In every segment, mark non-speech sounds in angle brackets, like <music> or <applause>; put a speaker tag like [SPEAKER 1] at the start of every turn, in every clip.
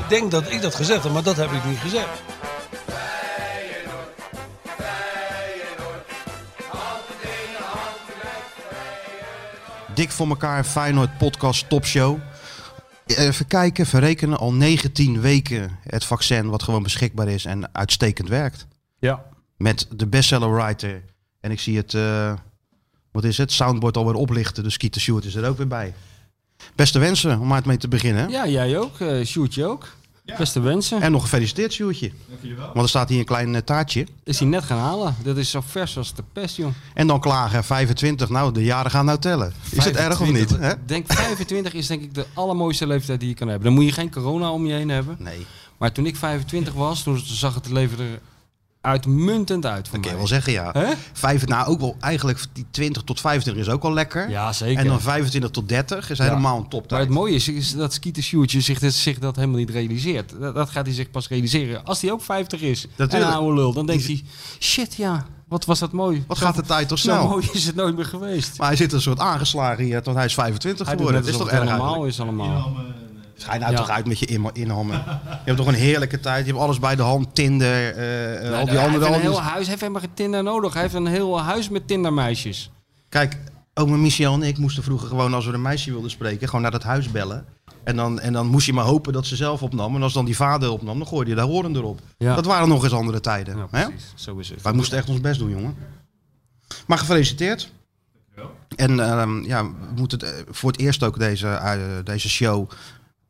[SPEAKER 1] Ik denk dat ik dat gezegd heb, maar dat heb ik niet gezegd.
[SPEAKER 2] Dik voor elkaar, Feyenoord podcast topshow. Even kijken, verrekenen al 19 weken het vaccin wat gewoon beschikbaar is en uitstekend werkt.
[SPEAKER 3] Ja.
[SPEAKER 2] Met de bestseller writer. En ik zie het, eh, wat is het, soundboard alweer oplichten. Dus Kieter Sjoerd is er ook weer bij. Beste wensen om maar het mee te beginnen.
[SPEAKER 3] Ja, jij ook. eh Sjoerdje ook. Beste wensen.
[SPEAKER 2] En nog gefeliciteerd Sjoerdje. Want er staat hier een klein eh, taartje.
[SPEAKER 3] Is hij net gaan halen. Dat is zo vers als de pest, joh.
[SPEAKER 2] En dan klagen, 25. Nou, de jaren gaan nou tellen. Is het erg of niet?
[SPEAKER 3] 25.
[SPEAKER 2] Hè?
[SPEAKER 3] Ik Denk 25 is denk ik de allermooiste leeftijd die je kan hebben. Dan moet je geen corona om je heen hebben.
[SPEAKER 2] Nee,
[SPEAKER 3] Maar toen ik 25 was, toen zag het leven er uitmuntend uit voor
[SPEAKER 2] dat kan je
[SPEAKER 3] mij.
[SPEAKER 2] wel zeggen, ja.
[SPEAKER 3] Hè?
[SPEAKER 2] Vijf, nou, ook wel eigenlijk die 20 tot 25 is ook al lekker.
[SPEAKER 3] Ja, zeker.
[SPEAKER 2] En dan 25 tot 30 is
[SPEAKER 3] Ja.
[SPEAKER 2] helemaal een
[SPEAKER 3] maar
[SPEAKER 2] toptijd.
[SPEAKER 3] het mooie is, is dat Skeeter Sjoerdje zich, dat- zich dat helemaal niet realiseert. Dat, dat gaat hij zich pas realiseren als hij ook 50 is. En
[SPEAKER 2] Natuurlijk.
[SPEAKER 3] een oude lul. Dan denkt hij, shit ja, wat was dat mooi.
[SPEAKER 2] Wat
[SPEAKER 3] Zo-
[SPEAKER 2] gaat de tijd toch
[SPEAKER 3] Zo
[SPEAKER 2] snel?
[SPEAKER 3] mooi is het nooit meer geweest.
[SPEAKER 2] Maar hij zit een soort aangeslagen hier, want hij is 25
[SPEAKER 3] Hij doet
[SPEAKER 2] geworden.
[SPEAKER 3] net
[SPEAKER 2] Dat is
[SPEAKER 3] alsof
[SPEAKER 2] toch
[SPEAKER 3] het
[SPEAKER 2] erg eigenlijk?
[SPEAKER 3] normaal is allemaal.
[SPEAKER 2] Schijn nou
[SPEAKER 3] Ja.
[SPEAKER 2] toch uit met je in- inhammen. je hebt toch een heerlijke tijd. Je hebt alles bij de hand. Tinder, eh, eh, al die
[SPEAKER 3] hij
[SPEAKER 2] andere...
[SPEAKER 3] heeft
[SPEAKER 2] al
[SPEAKER 3] een
[SPEAKER 2] die-
[SPEAKER 3] heel huis, hij heeft helemaal geen Tinder nodig. Hij heeft een heel huis met Tindermeisjes.
[SPEAKER 2] Kijk, oma Michel en ik moesten vroeger gewoon als we een meisje wilden spreken, gewoon naar dat huis bellen. En dan, en dan moest je maar hopen dat ze zelf opnam. En als dan die vader opnam, dan gooide je daar horen erop.
[SPEAKER 3] Ja.
[SPEAKER 2] Dat waren nog eens andere tijden. hè?
[SPEAKER 3] Nou, Zo is het.
[SPEAKER 2] Wij moesten echt ons best doen, jongen. Maar gefeliciteerd. En ehm, ja, we moeten het, eh, voor het eerst ook deze, eh, deze show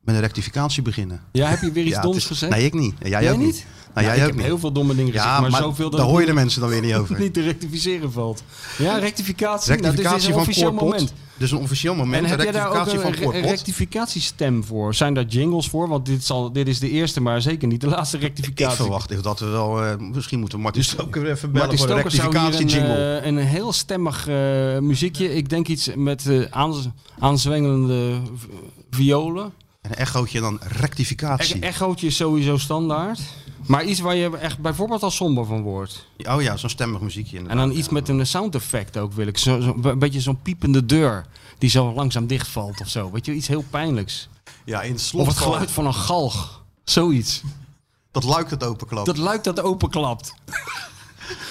[SPEAKER 2] met een rectificatie beginnen.
[SPEAKER 3] Ja, heb je weer iets
[SPEAKER 2] Ja, het
[SPEAKER 3] doms
[SPEAKER 2] is-
[SPEAKER 3] gezegd?
[SPEAKER 2] Nee, ik niet. En Jij,
[SPEAKER 3] Jij
[SPEAKER 2] ook niet?
[SPEAKER 3] niet?
[SPEAKER 2] Nou,
[SPEAKER 3] Ja,
[SPEAKER 2] jij
[SPEAKER 3] ik
[SPEAKER 2] ook
[SPEAKER 3] heb
[SPEAKER 2] niet.
[SPEAKER 3] heel veel domme dingen gezegd,
[SPEAKER 2] Ja,
[SPEAKER 3] maar,
[SPEAKER 2] maar
[SPEAKER 3] zoveel dat
[SPEAKER 2] daar
[SPEAKER 3] het
[SPEAKER 2] hoor je de
[SPEAKER 3] niet-
[SPEAKER 2] mensen dan weer
[SPEAKER 3] <laughs>
[SPEAKER 2] niet over.
[SPEAKER 3] niet te rectificeren valt. Ja, rectificatie. nou, dit is
[SPEAKER 2] rectificatie
[SPEAKER 3] een
[SPEAKER 2] van
[SPEAKER 3] officieel
[SPEAKER 2] Corpot.
[SPEAKER 3] moment.
[SPEAKER 2] Dus een officieel moment.
[SPEAKER 3] En
[SPEAKER 2] een
[SPEAKER 3] heb jij daar ook
[SPEAKER 2] rectificatie
[SPEAKER 3] een,
[SPEAKER 2] van
[SPEAKER 3] re-
[SPEAKER 2] Corpot.
[SPEAKER 3] rectificatiestem voor? Zijn daar jingles voor? Want dit, zal, dit is de eerste, maar zeker niet de laatste
[SPEAKER 2] Ik
[SPEAKER 3] rectificatie.
[SPEAKER 2] verwacht dat we wel... eh, misschien moeten we Martin Stoker even bellen
[SPEAKER 3] Martin
[SPEAKER 2] voor
[SPEAKER 3] Stoker
[SPEAKER 2] een
[SPEAKER 3] zou hier een,
[SPEAKER 2] rectificatie-jingle.
[SPEAKER 3] eh, een heel stemmig eh, muziekje. Ik denk iets met eh, aanz- aanzwengelende v- violen.
[SPEAKER 2] een echootje dan
[SPEAKER 3] E
[SPEAKER 2] rectificatie.
[SPEAKER 3] echootje is sowieso standaard. Maar iets waar je echt bijvoorbeeld al somber van wordt.
[SPEAKER 2] Oh ja, zo'n stemmig muziekje
[SPEAKER 3] e- En
[SPEAKER 2] inderdaad.
[SPEAKER 3] dan iets met een sound effect ook wil ik. Zo, zo- een beetje zo'n piepende deur die zo langzaam dichtvalt of zo. Weet je, iets heel pijnlijks.
[SPEAKER 2] Ja, in het slot
[SPEAKER 3] Of het
[SPEAKER 2] van-
[SPEAKER 3] geluid van een galg. Zoiets.
[SPEAKER 2] Dat luik dat openklapt.
[SPEAKER 3] Dat luik dat openklapt.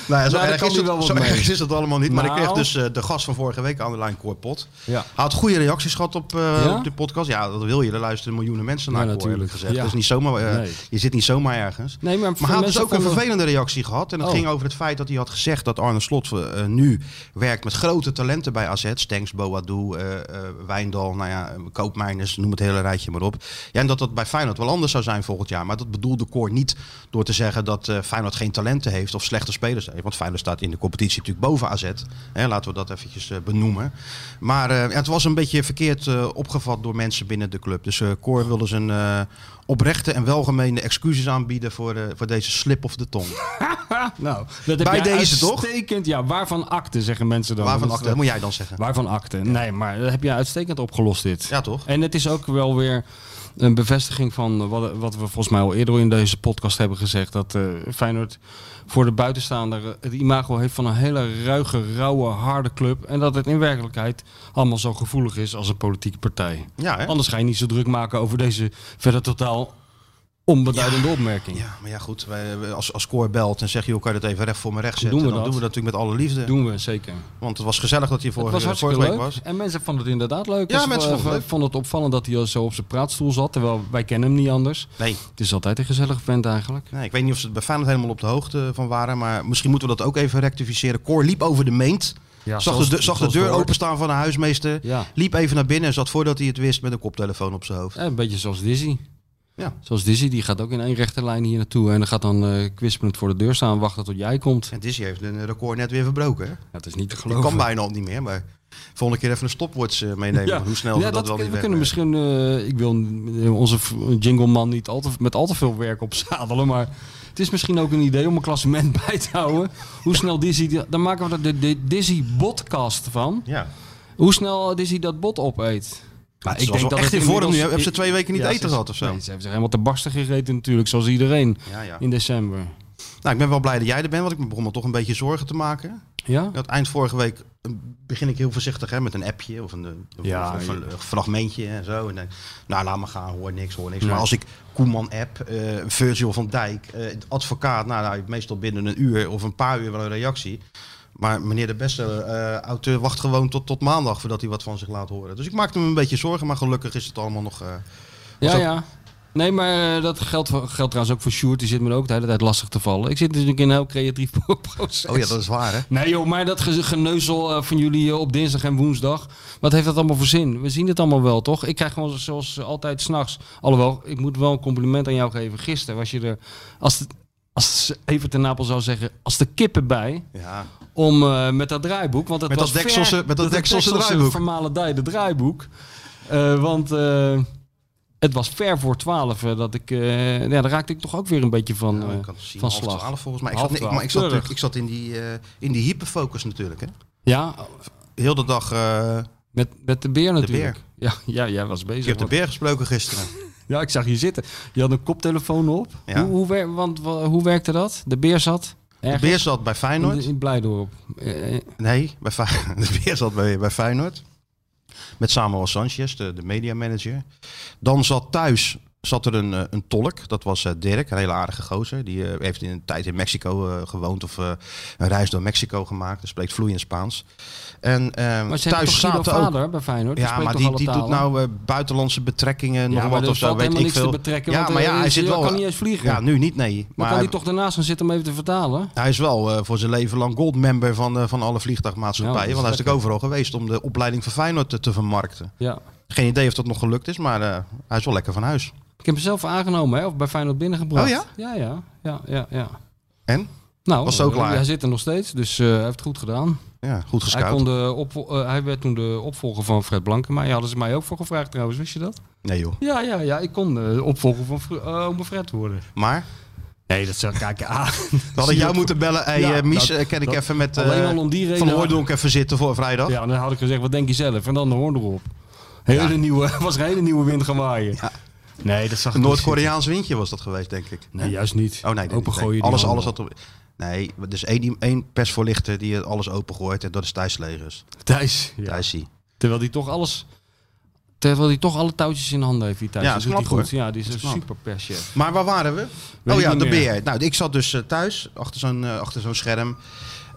[SPEAKER 2] Nou ja,
[SPEAKER 3] Nou,
[SPEAKER 2] zo
[SPEAKER 3] daar
[SPEAKER 2] erg
[SPEAKER 3] kan
[SPEAKER 2] is
[SPEAKER 3] hij
[SPEAKER 2] het,
[SPEAKER 3] wel wat
[SPEAKER 2] zo
[SPEAKER 3] mee.
[SPEAKER 2] erg is het allemaal niet. Maar
[SPEAKER 3] Nou.
[SPEAKER 2] ik kreeg dus eh, de gast van vorige week aan de lijn, Cor Pot.
[SPEAKER 3] Ja.
[SPEAKER 2] Hij had goede reacties gehad op, eh,
[SPEAKER 3] Ja?
[SPEAKER 2] op de podcast. Ja, dat wil je. Er luisteren miljoenen mensen naar,
[SPEAKER 3] Ja,
[SPEAKER 2] Cor, heb ik
[SPEAKER 3] natuurlijk.
[SPEAKER 2] gezegd.
[SPEAKER 3] Ja.
[SPEAKER 2] Dat is niet zomaar, eh,
[SPEAKER 3] Nee.
[SPEAKER 2] Je zit niet zomaar ergens.
[SPEAKER 3] Nee, maar,
[SPEAKER 2] Maar hij had dus ook een
[SPEAKER 3] vervelend.
[SPEAKER 2] vervelende reactie gehad. En dat
[SPEAKER 3] Oh.
[SPEAKER 2] ging over het feit dat hij had gezegd dat Arne Slot eh, nu werkt met grote talenten bij AZ. Stenks, Boadu, eh eh, Wijndal, nou ja, Koopmijners, noem het hele rijtje maar op. Ja, en dat dat bij Feyenoord wel anders zou zijn volgend jaar. Maar dat bedoelde Cor niet door te zeggen dat eh, Feyenoord geen talenten heeft of slechte spelers heeft. Want Feyenoord staat in de competitie natuurlijk boven AZ. Hè, laten we dat eventjes eh, benoemen. Maar eh, ja, het was een beetje verkeerd eh, opgevat door mensen binnen de club. Dus eh Cor wilde zijn... eh, oprechte en welgemeende excuses aanbieden voor, eh, voor deze slip of de tong.
[SPEAKER 3] Nou, dat heb
[SPEAKER 2] Bij
[SPEAKER 3] jij
[SPEAKER 2] deze toch?
[SPEAKER 3] uitstekend- Ja, waarvan akte zeggen mensen dan.
[SPEAKER 2] Waarvan
[SPEAKER 3] Dat is- eh,
[SPEAKER 2] acte, moet jij dan zeggen?
[SPEAKER 3] Waarvan akte? Nee, maar dat heb je uitstekend opgelost dit.
[SPEAKER 2] Ja, toch?
[SPEAKER 3] En het is ook wel weer een bevestiging van wat, wat we volgens mij al eerder in deze podcast hebben gezegd. Dat eh, Feyenoord voor de buitenstaander eh, het imago heeft van een hele ruige, rauwe, harde club. En dat het in werkelijkheid allemaal zo gevoelig is als een politieke partij.
[SPEAKER 2] Ja, hè?
[SPEAKER 3] Anders ga je niet zo druk maken over deze verder totaal onbeduidende opmerking.
[SPEAKER 2] Ja, maar ja, goed. wij- wij- als, als Cor belt en zegt, joh, kan je dat even recht voor me recht zetten?
[SPEAKER 3] Doen we dat.
[SPEAKER 2] dan doen we dat natuurlijk met alle liefde.
[SPEAKER 3] Doen we zeker.
[SPEAKER 2] Want het was gezellig dat hij
[SPEAKER 3] Het
[SPEAKER 2] vorige,
[SPEAKER 3] was hartstikke
[SPEAKER 2] vorige week
[SPEAKER 3] leuk.
[SPEAKER 2] was.
[SPEAKER 3] En mensen vonden het inderdaad leuk.
[SPEAKER 2] Ja,
[SPEAKER 3] Ze
[SPEAKER 2] mensen
[SPEAKER 3] v-
[SPEAKER 2] vonden het
[SPEAKER 3] v- vonden het opvallend dat hij zo op zijn praatstoel zat. Terwijl wij kennen hem niet anders.
[SPEAKER 2] Nee,
[SPEAKER 3] Het is altijd een gezellig vent eigenlijk.
[SPEAKER 2] nee, Nou, ik weet niet of ze het bij Feyenoord helemaal op de hoogte van waren. Maar misschien moeten we dat ook even rectificeren. Cor liep over de meent.
[SPEAKER 3] Ja,
[SPEAKER 2] zag de, de- zag de deur openstaan van de huismeester.
[SPEAKER 3] Ja.
[SPEAKER 2] Liep even naar binnen en zat voordat hij het wist met een koptelefoon op zijn hoofd.
[SPEAKER 3] Ja, Eh, een beetje zoals Dizzy.
[SPEAKER 2] Ja.
[SPEAKER 3] Zoals Dizzy, die gaat ook in één rechte lijn hier naartoe. En dan gaat dan eh kwispelend voor de deur staan, wachten tot jij komt.
[SPEAKER 2] En Dizzy heeft een record net weer verbroken. Hè?
[SPEAKER 3] Ja, het is niet te
[SPEAKER 2] Die
[SPEAKER 3] geloven.
[SPEAKER 2] kan bijna al niet meer, maar Volgende keer even een stopwatch eh, meenemen.
[SPEAKER 3] Ja.
[SPEAKER 2] van Hoe snel
[SPEAKER 3] Ja,
[SPEAKER 2] ze dat, wel
[SPEAKER 3] we
[SPEAKER 2] niet
[SPEAKER 3] kunnen
[SPEAKER 2] wegwerken.
[SPEAKER 3] misschien, eh, ik wil eh, onze v- jingleman niet al te, met al te veel werk opzadelen, maar het is misschien ook een idee om een klassement <laughs> bij te houden. Hoe snel Dizzy, dan maken we er de, de Dizzy Botcast van.
[SPEAKER 2] Ja.
[SPEAKER 3] Hoe snel Dizzy dat bot opeet.
[SPEAKER 2] Maar ik denk dat echt in
[SPEAKER 3] het
[SPEAKER 2] vorm nu.
[SPEAKER 3] inmiddels-
[SPEAKER 2] Hebben ze twee weken niet
[SPEAKER 3] Ja, ze
[SPEAKER 2] eten
[SPEAKER 3] is-
[SPEAKER 2] gehad of zo?
[SPEAKER 3] Nee, ze heeft zich helemaal te barsten gegeten natuurlijk, zoals iedereen
[SPEAKER 2] Ja, ja.
[SPEAKER 3] in december.
[SPEAKER 2] Nou, ik ben wel blij dat jij er bent, want ik begon me toch een beetje zorgen te maken.
[SPEAKER 3] Ja?
[SPEAKER 2] Aan het eind vorige week eh, begin ik heel voorzichtig hè, met een appje of een, eh,
[SPEAKER 3] Ja,
[SPEAKER 2] of een
[SPEAKER 3] ja.
[SPEAKER 2] eh, fragmentje en zo. En dan, nou, laat me gaan, hoor niks, hoor niks.
[SPEAKER 3] Ja.
[SPEAKER 2] Maar als ik Koeman-app, eh Virgil van Dijk, eh, advocaat, nou, nou, meestal binnen een uur of een paar uur wel een reactie. Maar meneer de beste eh, auteur wacht gewoon tot, tot maandag voordat hij wat van zich laat horen. Dus ik maakte me een beetje zorgen, maar gelukkig is het allemaal nog... eh,
[SPEAKER 3] Ja,
[SPEAKER 2] ook-
[SPEAKER 3] ja. Nee, maar eh, dat geldt, voor- geldt trouwens ook voor Sjoerd. Die zit me ook de hele tijd lastig te vallen. Ik zit natuurlijk in een heel creatief <laughs> proces.
[SPEAKER 2] oh ja, dat is waar, hè?
[SPEAKER 3] Nee joh, maar dat ge- geneuzel eh, van jullie eh, op dinsdag en woensdag. Wat heeft dat allemaal voor zin? We zien het allemaal wel, toch? Ik krijg gewoon zoals altijd s'nachts. Alhoewel, ik moet wel een compliment aan jou geven. Gisteren was je er, als, de, als even ten Napel zou zeggen, als de kippen bij.
[SPEAKER 2] Ja.
[SPEAKER 3] Om eh, met dat draaiboek. Want dat
[SPEAKER 2] Met dat
[SPEAKER 3] was ver-
[SPEAKER 2] Dekselse- met dat Dekselse draaiboek.
[SPEAKER 3] vermalendij, de draaiboek. Eh, want eh, het was ver voor twaalf. eh, dat ik, eh, ja, daar raakte ik toch ook weer een beetje van,
[SPEAKER 2] Nou,
[SPEAKER 3] eh,
[SPEAKER 2] ik had het zien,
[SPEAKER 3] van
[SPEAKER 2] half
[SPEAKER 3] slag.
[SPEAKER 2] twaalf volgens mij. Ik
[SPEAKER 3] Half
[SPEAKER 2] zat, ik,
[SPEAKER 3] twaalf,
[SPEAKER 2] maar ik zat,
[SPEAKER 3] keurig.
[SPEAKER 2] natuurlijk- ik zat in die, eh, in die hyperfocus natuurlijk, hè?
[SPEAKER 3] Ja,
[SPEAKER 2] Heel de dag... eh,
[SPEAKER 3] met, met de beer natuurlijk. Ja, ja, jij was bezig.
[SPEAKER 2] Ik heb de
[SPEAKER 3] want-
[SPEAKER 2] beer gesproken gisteren.
[SPEAKER 3] Ja, ik zag je zitten. Je had een koptelefoon op.
[SPEAKER 2] Ja.
[SPEAKER 3] Hoe, hoe, wer- want, wa- hoe werkte dat? De beer zat?
[SPEAKER 2] De
[SPEAKER 3] Ergens?
[SPEAKER 2] beer zat bij
[SPEAKER 3] In,
[SPEAKER 2] Feyenoord.
[SPEAKER 3] in Blijdorp. Eh, eh,
[SPEAKER 2] Nee, bij Fe- <laughs> de beer zat bij, bij Feyenoord. Met Samuel Sanchez, de, de mediamanager. Dan zat thuis zat er een, eh, een tolk. Dat was eh, Dirk, een hele aardige gozer. Die eh, heeft in een tijd in Mexico eh, gewoond of eh, een reis door Mexico gemaakt. Dus spreekt vloeiend Spaans. En eh,
[SPEAKER 3] maar ze hebben
[SPEAKER 2] thuis
[SPEAKER 3] toch Guido
[SPEAKER 2] zaten ook...
[SPEAKER 3] vader bij Feyenoord?
[SPEAKER 2] Ja,
[SPEAKER 3] spreekt
[SPEAKER 2] maar
[SPEAKER 3] toch
[SPEAKER 2] die,
[SPEAKER 3] alle
[SPEAKER 2] die doet
[SPEAKER 3] talen?
[SPEAKER 2] nou eh, buitenlandse betrekkingen, nog
[SPEAKER 3] maar
[SPEAKER 2] wat
[SPEAKER 3] dat
[SPEAKER 2] of zo,
[SPEAKER 3] valt
[SPEAKER 2] weet
[SPEAKER 3] helemaal
[SPEAKER 2] ik
[SPEAKER 3] niks
[SPEAKER 2] veel.
[SPEAKER 3] te betrekken,
[SPEAKER 2] ja,
[SPEAKER 3] want,
[SPEAKER 2] maar
[SPEAKER 3] eh,
[SPEAKER 2] ja, hij
[SPEAKER 3] je
[SPEAKER 2] zit wel...
[SPEAKER 3] kan niet eens vliegen.
[SPEAKER 2] Ja, nu niet, nee.
[SPEAKER 3] Dan
[SPEAKER 2] Maar
[SPEAKER 3] kan
[SPEAKER 2] hij-
[SPEAKER 3] die toch daarnaast gaan zitten om even te vertalen?
[SPEAKER 2] Hij is wel eh, voor zijn leven lang goldmember van, eh, van alle vliegtuigmaatschappijen.
[SPEAKER 3] Ja, dat is
[SPEAKER 2] want hij is natuurlijk overal geweest om de opleiding van Feyenoord te, te vermarkten.
[SPEAKER 3] Ja.
[SPEAKER 2] Geen idee of dat nog gelukt is, maar eh, hij is wel lekker van huis.
[SPEAKER 3] Ik heb hem zelf aangenomen, hè, of bij Feyenoord binnengebracht.
[SPEAKER 2] Oh ja?
[SPEAKER 3] Ja, ja, ja, ja. ja.
[SPEAKER 2] En?
[SPEAKER 3] Nou,
[SPEAKER 2] Was het ook
[SPEAKER 3] eh,
[SPEAKER 2] klaar?
[SPEAKER 3] hij zit er nog steeds, dus eh, hij heeft het goed gedaan.
[SPEAKER 2] Ja, goed
[SPEAKER 3] Hij,
[SPEAKER 2] gescout.
[SPEAKER 3] kon de opvo- eh, hij werd toen de opvolger van Fred Blankenmaier. Ja, hadden ze mij ook voor gevraagd trouwens, wist je dat?
[SPEAKER 2] Nee joh.
[SPEAKER 3] Ja, ja, ja. Ik kon eh, opvolger van Fr- eh, oma Fred worden.
[SPEAKER 2] Maar,
[SPEAKER 3] Nee, dat zou kijken
[SPEAKER 2] ah.
[SPEAKER 3] aan.
[SPEAKER 2] dan had ik jou moeten bellen. Hey,
[SPEAKER 3] Ja,
[SPEAKER 2] eh, Mies,
[SPEAKER 3] dat-
[SPEAKER 2] eh, kan ik
[SPEAKER 3] dat-
[SPEAKER 2] even met
[SPEAKER 3] alleen
[SPEAKER 2] eh,
[SPEAKER 3] al om die reden.
[SPEAKER 2] Van Hooydonk even zitten voor
[SPEAKER 3] <laughs>
[SPEAKER 2] vrijdag?
[SPEAKER 3] Ja, dan had ik gezegd, wat denk je zelf? En dan de hoorn erop. Hele
[SPEAKER 2] Ja.
[SPEAKER 3] nieuwe, <laughs> was een hele nieuwe wind gaan waaien. Nee, dat zag
[SPEAKER 2] Een
[SPEAKER 3] ik niet.
[SPEAKER 2] Noord-Koreaans windje was dat geweest, denk ik.
[SPEAKER 3] Nee, juist niet.
[SPEAKER 2] Oh nee, dat
[SPEAKER 3] Open
[SPEAKER 2] niet.
[SPEAKER 3] gooien.
[SPEAKER 2] Nee,
[SPEAKER 3] die
[SPEAKER 2] Alles,
[SPEAKER 3] handen.
[SPEAKER 2] alles had op... Nee, dus één, één persvoorlichter die het alles opengooit en dat is Thijs Legers.
[SPEAKER 3] Thijs. Ja.
[SPEAKER 2] Thijs die.
[SPEAKER 3] Terwijl die toch alles... Terwijl hij toch alle touwtjes in handen heeft, die Thijs.
[SPEAKER 2] Ja,
[SPEAKER 3] Dat
[SPEAKER 2] dat is
[SPEAKER 3] doet hij
[SPEAKER 2] knap,
[SPEAKER 3] goed. Ja, die is,
[SPEAKER 2] is
[SPEAKER 3] een
[SPEAKER 2] knap.
[SPEAKER 3] super perschef.
[SPEAKER 2] Maar waar waren we?
[SPEAKER 3] Weet
[SPEAKER 2] oh
[SPEAKER 3] ik
[SPEAKER 2] ja,
[SPEAKER 3] niet
[SPEAKER 2] de
[SPEAKER 3] meer.
[SPEAKER 2] beer. Nou, ik zat dus eh, thuis achter zo'n eh, achter zo'n scherm.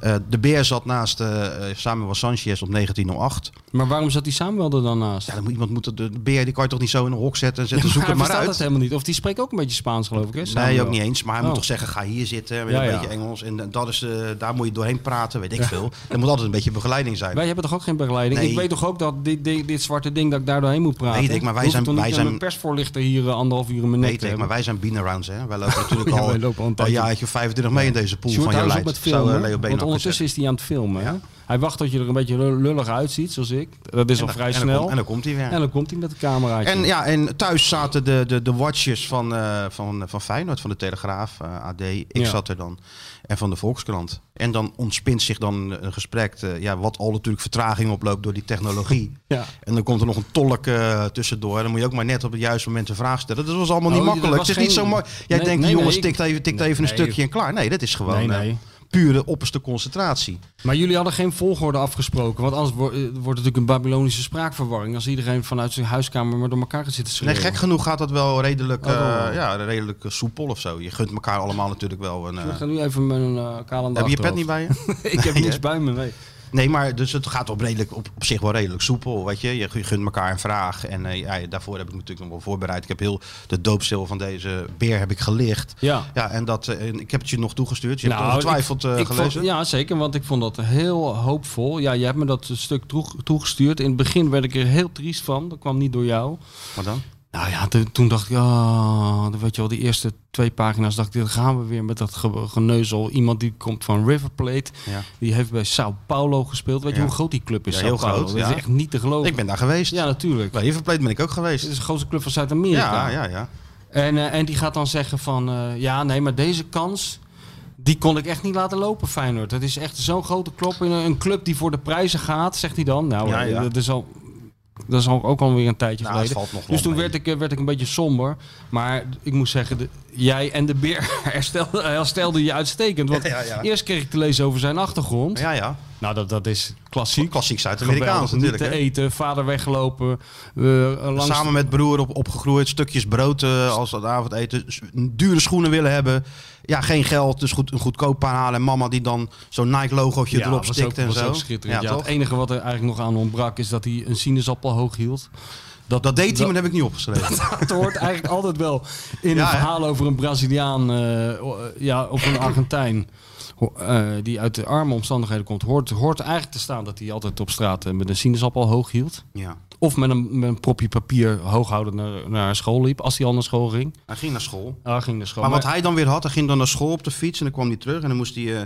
[SPEAKER 2] Eh, de beer zat naast eh eh, Samuel Sanchez op 1908.
[SPEAKER 3] Maar waarom zat die Samuel er dan naast?
[SPEAKER 2] Ja, dan moet iemand moeten de, de beer die kan je toch niet zo in een hok zetten en
[SPEAKER 3] Ja,
[SPEAKER 2] zetten zoek
[SPEAKER 3] hij
[SPEAKER 2] het maar
[SPEAKER 3] verstaat dat
[SPEAKER 2] uit.
[SPEAKER 3] helemaal niet. Of die spreekt ook een beetje Spaans, geloof ik. Hè,
[SPEAKER 2] Nee,
[SPEAKER 3] Samuel?
[SPEAKER 2] ook niet eens. Maar hij moet
[SPEAKER 3] Oh.
[SPEAKER 2] toch zeggen, ga hier zitten met
[SPEAKER 3] Ja,
[SPEAKER 2] een
[SPEAKER 3] ja.
[SPEAKER 2] beetje Engels. En dat is, eh, daar moet je doorheen praten, weet ik veel. Er moet altijd een beetje begeleiding zijn.
[SPEAKER 3] Wij hebben toch ook geen begeleiding?
[SPEAKER 2] Nee.
[SPEAKER 3] Ik weet toch ook dat dit, dit, dit zwarte ding dat ik daar doorheen moet praten.
[SPEAKER 2] Weet ik, maar wij
[SPEAKER 3] Hoef
[SPEAKER 2] zijn-
[SPEAKER 3] toch niet
[SPEAKER 2] wij
[SPEAKER 3] aan
[SPEAKER 2] zijn-
[SPEAKER 3] mijn persvoorlichter hier eh, anderhalf uur in mijn nek
[SPEAKER 2] Weet
[SPEAKER 3] te
[SPEAKER 2] ik, maar
[SPEAKER 3] hebben?
[SPEAKER 2] wij zijn beenarounds, hè. Wij
[SPEAKER 3] <laughs>
[SPEAKER 2] lopen natuurlijk
[SPEAKER 3] Ja,
[SPEAKER 2] al,
[SPEAKER 3] wij lopen al een
[SPEAKER 2] al een
[SPEAKER 3] tijdje.
[SPEAKER 2] jaartje of 25 mee in deze pool
[SPEAKER 3] Sjoerd,
[SPEAKER 2] van jouw
[SPEAKER 3] hou eens
[SPEAKER 2] lijst.
[SPEAKER 3] op met
[SPEAKER 2] zou, eh,
[SPEAKER 3] filmen.
[SPEAKER 2] Leo Beenhak
[SPEAKER 3] want ondertussen
[SPEAKER 2] zeggen.
[SPEAKER 3] is hij aan het filmen. hè?
[SPEAKER 2] Ja.
[SPEAKER 3] Hij wacht tot je er een beetje lul- lullig uitziet, zoals ik. Dat is al
[SPEAKER 2] En dan-
[SPEAKER 3] vrij
[SPEAKER 2] en dan
[SPEAKER 3] snel.
[SPEAKER 2] komt- En dan komt hij weer.
[SPEAKER 3] en dan komt hij met de camera.
[SPEAKER 2] En, ja, en thuis zaten de, de, de watchers van, eh, van, van Feyenoord, van de Telegraaf, eh, AD. Ik
[SPEAKER 3] Ja.
[SPEAKER 2] zat er dan. En van de Volkskrant. En dan ontspint zich dan een gesprek, eh, ja, wat al natuurlijk vertraging oploopt door die technologie.
[SPEAKER 3] <laughs> Ja.
[SPEAKER 2] En dan komt er nog een tolk eh, tussendoor. Dan moet je ook maar net op het juiste moment een vraag stellen. Dat was allemaal niet
[SPEAKER 3] Oh, dat
[SPEAKER 2] makkelijk.
[SPEAKER 3] was
[SPEAKER 2] Het is niet
[SPEAKER 3] geen-
[SPEAKER 2] zo mooi. Jij
[SPEAKER 3] Nee,
[SPEAKER 2] denkt,
[SPEAKER 3] nee,
[SPEAKER 2] jongens,
[SPEAKER 3] nee, ik-
[SPEAKER 2] tikt even, tikt even
[SPEAKER 3] Nee,
[SPEAKER 2] een stukje en klaar. Nee, dat is gewoon
[SPEAKER 3] Nee,
[SPEAKER 2] eh,
[SPEAKER 3] nee.
[SPEAKER 2] pure opperste concentratie.
[SPEAKER 3] Maar jullie hadden geen volgorde afgesproken. Want anders wo- eh, wordt het natuurlijk een Babylonische spraakverwarring. Als iedereen vanuit zijn huiskamer maar door elkaar gaat zitten
[SPEAKER 2] Nee,
[SPEAKER 3] schreeuwen.
[SPEAKER 2] gek genoeg gaat dat wel redelijk,
[SPEAKER 3] Oh,
[SPEAKER 2] eh,
[SPEAKER 3] oh.
[SPEAKER 2] ja, redelijk soepel of zo. Je gunt elkaar allemaal natuurlijk wel een... eh,
[SPEAKER 3] Ik ga nu even mijn eh kalender
[SPEAKER 2] heb je je pet niet bij je?
[SPEAKER 3] <laughs> Ik heb
[SPEAKER 2] Nee,
[SPEAKER 3] niks
[SPEAKER 2] hè?
[SPEAKER 3] bij me, nee.
[SPEAKER 2] <laughs> Nee, maar dus het gaat op, redelijk, op, op zich wel redelijk soepel. Weet je? je gu- gunt elkaar een vraag. En eh, ja, daarvoor heb ik natuurlijk nog wel voorbereid. Ik heb heel de doopstil van deze beer heb ik gelicht.
[SPEAKER 3] Ja.
[SPEAKER 2] Ja, en dat, eh, en ik heb het je nog toegestuurd. Je hebt het ongetwijfeld eh,
[SPEAKER 3] Nou, ik vond-
[SPEAKER 2] gelezen.
[SPEAKER 3] ja, zeker, want ik vond dat heel hoopvol. Ja, je hebt me dat stuk toeg- toegestuurd. In het begin werd ik er heel triest van. Dat kwam niet door jou.
[SPEAKER 2] Maar dan?
[SPEAKER 3] Nou ja, toen- toen dacht ik, ah, dan weet je wel, die eerste twee pagina's dacht ik, dan gaan we weer met dat ge- geneuzel. Iemand die komt van River Plate,
[SPEAKER 2] Ja.
[SPEAKER 3] die heeft bij Sao Paulo gespeeld. Weet je
[SPEAKER 2] Ja.
[SPEAKER 3] hoe groot die club is?
[SPEAKER 2] Ja,
[SPEAKER 3] Sao
[SPEAKER 2] heel
[SPEAKER 3] Paulo?
[SPEAKER 2] groot,
[SPEAKER 3] Dat
[SPEAKER 2] ja.
[SPEAKER 3] is echt niet te geloven.
[SPEAKER 2] Ik ben daar geweest.
[SPEAKER 3] Ja, natuurlijk.
[SPEAKER 2] Bij River Plate ben ik ook
[SPEAKER 3] Het
[SPEAKER 2] geweest.
[SPEAKER 3] is de grootste club van
[SPEAKER 2] Ja,
[SPEAKER 3] Zuid-Amerika.
[SPEAKER 2] ja, ja.
[SPEAKER 3] En, eh, en die gaat dan zeggen van, eh, ja, nee, maar deze kans, die kon ik echt niet laten lopen, Feyenoord. Dat is echt zo'n grote klop in een, een club die voor de prijzen gaat, zegt hij dan. Nou,
[SPEAKER 2] Ja,
[SPEAKER 3] eh,
[SPEAKER 2] ja.
[SPEAKER 3] dat is al... Dat is al- ook alweer een tijdje
[SPEAKER 2] Nou, het
[SPEAKER 3] geleden.
[SPEAKER 2] valt nog wel
[SPEAKER 3] dus toen
[SPEAKER 2] mee.
[SPEAKER 3] werd ik, eh, werd ik een beetje somber. Maar ik moet zeggen, de- jij en de beer <laughs> herstelden herstelden je uitstekend. Want
[SPEAKER 2] <laughs> Ja, ja.
[SPEAKER 3] eerst kreeg ik te lezen over zijn achtergrond.
[SPEAKER 2] Ja, ja.
[SPEAKER 3] Nou, dat, dat is klassiek.
[SPEAKER 2] Klassiek Zuid-Amerikaans
[SPEAKER 3] Geweldig, niet
[SPEAKER 2] natuurlijk.
[SPEAKER 3] te
[SPEAKER 2] hè.
[SPEAKER 3] eten, vader weggelopen. eh, langs
[SPEAKER 2] Samen met broer op, opgegroeid, stukjes brood eh, als dat avondeten, s- dure schoenen willen hebben. Ja, geen geld, dus goed, een goedkoop paar halen. En mama die dan zo'n Nike-logootje erop
[SPEAKER 3] was ook-
[SPEAKER 2] stikt en
[SPEAKER 3] was
[SPEAKER 2] zo.
[SPEAKER 3] ook schitterend. Ja,
[SPEAKER 2] toch?
[SPEAKER 3] het enige wat er eigenlijk nog aan ontbrak is dat hij een sinaasappel hoog
[SPEAKER 2] <laughs>
[SPEAKER 3] hield.
[SPEAKER 2] Dat deed hij, maar dat heb ik niet opgeschreven.
[SPEAKER 3] <laughs> dat hoort eigenlijk altijd wel in
[SPEAKER 2] Ja,
[SPEAKER 3] een
[SPEAKER 2] hè?
[SPEAKER 3] verhaal over een Braziliaan eh, o- eh, ja, of een Argentijn. ho- eh, die uit de arme omstandigheden komt, hoort, hoort eigenlijk te staan dat hij altijd op straat eh, met een sinaasappel hoog hield.
[SPEAKER 2] ja.
[SPEAKER 3] Of met een, met een propje papier hooghouden naar, naar school liep, als hij al naar school ging.
[SPEAKER 2] Hij ging naar school.
[SPEAKER 3] Ah, ging naar school.
[SPEAKER 2] Maar wat hij dan weer had, hij ging dan naar school op de fiets en dan kwam hij terug. En dan moest hij eh,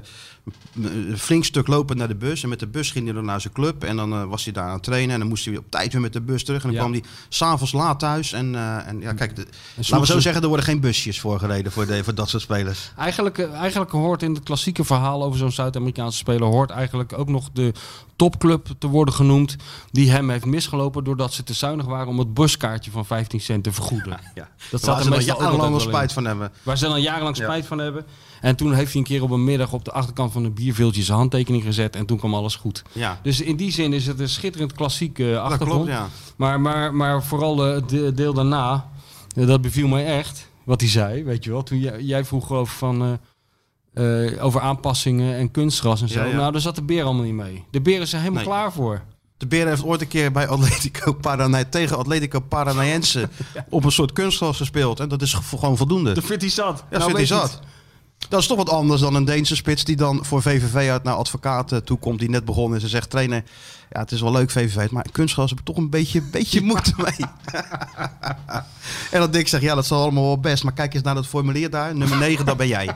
[SPEAKER 2] een flink stuk lopen naar de bus. En met de bus ging hij dan naar zijn club. En dan eh, was hij daar aan het trainen. En dan moest hij weer op tijd weer met de bus terug. En dan
[SPEAKER 3] Ja.
[SPEAKER 2] kwam hij s'avonds laat thuis. En, eh, en ja, kijk, de- laten we
[SPEAKER 3] soms-
[SPEAKER 2] zo zeggen, er worden geen busjes voor gereden voor, de, voor dat soort spelers.
[SPEAKER 3] Eigenlijk, eh, eigenlijk hoort in het klassieke verhaal over zo'n Zuid-Amerikaanse speler... hoort eigenlijk ook nog de topclub te worden genoemd... die hem heeft misgelopen doordat ze te zuinig waren... om het buskaartje van 15 cent te vergoeden.
[SPEAKER 2] Ja.
[SPEAKER 3] Dat
[SPEAKER 2] Daar
[SPEAKER 3] staat er
[SPEAKER 2] ze dan
[SPEAKER 3] meestal ook altijd
[SPEAKER 2] jarenlang
[SPEAKER 3] wel
[SPEAKER 2] wel
[SPEAKER 3] in.
[SPEAKER 2] spijt van hebben.
[SPEAKER 3] Waar ze dan jarenlang
[SPEAKER 2] Ja.
[SPEAKER 3] spijt van hebben. En toen heeft hij een keer op een middag op de achterkant van een bierviltje... zijn handtekening gezet en toen kwam alles goed.
[SPEAKER 2] Ja,
[SPEAKER 3] Dus in die zin is het een schitterend klassiek eh,
[SPEAKER 2] dat
[SPEAKER 3] achtergrond.
[SPEAKER 2] klopt, ja.
[SPEAKER 3] Maar, maar, maar vooral eh, het de- deel daarna, eh, dat beviel mij echt. Wat hij zei, weet je wel. Toen jij, jij vroeg over, van, eh, eh, over aanpassingen en kunstgras en zo.
[SPEAKER 2] Ja, ja.
[SPEAKER 3] Nou, daar zat de beer allemaal niet mee. De beer is er helemaal
[SPEAKER 2] Nee.
[SPEAKER 3] klaar voor.
[SPEAKER 2] De Beren heeft ooit een keer bij Atletico Paranaense tegen Atletico
[SPEAKER 3] <laughs>
[SPEAKER 2] Paranaense op een soort kunstgras gespeeld. En dat is gevo- gewoon voldoende.
[SPEAKER 3] De fit is zat.
[SPEAKER 2] Ja, zit is dat. Dat is toch wat anders dan een Deense spits die dan voor VVV uit naar advocaat eh, toe komt die net begonnen is en zegt trainer, ja het is wel leuk VVV, maar kunstgras heb ik toch een beetje, <laughs> beetje moeite mee. <laughs> en dat Dick zegt, ja dat zal allemaal wel best, maar kijk eens naar dat formulier daar, nummer 9, daar ben jij.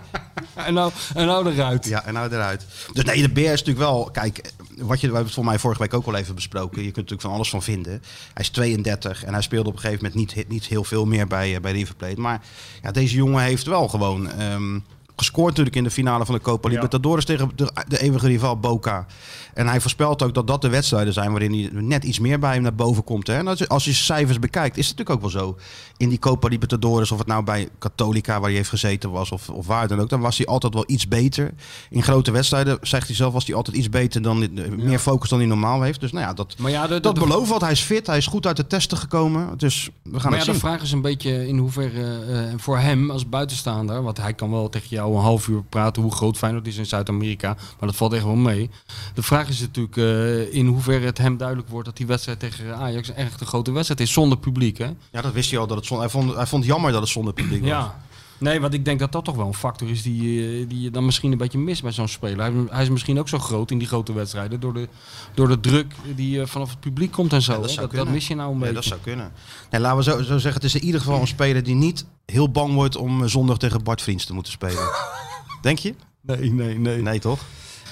[SPEAKER 3] En nou, en nou eruit.
[SPEAKER 2] Ja, en nou eruit. Dus nee, de beer is natuurlijk wel. Kijk, wat je, we hebben het voor mij vorige week ook al even besproken. Je kunt er natuurlijk van alles van vinden. Hij is 32 en hij speelde op een gegeven moment niet, niet heel veel meer bij, eh, bij River Plate. Maar ja, deze jongen heeft wel gewoon ehm, gescoord natuurlijk in de finale van de Copa Libertadores tegen de, de eeuwige rival Boca. En hij voorspelt ook dat dat de wedstrijden zijn waarin hij net iets meer bij hem naar boven komt. Hè? En als je, als je cijfers bekijkt, is het natuurlijk ook wel zo. In die Copa Libertadores, of het nou bij Catholica waar hij heeft gezeten was, of, of waar dan ook, dan was hij altijd wel iets beter. In grote wedstrijden, zegt hij zelf, was hij altijd iets beter dan eh, meer focus dan hij normaal heeft. Dus nou ja, dat,
[SPEAKER 3] Maar ja, de, de-
[SPEAKER 2] dat
[SPEAKER 3] de-
[SPEAKER 2] belooft wat. Hij is fit, hij is goed uit de testen gekomen. Dus we gaan
[SPEAKER 3] maar ja,
[SPEAKER 2] het
[SPEAKER 3] de
[SPEAKER 2] zien.
[SPEAKER 3] vraag is een beetje in hoeverre eh, voor hem als buitenstaander... want hij kan wel tegen jou een half uur praten hoe groot Feyenoord is in Zuid-Amerika... maar dat valt echt wel mee. De vraag is natuurlijk eh, in hoeverre het hem duidelijk wordt... dat die wedstrijd tegen Ajax een echt een grote wedstrijd is zonder publiek. Hè?
[SPEAKER 2] Ja, dat wist hij al. Dat het zon, hij, vond, hij vond het jammer dat het zonder publiek was.
[SPEAKER 3] Ja. Nee, want ik denk dat dat toch wel een factor is die, eh, die je dan misschien een beetje mist bij zo'n speler. Hij, hij is misschien ook zo groot in die grote wedstrijden door de, door de druk die eh, vanaf het publiek komt en zo.
[SPEAKER 2] Ja,
[SPEAKER 3] hè.
[SPEAKER 2] dat
[SPEAKER 3] dat,
[SPEAKER 2] zou
[SPEAKER 3] dat,
[SPEAKER 2] kunnen.
[SPEAKER 3] mis je nou een
[SPEAKER 2] Ja,
[SPEAKER 3] beetje.
[SPEAKER 2] dat zou kunnen. Nee, laten we zo, zo zeggen, het is in ieder geval een speler die niet heel bang wordt om eh, zondag tegen Bart Vriends te moeten spelen. <laughs> Denk je?
[SPEAKER 3] Nee, nee, nee.
[SPEAKER 2] Nee, toch?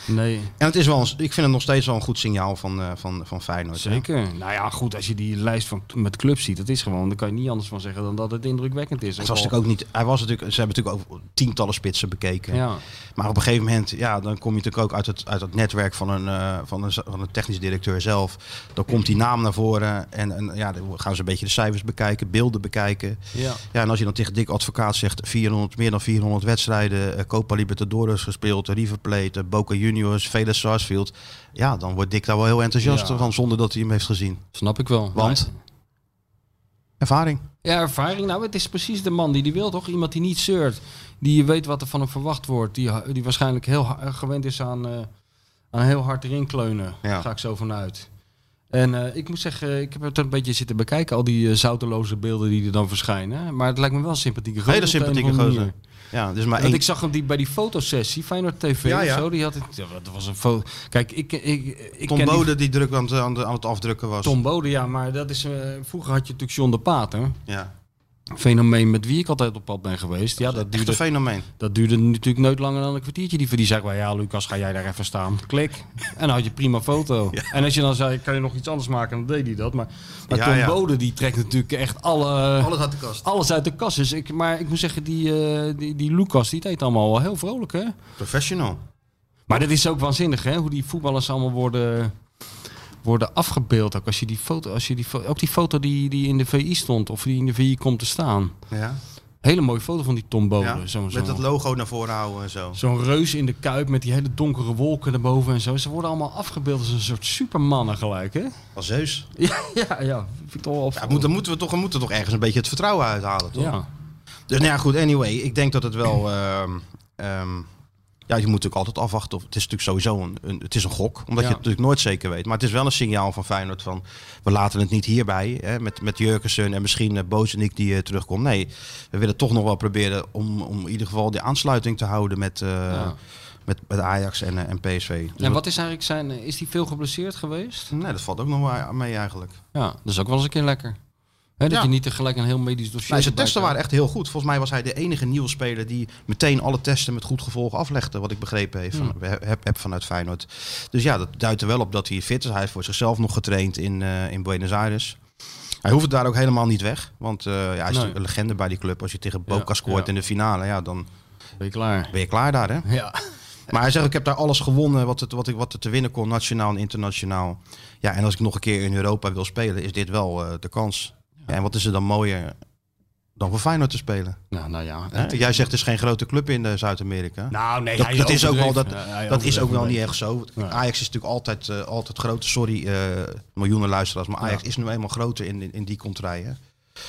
[SPEAKER 3] nee.
[SPEAKER 2] En het is wel een, ik vind het nog steeds wel een goed signaal van, eh, van, van Feyenoord. hè?
[SPEAKER 3] Zeker. Nou ja, goed, als je die lijst van, met clubs ziet, dat is gewoon, daar kan je niet anders van zeggen dan dat het indrukwekkend is.
[SPEAKER 2] Het was
[SPEAKER 3] Ook al-
[SPEAKER 2] natuurlijk ook niet, hij was natuurlijk, ze hebben natuurlijk ook tientallen spitsen bekeken.
[SPEAKER 3] Ja.
[SPEAKER 2] Maar op een gegeven moment, ja, dan kom je natuurlijk ook uit het, uit het netwerk van een, eh, van, een, van een technisch directeur zelf. Dan komt die naam naar voren en, en ja, dan gaan ze een beetje de cijfers bekijken, beelden bekijken.
[SPEAKER 3] Ja.
[SPEAKER 2] Ja, en als je dan tegen Dick Advocaat zegt 400, meer dan 400 wedstrijden, eh, Copa Libertadores gespeeld, River Plate, eh, Boca Juniors, Vélez Sarsfield. Ja, dan wordt Dick daar wel heel enthousiast
[SPEAKER 3] Ja.
[SPEAKER 2] van zonder dat hij hem heeft gezien.
[SPEAKER 3] Snap ik wel. Nou,
[SPEAKER 2] Want? Ervaring.
[SPEAKER 3] Ja, ervaring. Nou, het is precies de man die die wil, toch? Iemand die niet zeurt. Die weet wat er van hem verwacht wordt. Die, ha- die waarschijnlijk heel ha- gewend is aan, eh, aan heel hard erin kleunen.
[SPEAKER 2] Ja.
[SPEAKER 3] Daar ga ik zo vanuit. En eh, ik moet zeggen, ik heb het een beetje zitten bekijken. Al die eh, zouteloze beelden die er dan verschijnen. Maar het lijkt me wel een sympathieke gozer.
[SPEAKER 2] Hele
[SPEAKER 3] op de een
[SPEAKER 2] sympathieke
[SPEAKER 3] of andere
[SPEAKER 2] gozer.
[SPEAKER 3] manier.
[SPEAKER 2] Ja, dus maar
[SPEAKER 3] Want
[SPEAKER 2] één...
[SPEAKER 3] ik zag hem die, bij die fotosessie, Feyenoord TV
[SPEAKER 2] Ja,
[SPEAKER 3] of
[SPEAKER 2] ja.
[SPEAKER 3] zo, die had het, ja, dat was een foto. Kijk, ik, ik, ik
[SPEAKER 2] Tom
[SPEAKER 3] ken die-
[SPEAKER 2] Bode die druk aan het, aan de- aan het afdrukken was.
[SPEAKER 3] Tom Bode, ja, maar dat is, eh, vroeger had je natuurlijk John de Pater.
[SPEAKER 2] Ja,
[SPEAKER 3] Fenomeen met wie ik altijd op pad ben geweest. Ja, dat
[SPEAKER 2] echt een
[SPEAKER 3] duurde,
[SPEAKER 2] fenomeen.
[SPEAKER 3] dat duurde natuurlijk nooit langer dan een kwartiertje. Die, die zei wel, ja Lucas, ga jij daar even staan. Klik. En dan had je prima
[SPEAKER 2] <laughs>
[SPEAKER 3] foto. En als je dan zei, kan je nog iets anders maken, dan deed hij dat. Maar, maar
[SPEAKER 2] Ja,
[SPEAKER 3] Tom
[SPEAKER 2] ja.
[SPEAKER 3] Bode, die trekt natuurlijk echt alle...
[SPEAKER 2] Alles uit de kast.
[SPEAKER 3] Alles uit de kast. Dus ik, maar ik moet zeggen, die, eh, die, die Lucas, die deed allemaal wel heel vrolijk, hè?
[SPEAKER 2] Professional.
[SPEAKER 3] Maar dat is ook waanzinnig, hè? Hoe die voetballers allemaal worden, worden afgebeeld. Ook als je die foto, als je die, fo- ook die foto die, die in de VI stond, of die in de VI komt te staan.
[SPEAKER 2] Ja.
[SPEAKER 3] Hele mooie foto van die Tom Bode.
[SPEAKER 2] Ja,
[SPEAKER 3] Zo'n
[SPEAKER 2] Met dat
[SPEAKER 3] zo'n-
[SPEAKER 2] logo naar voren houden en zo.
[SPEAKER 3] zo'n reus in de kuip met die hele donkere wolken erboven en zo. Ze worden allemaal afgebeeld als een soort supermannen gelijk, hè?
[SPEAKER 2] Als
[SPEAKER 3] <laughs>
[SPEAKER 2] Zeus.
[SPEAKER 3] Ja, ja, ja. Vind ik toch wel
[SPEAKER 2] Ja, moet, dan moeten we toch, we moeten toch ergens een beetje het vertrouwen uithalen, toch?
[SPEAKER 3] Ja.
[SPEAKER 2] Dus nou ja, goed, anyway. Ik denk dat het
[SPEAKER 3] <clears throat>
[SPEAKER 2] wel... ehm, ehm, ja, je moet natuurlijk altijd afwachten. Of, het is natuurlijk sowieso een, een- het is een gok. Omdat
[SPEAKER 3] Ja.
[SPEAKER 2] je het natuurlijk nooit zeker weet. Maar het is wel een signaal van Feyenoord van... We laten het niet hierbij. Hè, met, met Jurkensen en misschien eh, Bozenik die eh, terugkomt. Nee, we willen toch nog wel proberen om, om in ieder geval die aansluiting te houden met... eh,
[SPEAKER 3] Ja.
[SPEAKER 2] Met, met Ajax en, eh, en PSV. Dus
[SPEAKER 3] En wat is eigenlijk zijn... Is die veel geblesseerd geweest?
[SPEAKER 2] Nee, dat valt ook nog wel mee eigenlijk.
[SPEAKER 3] Ja, dat is ook wel eens een keer lekker. Hè, dat
[SPEAKER 2] Ja.
[SPEAKER 3] je niet tegelijk een heel medisch dossier...
[SPEAKER 2] Nou, zijn
[SPEAKER 3] erbij
[SPEAKER 2] testen
[SPEAKER 3] krijgt.
[SPEAKER 2] waren echt heel goed. Volgens mij was hij de enige nieuwe speler die meteen alle testen met goed gevolg aflegde. Wat ik begrepen heb,
[SPEAKER 3] Hmm.
[SPEAKER 2] van- heb, heb vanuit Feyenoord. Dus ja, dat duidt er wel op dat hij fit is. Hij heeft voor zichzelf nog getraind in, eh, in Buenos Aires. Hij hoeft het daar ook helemaal niet weg. Want eh, ja, hij is natuurlijk een legende bij die club. Als je tegen Boca
[SPEAKER 3] Ja,
[SPEAKER 2] scoort
[SPEAKER 3] ja.
[SPEAKER 2] in de finale, ja, dan
[SPEAKER 3] Ben je klaar?
[SPEAKER 2] ben je klaar daar. Hè?
[SPEAKER 3] Ja.
[SPEAKER 2] Maar hij zegt, ik heb daar alles gewonnen wat, het, wat, ik, wat er te winnen kon, nationaal en internationaal. Ja, en als ik nog een keer in Europa wil spelen, is dit wel eh, de kans. Ja, en wat is er dan mooier dan voor Feyenoord te spelen?
[SPEAKER 3] Nou, nou ja.
[SPEAKER 2] Hè? Jij zegt, er is geen grote club in eh, Zuid-Amerika.
[SPEAKER 3] Nou, nee,
[SPEAKER 2] Dat,
[SPEAKER 3] hij
[SPEAKER 2] dat is ook wel,
[SPEAKER 3] overdreven.
[SPEAKER 2] dat,
[SPEAKER 3] Ja, hij
[SPEAKER 2] dat is ook wel
[SPEAKER 3] overdreven.
[SPEAKER 2] niet echt zo.
[SPEAKER 3] Ja.
[SPEAKER 2] Ajax is natuurlijk altijd, eh, altijd groot. Sorry, eh, miljoenen luisteraars. Maar Ajax is nu eenmaal groter in, in, in die contraien.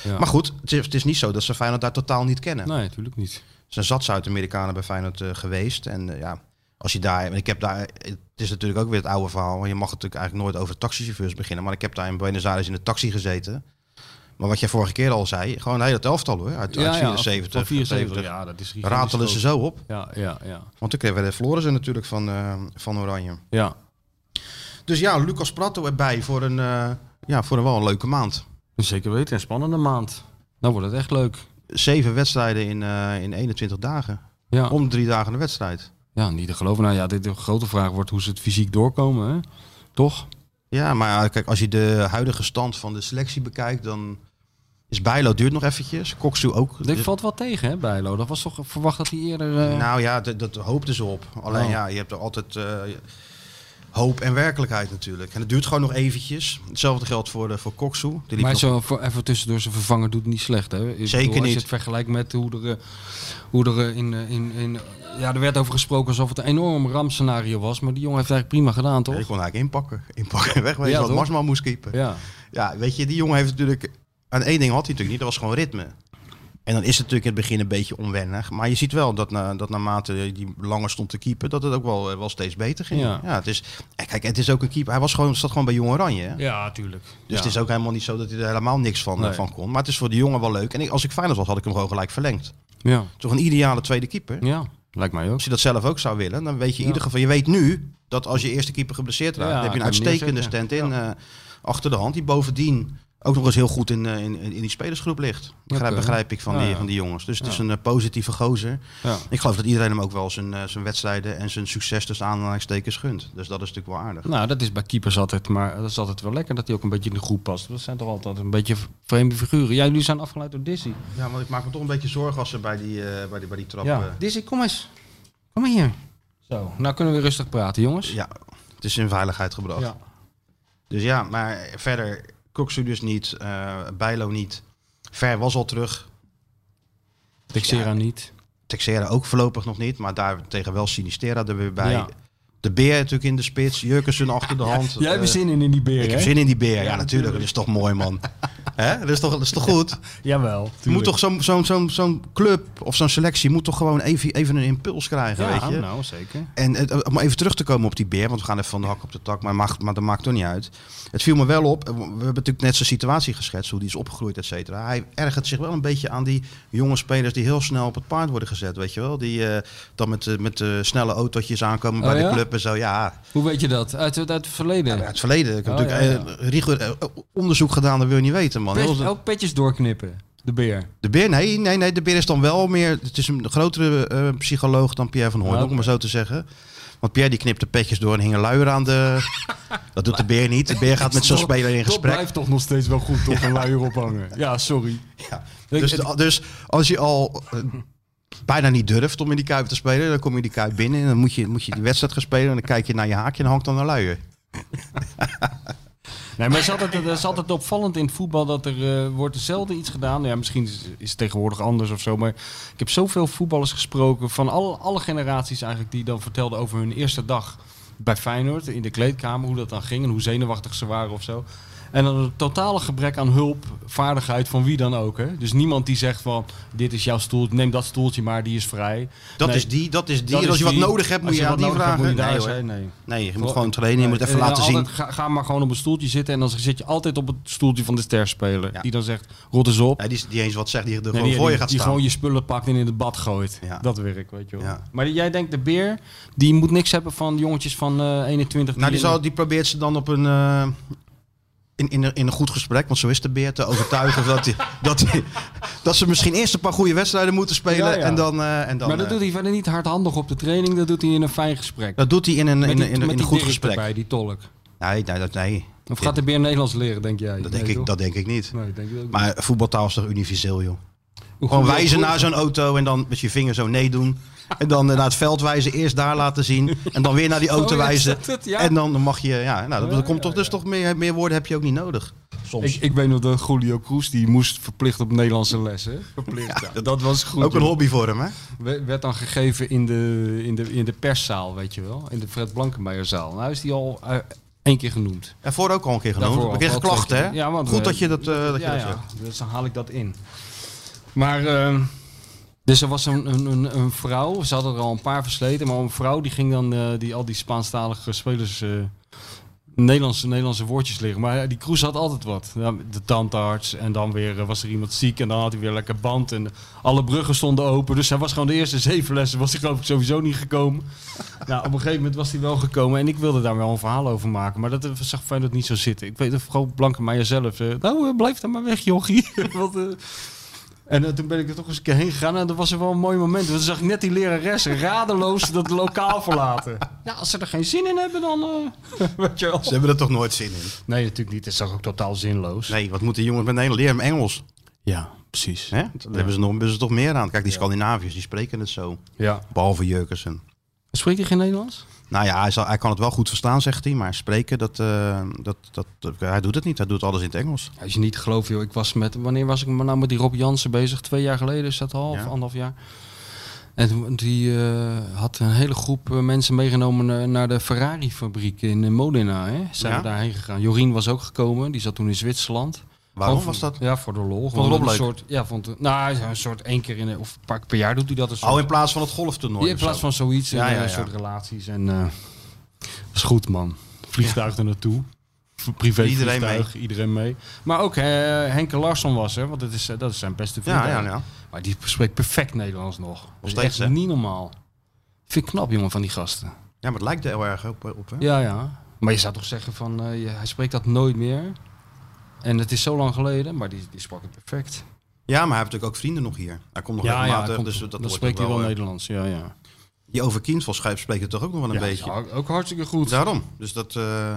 [SPEAKER 3] Ja.
[SPEAKER 2] Maar goed, het is, het is niet zo dat ze Feyenoord daar totaal niet kennen.
[SPEAKER 3] Nee, natuurlijk niet.
[SPEAKER 2] Er zijn zat Zuid-Amerikanen bij Feyenoord eh, geweest. En eh, ja, als je daar... en Ik heb daar... Het is natuurlijk ook weer het oude verhaal. want Je mag natuurlijk eigenlijk nooit over taxichauffeurs beginnen. Maar ik heb daar in Buenos Aires in de taxi gezeten. Maar wat jij vorige keer al zei, gewoon een hele elftal hoor. Uit, uit 74,
[SPEAKER 3] van 74.
[SPEAKER 2] 70.
[SPEAKER 3] Ja, dus dat is gigantisch
[SPEAKER 2] Ratelen ze
[SPEAKER 3] groot.
[SPEAKER 2] zo op.
[SPEAKER 3] Ja, ja, ja.
[SPEAKER 2] Want ik werden verloren ze natuurlijk van, eh, van Oranje.
[SPEAKER 3] Ja,
[SPEAKER 2] Dus ja, Lucas Prato erbij voor een, eh, ja, voor een wel een leuke maand.
[SPEAKER 3] zeker weten. Een spannende maand. Nou wordt het echt leuk.
[SPEAKER 2] Zeven wedstrijden in, eh, in 21 dagen.
[SPEAKER 3] Ja,
[SPEAKER 2] Om de drie dagen een wedstrijd.
[SPEAKER 3] ja niet te geloven. Nou ja, dit de grote vraag wordt hoe ze het fysiek doorkomen, hè? Toch?
[SPEAKER 2] Ja, maar kijk, als je de huidige stand van de selectie bekijkt, dan is Bijlo duurt nog eventjes. Koksu ook.
[SPEAKER 3] Dit
[SPEAKER 2] Dus-
[SPEAKER 3] valt wel tegen, hè, Bijlo? Dat was toch verwacht dat hij eerder... eh,
[SPEAKER 2] nou ja, dat, dat hoopten ze op. Alleen
[SPEAKER 3] Oh.
[SPEAKER 2] ja, je hebt er altijd eh, hoop en werkelijkheid natuurlijk. En het duurt gewoon nog eventjes. Hetzelfde geldt voor, de, voor Koksu. Die liep
[SPEAKER 3] maar
[SPEAKER 2] nog-
[SPEAKER 3] zo voor, even tussendoor, zijn vervanger doet het niet slecht. Hè? Ik
[SPEAKER 2] Zeker
[SPEAKER 3] Als
[SPEAKER 2] niet.
[SPEAKER 3] je het vergelijkt met hoe er, eh, hoe er eh, in, eh, in, in... Ja, er werd over gesproken alsof het een enorm rampscenario was. Maar die jongen heeft het eigenlijk prima gedaan,
[SPEAKER 2] Ik
[SPEAKER 3] toch?
[SPEAKER 2] kon eigenlijk inpakken. Inpakken en wegwezen.
[SPEAKER 3] Ja,
[SPEAKER 2] want
[SPEAKER 3] toch?
[SPEAKER 2] Marsman moest keeper.
[SPEAKER 3] Ja.
[SPEAKER 2] Ja, weet je, die jongen heeft natuurlijk... Aan één ding had hij natuurlijk niet, dat was gewoon ritme. En dan is het natuurlijk in het begin een beetje onwennig. Maar je ziet wel dat, na, dat naarmate die langer stond te keeper, dat het ook wel, eh, wel steeds beter ging.
[SPEAKER 3] Ja.
[SPEAKER 2] het is, en kijk, het is ook een keeper. Hij was gewoon, zat gewoon bij Jong Oranje. hè?
[SPEAKER 3] Ja, tuurlijk.
[SPEAKER 2] Dus het is ook helemaal niet zo dat hij er helemaal niks van, eh,
[SPEAKER 3] Nee.
[SPEAKER 2] van kon. Maar het is voor de jongen wel leuk. En ik, als ik Feyenoord was, had ik hem gewoon gelijk verlengd.
[SPEAKER 3] Ja,
[SPEAKER 2] Toch een ideale tweede keeper.
[SPEAKER 3] ja. Lijkt mij ook.
[SPEAKER 2] Als je dat zelf ook zou willen, dan weet je in
[SPEAKER 3] Ja.
[SPEAKER 2] ieder geval... Je weet nu dat als je eerste keeper geblesseerd raakt,
[SPEAKER 3] Ja,
[SPEAKER 2] dan heb je een
[SPEAKER 3] kan hem
[SPEAKER 2] uitstekende
[SPEAKER 3] neerzetten.
[SPEAKER 2] stand-in eh, achter de hand. Die bovendien ook nog eens heel goed in, eh, in, in die spelersgroep ligt. Begrijp,
[SPEAKER 3] Oké.
[SPEAKER 2] begrijp ik van,
[SPEAKER 3] Ja,
[SPEAKER 2] die,
[SPEAKER 3] ja.
[SPEAKER 2] van die jongens. Dus het
[SPEAKER 3] Ja.
[SPEAKER 2] is een eh, positieve gozer.
[SPEAKER 3] Ja.
[SPEAKER 2] Ik geloof dat iedereen hem ook wel zijn, eh, zijn wedstrijden en zijn succes tussen aanhalingstekens gunt. Dus dat is natuurlijk wel aardig.
[SPEAKER 3] Nou, dat is bij keepers altijd, maar dat is altijd wel lekker dat hij ook een beetje in de groep past. Dat zijn toch altijd een beetje vreemde figuren. Ja, jullie zijn afgeleid door Dizzy.
[SPEAKER 2] Ja, want ik maak me toch een beetje zorgen als ze bij die, eh, bij die, bij die trap... eh,
[SPEAKER 3] Ja, Dizzy, kom eens. Kom maar hier. Zo, nou kunnen we rustig praten, jongens.
[SPEAKER 2] ja, het is in veiligheid gebracht.
[SPEAKER 3] Ja.
[SPEAKER 2] Dus ja, maar verder, Koksu dus niet, eh, Bijlo niet. Ver was al terug,
[SPEAKER 3] Texera niet.
[SPEAKER 2] Texera ook voorlopig nog niet, maar daartegen wel Sinistera er weer bij.
[SPEAKER 3] Ja.
[SPEAKER 2] De Beer natuurlijk in de spits, Jurkensen achter de hand.
[SPEAKER 3] Jij hebt
[SPEAKER 2] Eh,
[SPEAKER 3] zin in in die beer, <laughs>
[SPEAKER 2] Ik heb zin in die Beer, ja, natuurlijk. Dat is toch mooi, man. Hè? Dat, is toch, dat is toch goed?
[SPEAKER 3] Jawel.
[SPEAKER 2] Je moet toch zo'n zo'n zo'n zo'n club of zo'n selectie moet toch gewoon even, even een impuls krijgen,
[SPEAKER 3] Ja,
[SPEAKER 2] weet je?
[SPEAKER 3] nou zeker.
[SPEAKER 2] En het- eh, om even terug te komen op die beer, want we gaan even van de hak op de tak, maar, mag, maar dat maakt toch niet uit. Het viel me wel op, eh, we hebben natuurlijk net zijn situatie geschetst, hoe die is opgegroeid, et cetera. Hij ergert zich wel een beetje aan die jonge spelers die heel snel op het paard worden gezet, weet je wel. Die eh, dan met, eh, met eh, snelle autootjes aankomen
[SPEAKER 3] Oh
[SPEAKER 2] bij
[SPEAKER 3] ja?
[SPEAKER 2] de club en zo, ja.
[SPEAKER 3] Hoe weet je dat? Uit, uit het verleden.
[SPEAKER 2] Ja, het verleden, ik heb
[SPEAKER 3] Oh,
[SPEAKER 2] natuurlijk
[SPEAKER 3] ja,
[SPEAKER 2] eh, rigoureus, eh, onderzoek gedaan, dat wil je niet weten, man.
[SPEAKER 3] Pet-
[SPEAKER 2] Heel-
[SPEAKER 3] ook petjes doorknippen. De beer.
[SPEAKER 2] De beer, nee, nee, nee, de beer is dan wel meer. Het is een grotere eh, psycholoog dan Pierre van Hooydonk,
[SPEAKER 3] Ah, oké.
[SPEAKER 2] om maar zo te zeggen. Want Pierre die knipte petjes door en hing een luier
[SPEAKER 3] <laughs>
[SPEAKER 2] aan de. Dat doet de beer niet. De beer gaat met zo'n speler in
[SPEAKER 3] Dat
[SPEAKER 2] gesprek.
[SPEAKER 3] blijft toch nog steeds wel goed, toch? Een luier ophangen. Ja, sorry.
[SPEAKER 2] Ja. Dus, de- dus als je al eh, bijna niet durft om in die kuip te spelen, dan kom je die kuip binnen en dan moet je, moet je die wedstrijd gaan spelen. En dan kijk je naar je haakje en dan hangt dan een luier.
[SPEAKER 3] Nee, maar het is, altijd, het is altijd opvallend in het voetbal dat er eh, wordt er zelden iets gedaan. Ja, misschien is, is het tegenwoordig anders of zo. Maar ik heb zoveel voetballers gesproken van alle, alle generaties eigenlijk die dan vertelden over hun eerste dag bij Feyenoord in de kleedkamer, hoe dat dan ging en hoe zenuwachtig ze waren of zo. En dan een totale gebrek aan hulp, vaardigheid van wie dan ook. Hè? Dus niemand die zegt van dit is jouw stoel, neem dat stoeltje maar, die is vrij.
[SPEAKER 2] Dat
[SPEAKER 3] Nee,
[SPEAKER 2] is die, dat is die.
[SPEAKER 3] dat
[SPEAKER 2] en als
[SPEAKER 3] is
[SPEAKER 2] je wat
[SPEAKER 3] die.
[SPEAKER 2] nodig hebt, moet
[SPEAKER 3] Als
[SPEAKER 2] je, aan
[SPEAKER 3] wat
[SPEAKER 2] die
[SPEAKER 3] nodig hebt,
[SPEAKER 2] vragen.
[SPEAKER 3] moet je daar
[SPEAKER 2] nee,
[SPEAKER 3] eens, hè?
[SPEAKER 2] hoor.
[SPEAKER 3] nee.
[SPEAKER 2] nee, je moet gewoon trainen. Je moet het even
[SPEAKER 3] En
[SPEAKER 2] laten zien.
[SPEAKER 3] nou, altijd Ga, ga maar gewoon op een stoeltje zitten en dan zit je altijd op het stoeltje van de sterspeler.
[SPEAKER 2] Ja.
[SPEAKER 3] Die dan zegt, rot eens op.
[SPEAKER 2] Nee, die, is- die eens wat zegt, die er
[SPEAKER 3] Nee,
[SPEAKER 2] gewoon
[SPEAKER 3] die,
[SPEAKER 2] voor je
[SPEAKER 3] die-
[SPEAKER 2] gaat
[SPEAKER 3] die
[SPEAKER 2] staan.
[SPEAKER 3] gewoon je spullen pakt en in het bad gooit.
[SPEAKER 2] Ja.
[SPEAKER 3] Dat werk, weet je wel.
[SPEAKER 2] Ja.
[SPEAKER 3] Maar jij denkt, de beer, die moet niks hebben van jongetjes van eh 21.
[SPEAKER 2] Nou, die,
[SPEAKER 3] in-
[SPEAKER 2] zal, die probeert ze dan op een. eh, in, in, een- in een goed gesprek, want zo is de beer te overtuigen <laughs> dat, die, dat, die- dat ze misschien eerst een paar goede wedstrijden moeten spelen.
[SPEAKER 3] Ja, ja.
[SPEAKER 2] En dan. eh, en dan
[SPEAKER 3] maar dat
[SPEAKER 2] eh,
[SPEAKER 3] doet hij verder niet hardhandig op de training. Dat doet hij in een fijn gesprek.
[SPEAKER 2] dat doet hij in een, in,
[SPEAKER 3] Met
[SPEAKER 2] een-
[SPEAKER 3] die-
[SPEAKER 2] in, een-
[SPEAKER 3] met
[SPEAKER 2] in een
[SPEAKER 3] die
[SPEAKER 2] goed
[SPEAKER 3] Dirk
[SPEAKER 2] gesprek.
[SPEAKER 3] erbij, die tolk.
[SPEAKER 2] Nee, nee, dat, nee.
[SPEAKER 3] Of
[SPEAKER 2] Dit-
[SPEAKER 3] gaat de beer Nederlands leren, denk jij?
[SPEAKER 2] dat, denk ik, dat denk ik niet.
[SPEAKER 3] Nee, denk ik ook niet.
[SPEAKER 2] Maar voetbaltaal is toch universeel, joh.
[SPEAKER 3] Hoe
[SPEAKER 2] Gewoon
[SPEAKER 3] goed-
[SPEAKER 2] wijzen
[SPEAKER 3] hoe-
[SPEAKER 2] naar zo'n auto en dan met je vinger zo nee doen. En dan eh, naar het veld wijzen, eerst daar laten zien. En dan weer naar die
[SPEAKER 3] <laughs>
[SPEAKER 2] auto
[SPEAKER 3] Oh, ja, is
[SPEAKER 2] wijzen.
[SPEAKER 3] dat het? Ja.
[SPEAKER 2] En dan mag je, ja, nou, dat,
[SPEAKER 3] Ja,
[SPEAKER 2] dat komt
[SPEAKER 3] ja,
[SPEAKER 2] toch, dus toch meer, meer woorden heb je ook niet nodig.
[SPEAKER 3] Ik, ik weet nog dat Julio Cruz, die moest verplicht op Nederlandse
[SPEAKER 2] <laughs>
[SPEAKER 3] lessen. Verplicht,
[SPEAKER 2] Ja,
[SPEAKER 3] ja. Dat was goed.
[SPEAKER 2] Ook een
[SPEAKER 3] joh.
[SPEAKER 2] hobby voor hem, hè?
[SPEAKER 3] We- werd dan gegeven in de, in, de, in de perszaal, weet je wel. In de Fred Blankenmeijerzaal. Nou is die al eh, één keer genoemd.
[SPEAKER 2] En voor ook al een keer genoemd.
[SPEAKER 3] Daarvoor
[SPEAKER 2] Ik
[SPEAKER 3] al
[SPEAKER 2] kreeg
[SPEAKER 3] wel
[SPEAKER 2] klachten,
[SPEAKER 3] twee
[SPEAKER 2] hè?
[SPEAKER 3] keer. Ja, want
[SPEAKER 2] Goed
[SPEAKER 3] we-
[SPEAKER 2] dat je dat, eh, dat,
[SPEAKER 3] ja,
[SPEAKER 2] je dat
[SPEAKER 3] ja.
[SPEAKER 2] zegt.
[SPEAKER 3] Dus dan haal ik dat in. Maar, ehm, dus er was een, een, een, een vrouw, ze hadden er al een paar versleten, maar een vrouw die ging dan eh, die, al die Spaanstalige spelers... eh, Nederlandse, Nederlandse woordjes liggen. Maar eh, die Kroes had altijd wat. Ja, De tandarts en dan weer eh, was er iemand ziek en dan had hij weer lekker band. En alle bruggen stonden open. Dus hij was gewoon de eerste zeven lessen was hij geloof ik sowieso niet gekomen. nou, op een gegeven moment was hij wel gekomen en ik wilde daar wel een verhaal over maken. Maar dat eh, zag Feyenoord niet zo zitten. Ik weet eh, het vooral Blankenmeijer zelf. eh, nou, eh, blijf daar maar weg jochie. <laughs> Want, eh, en eh, toen ben ik er toch eens een keer heen gegaan en dat was er wel een mooi moment. Want toen zag ik net die lerares radeloos dat lokaal verlaten. Ja, als ze er geen zin in hebben, dan... eh <laughs> weet je wel.
[SPEAKER 2] Ze hebben er toch nooit zin in?
[SPEAKER 3] Nee, natuurlijk niet. Het is toch ook totaal zinloos.
[SPEAKER 2] Nee, wat moeten jongens met Nederland? Leer hem Engels.
[SPEAKER 3] Ja, precies.
[SPEAKER 2] Hè? Daar hebben, ze nog, hebben ze toch meer aan. Kijk, die Scandinaviërs, die spreken het zo.
[SPEAKER 3] Ja.
[SPEAKER 2] Behalve Jurkensen.
[SPEAKER 3] Spreekt hij geen Nederlands?
[SPEAKER 2] Nou ja, hij, zal, hij kan het wel goed verstaan, zegt hij. Maar spreken, dat, eh, dat, dat, dat- hij doet het niet. Hij doet alles in het Engels.
[SPEAKER 3] Als je niet gelooft, joh. Ik was met... Wanneer was ik me nou met die Rob Jansen bezig? Twee jaar geleden is dat al, of
[SPEAKER 2] Ja.
[SPEAKER 3] anderhalf jaar. En toen- die eh, had een hele groep eh, mensen meegenomen naar, naar de Ferrari-fabriek in eh, Modena. Hè? Zijn
[SPEAKER 2] Ja.
[SPEAKER 3] we daarheen gegaan. Jorien was ook gekomen. Die zat toen in Zwitserland.
[SPEAKER 2] Waarom
[SPEAKER 3] Gewoon
[SPEAKER 2] was
[SPEAKER 3] voor-
[SPEAKER 2] dat?
[SPEAKER 3] Ja, voor de lol. Gewoon
[SPEAKER 2] Rob
[SPEAKER 3] een
[SPEAKER 2] leuk?
[SPEAKER 3] soort, ja, vond, nou, een soort één keer in, de- of een paar keer per jaar doet hij dat. Een soort,
[SPEAKER 2] Oh, in plaats van het golftoernooi.
[SPEAKER 3] Ja, in
[SPEAKER 2] of
[SPEAKER 3] plaats
[SPEAKER 2] zo.
[SPEAKER 3] van zoiets,
[SPEAKER 2] Ja,
[SPEAKER 3] en,
[SPEAKER 2] ja,
[SPEAKER 3] eh,
[SPEAKER 2] ja.
[SPEAKER 3] een soort relaties. En eh, is goed, man. Vliegtuig er naartoe. V- Privé
[SPEAKER 2] Iedereen
[SPEAKER 3] vliegtuig, iedereen mee. Maar ook eh, Henke Larsson was er, want dat is, eh, dat is zijn beste vriend.
[SPEAKER 2] Ja, ja, ja.
[SPEAKER 3] Maar die spreekt perfect Nederlands nog. Dat is
[SPEAKER 2] steeds,
[SPEAKER 3] echt
[SPEAKER 2] hè?
[SPEAKER 3] niet normaal. Vind ik knap, jongen, van die gasten.
[SPEAKER 2] ja, maar het lijkt er heel erg op. op hè?
[SPEAKER 3] Ja, ja. Maar je zou toch zeggen van, eh, je- hij spreekt dat nooit meer. En het is zo lang geleden, maar die, die sprak het perfect.
[SPEAKER 2] Ja, maar hij heeft natuurlijk ook vrienden nog hier. Hij komt nog
[SPEAKER 3] Ja, ja,
[SPEAKER 2] regelmatig.
[SPEAKER 3] komt-
[SPEAKER 2] dus dat
[SPEAKER 3] dan
[SPEAKER 2] wordt
[SPEAKER 3] spreekt
[SPEAKER 2] ook
[SPEAKER 3] hij wel
[SPEAKER 2] eh,
[SPEAKER 3] Nederlands. Ja, ja.
[SPEAKER 2] Die over Kienval spreekt het toch ook nog wel een
[SPEAKER 3] ja,
[SPEAKER 2] beetje.
[SPEAKER 3] ja, ook hartstikke goed. Ja,
[SPEAKER 2] Daarom. Dus dat eh,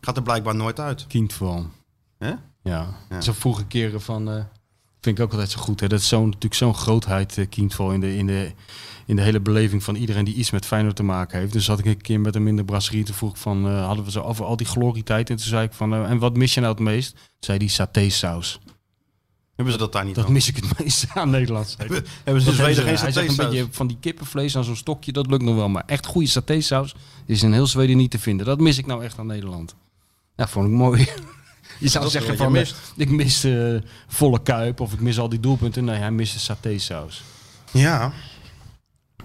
[SPEAKER 2] gaat er blijkbaar nooit uit.
[SPEAKER 3] kind van.
[SPEAKER 2] Hè?
[SPEAKER 3] Ja.
[SPEAKER 2] Ja.
[SPEAKER 3] Zo vroege keren van. eh, vind ik ook altijd zo goed. Hè? Dat is zo'n natuurlijk zo'n grootheid, eh Kindval, in de, in, de, in de hele beleving van iedereen die iets met Feyenoord te maken heeft. Dus zat ik een keer met hem in de brasserie. Toen vroeg ik van, eh, hadden we zo over al die glorietijd. En toen zei ik van, eh, en wat mis je nou het meest? Toen zei die satésaus.
[SPEAKER 2] Hebben ze dat daar niet
[SPEAKER 3] Dat
[SPEAKER 2] aan?
[SPEAKER 3] mis ik het <laughs> meest aan Nederlands. Dat
[SPEAKER 2] <laughs> Hebben- Hebben ze dus
[SPEAKER 3] hebben
[SPEAKER 2] Zweden
[SPEAKER 3] ze-
[SPEAKER 2] geen
[SPEAKER 3] Hij zegt een
[SPEAKER 2] satésaus?
[SPEAKER 3] beetje van die kippenvlees aan zo'n stokje, dat lukt nog wel. Maar echt goede satésaus is in heel Zweden niet te vinden. Dat mis ik nou echt aan Nederland. Ja, vond ik mooi. <laughs> Je zou
[SPEAKER 2] Dat is
[SPEAKER 3] zeggen
[SPEAKER 2] wat
[SPEAKER 3] van,
[SPEAKER 2] je
[SPEAKER 3] eh,
[SPEAKER 2] mist.
[SPEAKER 3] ik mis eh, volle kuip of ik mis al die doelpunten. Nee, hij mist de satésaus.
[SPEAKER 2] Ja.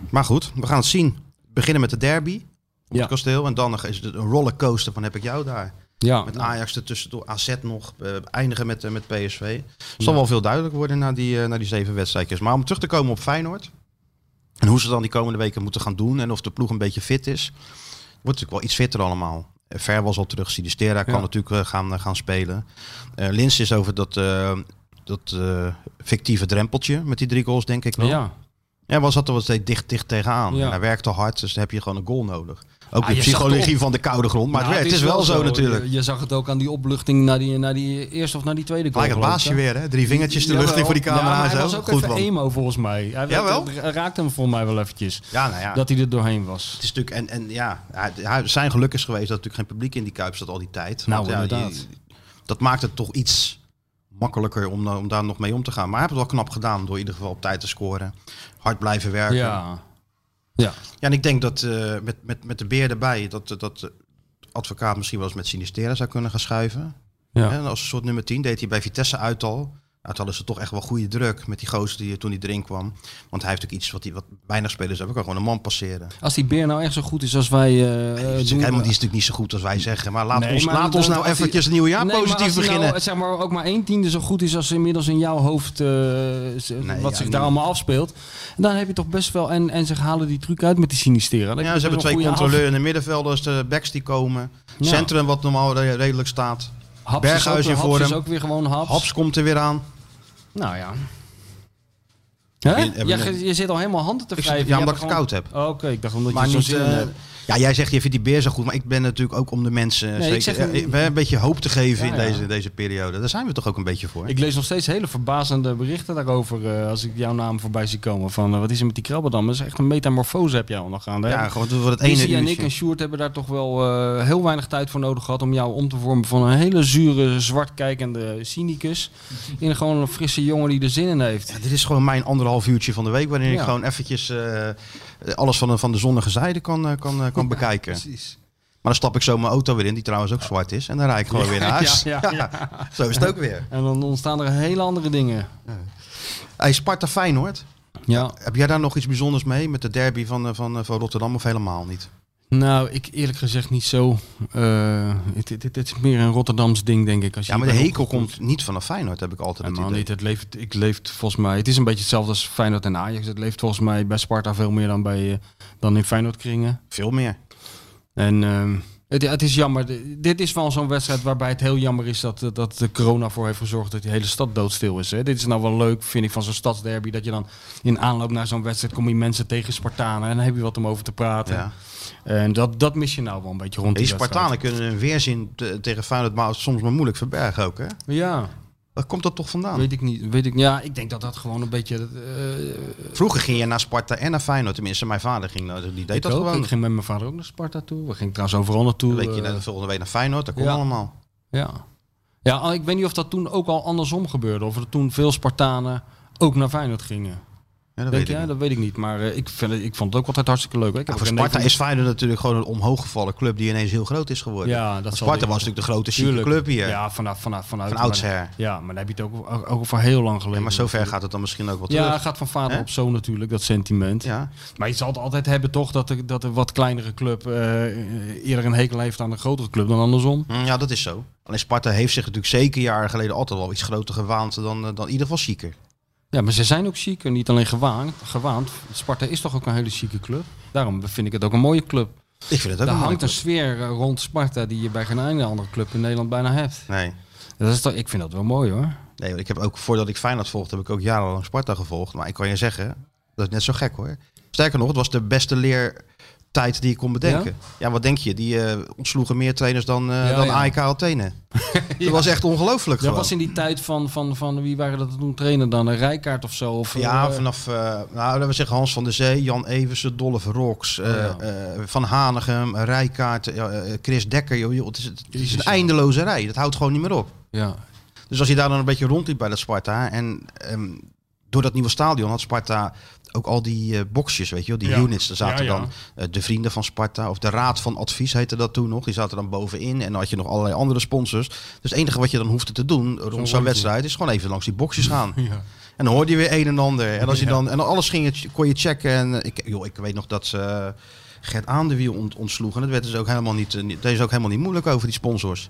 [SPEAKER 2] Maar goed, we gaan het zien. We beginnen met de derby op
[SPEAKER 3] Ja.
[SPEAKER 2] het kasteel. En dan nog is het een rollercoaster van heb ik jou daar.
[SPEAKER 3] Ja,
[SPEAKER 2] Met Ajax ertussendoor, AZ nog, eh, eindigen met, eh, met PSV. Het zal wel veel duidelijk worden na die, eh, na die zeven wedstrijdjes. Maar om terug te komen op Feyenoord. En hoe ze dan die komende weken moeten gaan doen. En of de ploeg een beetje fit is. Wordt natuurlijk wel iets fitter allemaal. Eh, Ver was al terug. Sinistera kan
[SPEAKER 3] Ja.
[SPEAKER 2] natuurlijk eh, gaan, eh, gaan spelen. Eh Lins is over dat, eh, dat eh, fictieve drempeltje met die drie goals, denk ik wel. Ja,
[SPEAKER 3] ja.
[SPEAKER 2] was dat er wat steeds dicht, dicht tegenaan.
[SPEAKER 3] Ja.
[SPEAKER 2] En hij werkte hard, dus dan heb je gewoon een goal nodig. Ook
[SPEAKER 3] Ah,
[SPEAKER 2] de
[SPEAKER 3] je zag
[SPEAKER 2] psychologie
[SPEAKER 3] toch-
[SPEAKER 2] van de koude grond. Maar
[SPEAKER 3] Nou,
[SPEAKER 2] het, werkt. het is wel zo natuurlijk.
[SPEAKER 3] Je, je zag het ook aan die opluchting naar die, naar die eerste of naar die tweede goal.
[SPEAKER 2] Lijkt het
[SPEAKER 3] geloof
[SPEAKER 2] baasje
[SPEAKER 3] ik, hè?
[SPEAKER 2] weer, hè? Drie vingertjes de lucht in voor die
[SPEAKER 3] Ja, maar
[SPEAKER 2] camera
[SPEAKER 3] hij
[SPEAKER 2] en
[SPEAKER 3] was
[SPEAKER 2] zo.
[SPEAKER 3] ook
[SPEAKER 2] Goed
[SPEAKER 3] even
[SPEAKER 2] man.
[SPEAKER 3] emo volgens mij. Hij
[SPEAKER 2] Jawel?
[SPEAKER 3] raakte- raakte hem volgens mij wel eventjes.
[SPEAKER 2] Ja, nou ja.
[SPEAKER 3] Dat hij er doorheen was.
[SPEAKER 2] het is natuurlijk, en, en ja, hij- hij- zijn geluk is geweest dat er natuurlijk geen publiek in die Kuip zat al die tijd.
[SPEAKER 3] Nou,
[SPEAKER 2] ja,
[SPEAKER 3] inderdaad.
[SPEAKER 2] je- dat maakt het toch iets makkelijker om, da- om daar nog mee om te gaan. Maar hij heeft het wel knap gedaan door in ieder geval op tijd te scoren. Hard blijven werken. Ja,
[SPEAKER 3] Ja. Ja.
[SPEAKER 2] en ik denk dat eh, met, met, met de beer erbij, dat, eh, dat eh, advocaat misschien wel eens met Sinistera zou kunnen gaan schuiven.
[SPEAKER 3] ja.
[SPEAKER 2] Hè, als een soort nummer 10 deed hij bij Vitesse uit al. Nou, toen hadden ze toch echt wel goede druk met die gozer die er toen die erin kwam. Want hij heeft ook iets wat, die, wat weinig spelers hebben. Kan gewoon een man passeren.
[SPEAKER 3] Als die beer nou echt zo goed is als wij eh,
[SPEAKER 2] Die is natuurlijk
[SPEAKER 3] doen...
[SPEAKER 2] helemaal, die is natuurlijk niet zo goed als wij zeggen. Maar laat
[SPEAKER 3] Nee,
[SPEAKER 2] ons,
[SPEAKER 3] maar
[SPEAKER 2] laat
[SPEAKER 3] dan-
[SPEAKER 2] ons nou
[SPEAKER 3] als die-
[SPEAKER 2] eventjes het nieuwe jaar
[SPEAKER 3] Nee, maar
[SPEAKER 2] positief
[SPEAKER 3] als die
[SPEAKER 2] beginnen.
[SPEAKER 3] Nou, zeg maar ook maar één tiende zo goed is als inmiddels in jouw hoofd eh, z- wat
[SPEAKER 2] ja,
[SPEAKER 3] zich daar
[SPEAKER 2] nee.
[SPEAKER 3] allemaal afspeelt. Dan heb je toch best wel... En, en ze halen die truc uit met die sinistera.
[SPEAKER 2] ja, ze hebben twee controleurs in de middenvelders, de backs die komen.
[SPEAKER 3] Ja.
[SPEAKER 2] Centrum wat normaal re- redelijk staat. Berghuis
[SPEAKER 3] Berghuis
[SPEAKER 2] in
[SPEAKER 3] in Haps is
[SPEAKER 2] vorm.
[SPEAKER 3] ook weer gewoon haps.
[SPEAKER 2] Haps komt er weer aan.
[SPEAKER 3] Nou ja. Hè?
[SPEAKER 2] Heb je- heb
[SPEAKER 3] Ja,
[SPEAKER 2] je-
[SPEAKER 3] je, je zit al helemaal handen te
[SPEAKER 2] Ik-
[SPEAKER 3] wrijven.
[SPEAKER 2] ja,
[SPEAKER 3] Je
[SPEAKER 2] omdat
[SPEAKER 3] hebt
[SPEAKER 2] ik
[SPEAKER 3] gewoon-
[SPEAKER 2] het koud heb.
[SPEAKER 3] Oh, Oké, ik dacht omdat
[SPEAKER 2] Maar
[SPEAKER 3] je
[SPEAKER 2] niet,
[SPEAKER 3] zo'n-
[SPEAKER 2] eh, ja, jij zegt je vindt die beer zo goed, maar ik ben natuurlijk ook om de mensen eh,
[SPEAKER 3] Nee, ik
[SPEAKER 2] zeker,
[SPEAKER 3] zeg niet-
[SPEAKER 2] eh, eh, een beetje hoop te geven
[SPEAKER 3] Ja,
[SPEAKER 2] in,
[SPEAKER 3] ja.
[SPEAKER 2] Deze, in deze periode. Daar zijn we toch ook een beetje voor.
[SPEAKER 3] Ik lees nog steeds hele verbazende berichten daarover eh, als ik jouw naam voorbij zie komen. Van eh, wat is er met die krabben dan? Dat is echt een metamorfose heb jij al nog aan.
[SPEAKER 2] ja, gewoon voor het ene
[SPEAKER 3] Ene en ik
[SPEAKER 2] uurtje.
[SPEAKER 3] en Sjoerd hebben daar toch wel eh, heel weinig tijd voor nodig gehad om jou om te vormen van een hele zure, zwartkijkende cynicus. In gewoon een frisse jongen die er zin in heeft.
[SPEAKER 2] Ja, dit is gewoon mijn anderhalf uurtje van de week, waarin ik
[SPEAKER 3] Ja.
[SPEAKER 2] gewoon eventjes eh, alles van de, van de zonnige zijde kan, eh, kan, eh, kan bekijken.
[SPEAKER 3] Precies.
[SPEAKER 2] Maar dan stap ik zo mijn auto weer in, die trouwens ook zwart is. En dan rijd ik gewoon weer naar
[SPEAKER 3] <laughs>
[SPEAKER 2] huis.
[SPEAKER 3] Ja,
[SPEAKER 2] Ja,
[SPEAKER 3] ja,
[SPEAKER 2] <laughs> Zo is het ook weer.
[SPEAKER 3] En dan ontstaan er hele andere dingen.
[SPEAKER 2] Hey, Sparta Feyenoord.
[SPEAKER 3] Ja.
[SPEAKER 2] Heb jij daar nog iets bijzonders mee met de derby van, eh, van, eh, van Rotterdam of helemaal niet?
[SPEAKER 3] Nou, ik eerlijk gezegd niet zo. Eh, het dit, is meer een Rotterdams ding, denk ik. Als je
[SPEAKER 2] Ja, maar de
[SPEAKER 3] hierbij
[SPEAKER 2] hekel
[SPEAKER 3] opgegroeid-
[SPEAKER 2] komt niet vanaf Feyenoord, heb ik altijd het
[SPEAKER 3] Helemaal
[SPEAKER 2] idee.
[SPEAKER 3] niet. Het leeft, ik leeft volgens mij. Het is een beetje hetzelfde als Feyenoord en Ajax. Het leeft volgens mij bij Sparta veel meer dan, bij, eh, dan in Feyenoord kringen.
[SPEAKER 2] Veel meer.
[SPEAKER 3] En ehm, het, het is jammer. De- Dit is wel zo'n wedstrijd waarbij het heel jammer is dat, eh, dat de corona voor heeft gezorgd dat die hele stad doodstil is. Hè. Dit is nou wel leuk, vind ik, van zo'n stadsderby. Dat je dan in aanloop naar zo'n wedstrijd kom je mensen tegen Spartanen en dan heb je wat om over te praten.
[SPEAKER 2] Ja.
[SPEAKER 3] En dat, dat mis je nou wel een beetje rond
[SPEAKER 2] Die
[SPEAKER 3] wedstrijd.
[SPEAKER 2] Spartanen kunnen hun weerzin te- tegen Feyenoord maar soms maar moeilijk verbergen ook. Hè?
[SPEAKER 3] Ja,
[SPEAKER 2] Waar komt dat toch vandaan?
[SPEAKER 3] weet ik niet. Weet ik, ja, ik denk dat dat gewoon een beetje... eh,
[SPEAKER 2] Vroeger ging je naar Sparta en naar Feyenoord. Tenminste, mijn vader ging, naar- die deed
[SPEAKER 3] ik,
[SPEAKER 2] dat
[SPEAKER 3] ook.
[SPEAKER 2] gewoon.
[SPEAKER 3] ik ging met mijn vader ook naar Sparta toe. We gingen trouwens overal naartoe.
[SPEAKER 2] Een weekje
[SPEAKER 3] eh,
[SPEAKER 2] naar de volgende week naar Feyenoord, dat kon
[SPEAKER 3] ja.
[SPEAKER 2] allemaal.
[SPEAKER 3] Ja. Ja, al- ik weet niet of dat toen ook al andersom gebeurde. Of er toen veel Spartanen ook naar Feyenoord gingen.
[SPEAKER 2] Ja, dat
[SPEAKER 3] Denk
[SPEAKER 2] weet
[SPEAKER 3] jij?
[SPEAKER 2] ik niet.
[SPEAKER 3] Dat weet ik niet. Maar eh, ik, vind, het- ik vond het ook altijd hartstikke leuk. hè. Ik
[SPEAKER 2] Ja,
[SPEAKER 3] heb
[SPEAKER 2] voor
[SPEAKER 3] ook een
[SPEAKER 2] Sparta
[SPEAKER 3] neef-
[SPEAKER 2] is Feyenoord natuurlijk gewoon een omhooggevallen club die ineens heel groot is geworden.
[SPEAKER 3] Ja, dat
[SPEAKER 2] Want
[SPEAKER 3] zal
[SPEAKER 2] Sparta
[SPEAKER 3] die-
[SPEAKER 2] was natuurlijk de grote chique
[SPEAKER 3] Tuurlijk.
[SPEAKER 2] club hier.
[SPEAKER 3] Ja, vanaf, vanaf, vanuit.
[SPEAKER 2] Van oudsher.
[SPEAKER 3] Ja, maar daar heb je het ook, ook, ook voor heel lang geleden.
[SPEAKER 2] Ja, maar zover gaat het dan misschien ook wel
[SPEAKER 3] Ja,
[SPEAKER 2] terug.
[SPEAKER 3] gaat van vader
[SPEAKER 2] Hè?
[SPEAKER 3] op zoon natuurlijk, dat sentiment.
[SPEAKER 2] Ja.
[SPEAKER 3] Maar je zal het altijd hebben toch dat de, dat de wat kleinere club eh, eerder een hekel heeft aan de grotere club dan andersom.
[SPEAKER 2] Hm, ja, dat is zo. Alleen Sparta heeft zich natuurlijk zeker jaren geleden altijd wel iets groter gewaand dan, eh, dan in ieder geval chiquer.
[SPEAKER 3] Ja, maar ze zijn ook chic en niet alleen gewaand. gewaand. Sparta is toch ook een hele chique club. Daarom vind ik het ook een mooie club.
[SPEAKER 2] Ik vind het ook
[SPEAKER 3] Daar
[SPEAKER 2] een
[SPEAKER 3] hangt een
[SPEAKER 2] mooie
[SPEAKER 3] sfeer eh, rond Sparta die je bij geen enkele andere club in Nederland bijna hebt.
[SPEAKER 2] club. Nee.
[SPEAKER 3] Dat is toch, ik vind dat wel mooi hoor.
[SPEAKER 2] nee, want ik heb ook voordat ik Feyenoord volgde, heb ik ook jarenlang Sparta gevolgd. Maar ik kan je zeggen, dat is net zo gek hoor. Sterker nog, het was de beste leertijd die ik kon bedenken. Ja, wat denk je? Die eh, ontsloegen meer trainers dan, eh
[SPEAKER 3] Ja,
[SPEAKER 2] dan
[SPEAKER 3] ja.
[SPEAKER 2] AEK
[SPEAKER 3] <laughs>
[SPEAKER 2] Athene. Dat was echt
[SPEAKER 3] Dat
[SPEAKER 2] ongelooflijk gewoon.
[SPEAKER 3] was in die tijd van, van, van wie waren dat toen trainer dan? Een Rijkaard of zo? Of,
[SPEAKER 2] Ja,
[SPEAKER 3] eh,
[SPEAKER 2] vanaf eh, nou, laten we zeggen Hans van der Zee, Jan Eversen, Dolle Verroks, eh,
[SPEAKER 3] Oh, ja.
[SPEAKER 2] eh, Van Hanegem, Rijkaart, eh, eh, Chris Dekker. Joh, joh, het is, het is
[SPEAKER 3] Jezus,
[SPEAKER 2] een
[SPEAKER 3] joh.
[SPEAKER 2] eindeloze rij. Dat houdt gewoon niet meer op.
[SPEAKER 3] ja.
[SPEAKER 2] Dus als je daar dan een beetje rondliep bij dat Sparta en ehm, door dat nieuwe stadion had Sparta ook al die eh, boxjes, weet je wel, die
[SPEAKER 4] Ja.
[SPEAKER 2] units. Daar zaten
[SPEAKER 4] Ja, ja.
[SPEAKER 2] dan eh, de vrienden van Sparta of de Raad van Advies heette dat toen nog. Die zaten dan bovenin en dan had je nog allerlei andere sponsors. Dus het enige wat je dan hoefde te doen rond zo'n
[SPEAKER 3] rondje.
[SPEAKER 2] wedstrijd is gewoon even langs die boxjes gaan.
[SPEAKER 3] Ja.
[SPEAKER 2] En dan hoorde je weer een en ander. En als je
[SPEAKER 4] Ja.
[SPEAKER 2] dan en alles ging, het- kon je checken. En eh, ik, joh, ik weet nog dat ze eh, Gert Aandewiel ont, ontsloegen. Dat werd dus ook helemaal niet, eh, niet, dat is ook helemaal niet moeilijk over die sponsors.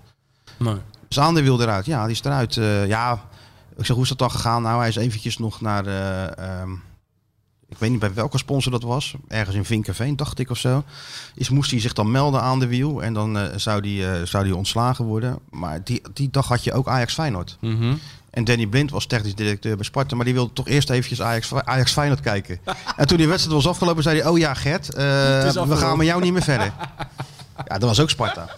[SPEAKER 3] Nee.
[SPEAKER 2] Dus Aandewiel eruit. Ja, die is eruit. Eh, ja, ik zeg, hoe is dat dan gegaan? Nou, hij is eventjes nog naar, eh, ehm, ik weet niet bij welke sponsor dat was. Ergens in Vinkerveen, dacht ik of zo. Is, moest hij zich dan melden aan de wiel. En dan eh, zou die, eh, zou die ontslagen worden. Maar die, die dag had je ook Ajax Feyenoord.
[SPEAKER 3] Mhm.
[SPEAKER 2] En Danny Blind was technisch directeur bij Sparta, maar die wilde toch eerst eventjes Ajax, Ajax Feyenoord kijken. en toen die wedstrijd was afgelopen, zei hij, oh ja Gert, eh, we
[SPEAKER 3] afgelopen.
[SPEAKER 2] gaan met jou niet meer verder. ja, dat was ook Sparta.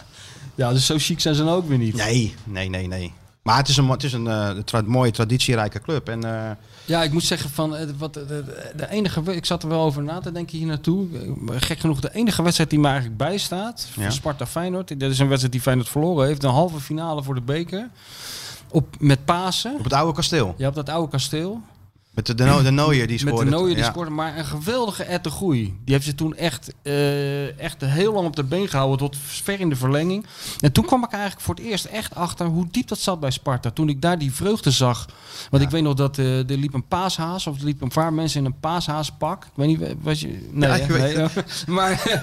[SPEAKER 3] Ja, dus zo chic zijn ze dan ook weer niet.
[SPEAKER 2] Nee, nee, nee, nee. Maar het is een, het is een eh, tra- mooie, traditierijke club. En, eh,
[SPEAKER 3] Ja, ik moet zeggen van eh, wat, de, de- de enige. we- Ik zat er wel over na te denken hier naartoe. Eh, Gek genoeg, de enige wedstrijd die me eigenlijk bijstaat. Van
[SPEAKER 2] Ja.
[SPEAKER 3] Sparta Feyenoord. Dit is een wedstrijd die Feyenoord verloren heeft. Een halve finale voor de beker. Op, met Pasen.
[SPEAKER 2] op het oude kasteel.
[SPEAKER 3] Je hebt dat oude kasteel.
[SPEAKER 2] Met de, de, no- de Nooier die scoorde.
[SPEAKER 3] Met de Nooier die
[SPEAKER 2] ja.
[SPEAKER 3] scoorde, maar een geweldige Ed de Groei. Die heeft ze toen echt, eh, echt heel lang op de been gehouden, tot ver in de verlenging. En toen kwam ik eigenlijk voor het eerst echt achter hoe diep dat zat bij Sparta. Toen ik daar die vreugde zag. Want ik weet nog dat eh, er liep een paashaas, of er liepen een paar mensen in een paashaaspak. Ik weet niet, was je... Nee,
[SPEAKER 2] Ja,
[SPEAKER 3] hè?
[SPEAKER 2] ik weet
[SPEAKER 3] nee <laughs> maar,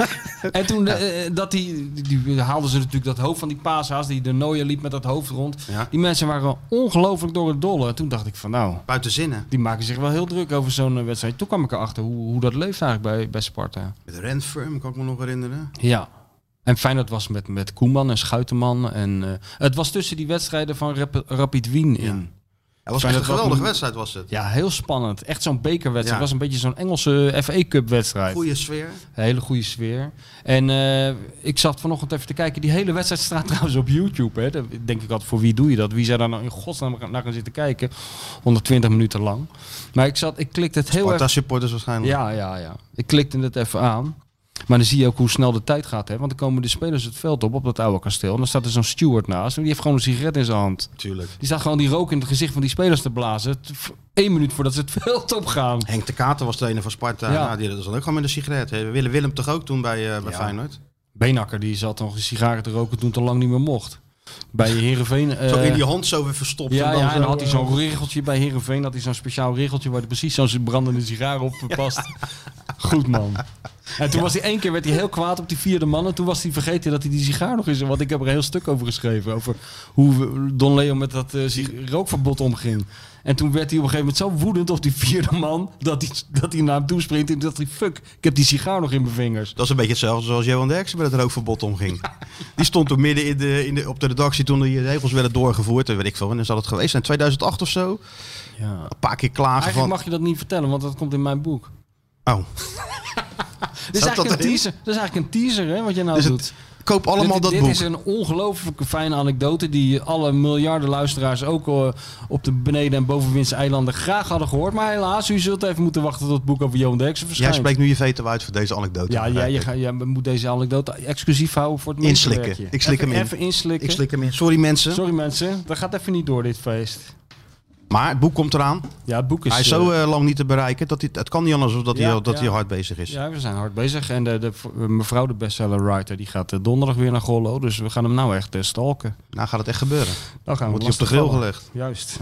[SPEAKER 3] en toen eh, eh, dat die, die, die haalden ze natuurlijk dat hoofd van die paashaas, die de Nooier liep met dat hoofd rond.
[SPEAKER 2] Ja.
[SPEAKER 3] Die mensen waren ongelooflijk door het dolle. En toen dacht ik van nou...
[SPEAKER 2] Buiten zinnen.
[SPEAKER 3] Die maken zich wel heel druk over zo'n eh, wedstrijd. Toen kwam ik erachter hoe, hoe dat leeft eigenlijk bij, bij Sparta.
[SPEAKER 2] Met Renfirm, kan ik me nog herinneren.
[SPEAKER 3] Ja. En Feyenoord was met, met Koeman en Schuitenman. En, eh, het was tussen die wedstrijden van Rap- Rapid Wien in.
[SPEAKER 2] Het was
[SPEAKER 3] Fijn
[SPEAKER 2] echt
[SPEAKER 3] dat
[SPEAKER 2] een
[SPEAKER 3] dat
[SPEAKER 2] geweldige
[SPEAKER 3] een-
[SPEAKER 2] wedstrijd was het.
[SPEAKER 3] Ja, heel spannend. Echt zo'n bekerwedstrijd.
[SPEAKER 2] Ja.
[SPEAKER 3] Het was een beetje zo'n Engelse FA Cup wedstrijd.
[SPEAKER 2] Goede sfeer.
[SPEAKER 3] Een hele goede sfeer. En eh, ik zat vanochtend even te kijken. Die hele wedstrijd staat <laughs> trouwens op YouTube. Hè. Dan denk ik altijd, voor wie doe je dat? Wie zou daar nou in godsnaam naar gaan zitten kijken? 120 minuten lang. Maar ik, zat, ik klikte het heel erg...
[SPEAKER 2] Sparta supporters waarschijnlijk.
[SPEAKER 3] Ja, ja, ja. Ik klikte het even aan. Maar dan zie je ook hoe snel de tijd gaat. Hè? Want dan komen de spelers het veld op, op dat oude kasteel. En dan staat er zo'n steward naast. En die heeft gewoon een sigaret in zijn hand.
[SPEAKER 2] natuurlijk.
[SPEAKER 3] Die staat gewoon die rook in het gezicht van die spelers te blazen. T- v- Eén minuut voordat ze het <laughs> veld opgaan.
[SPEAKER 2] Henk de Kater was trainer van Sparta.
[SPEAKER 3] Ja.
[SPEAKER 2] Ja. die was dan ook gewoon met een sigaret. Hey, Willem, Willem toch ook toen bij, eh, bij
[SPEAKER 3] Ja.
[SPEAKER 2] Feyenoord?
[SPEAKER 3] Beenakker die zat nog een sigaren te roken toen het al lang niet meer mocht. Bij eh, Herenveen.
[SPEAKER 2] Zo in die hand zo weer verstopt.
[SPEAKER 3] ja,
[SPEAKER 2] en dan
[SPEAKER 3] ja, en
[SPEAKER 2] zo,
[SPEAKER 3] dan had hij
[SPEAKER 2] eh,
[SPEAKER 3] zo'n regeltje bij Herenveen. Had hij zo'n speciaal regeltje waar hij precies zo'n brandende sigaar
[SPEAKER 2] <laughs>
[SPEAKER 3] op past. Goed man. En toen was hij één keer werd hij heel kwaad op die vierde man. En toen was hij vergeten dat hij die sigaar nog is. Want ik heb er een heel stuk over geschreven. Over hoe we- Don Leo met dat eh, sig- rookverbod omging. En toen werd hij op een gegeven moment zo woedend op die vierde man. Dat hij, dat hij naar hem toe springt. En dat hij, fuck, ik heb die sigaar nog in mijn vingers.
[SPEAKER 2] Dat is een beetje hetzelfde zoals Johan Derksen met het
[SPEAKER 3] <laughs>
[SPEAKER 2] rookverbod omging. Die stond toen midden in de, in de, op de redactie toen die regels werden doorgevoerd. En weet ik veel, wanneer zal het geweest zijn? 2008 of zo?
[SPEAKER 3] Ja.
[SPEAKER 2] Een paar keer klagen
[SPEAKER 3] Eigenlijk
[SPEAKER 2] van...
[SPEAKER 3] mag je dat niet vertellen, want dat komt in mijn boek.
[SPEAKER 2] Oh,
[SPEAKER 3] Dit is
[SPEAKER 2] dat
[SPEAKER 3] eigenlijk een
[SPEAKER 2] erin?
[SPEAKER 3] teaser. Dit is eigenlijk een teaser, hè, wat je nou
[SPEAKER 2] Dus het-
[SPEAKER 3] doet.
[SPEAKER 2] koop allemaal
[SPEAKER 3] dit,
[SPEAKER 2] dat
[SPEAKER 3] dit
[SPEAKER 2] boek.
[SPEAKER 3] is een ongelooflijke fijne anekdote die alle miljarden luisteraars ook eh, op de beneden- en bovenwindse eilanden graag hadden gehoord. Maar helaas, u zult even moeten wachten tot het boek over Johan Derksen
[SPEAKER 2] Jij
[SPEAKER 3] verschijnt.
[SPEAKER 2] spreekt nu je veto uit voor deze anekdote.
[SPEAKER 3] ja, ja,
[SPEAKER 2] begrijp
[SPEAKER 3] je,
[SPEAKER 2] ik.
[SPEAKER 3] ga, ja, we moeten deze anekdote exclusief houden voor het
[SPEAKER 2] Inslikken.
[SPEAKER 3] mensenwerkje.
[SPEAKER 2] Ik slik
[SPEAKER 3] even,
[SPEAKER 2] hem in.
[SPEAKER 3] Even inslikken.
[SPEAKER 2] Ik slik hem in. Sorry mensen.
[SPEAKER 3] Sorry mensen, dat gaat even niet door dit feest.
[SPEAKER 2] Maar het boek komt eraan.
[SPEAKER 3] Ja, het boek is...
[SPEAKER 2] hij is
[SPEAKER 3] eh,
[SPEAKER 2] zo eh, lang niet te bereiken. Dat hij, het kan niet anders dan dat,
[SPEAKER 3] Ja,
[SPEAKER 2] hij, al- dat
[SPEAKER 3] ja.
[SPEAKER 2] hij hard bezig is.
[SPEAKER 3] ja, we zijn hard bezig. En de, de, mevrouw de bestseller writer die gaat eh, donderdag weer naar Gollo. Dus we gaan hem nou echt eh, stalken.
[SPEAKER 2] Nou gaat het echt gebeuren.
[SPEAKER 3] Dan gaan we
[SPEAKER 2] Wordt hij op de
[SPEAKER 3] lastig
[SPEAKER 2] grill
[SPEAKER 3] vallen.
[SPEAKER 2] gelegd.
[SPEAKER 3] Juist.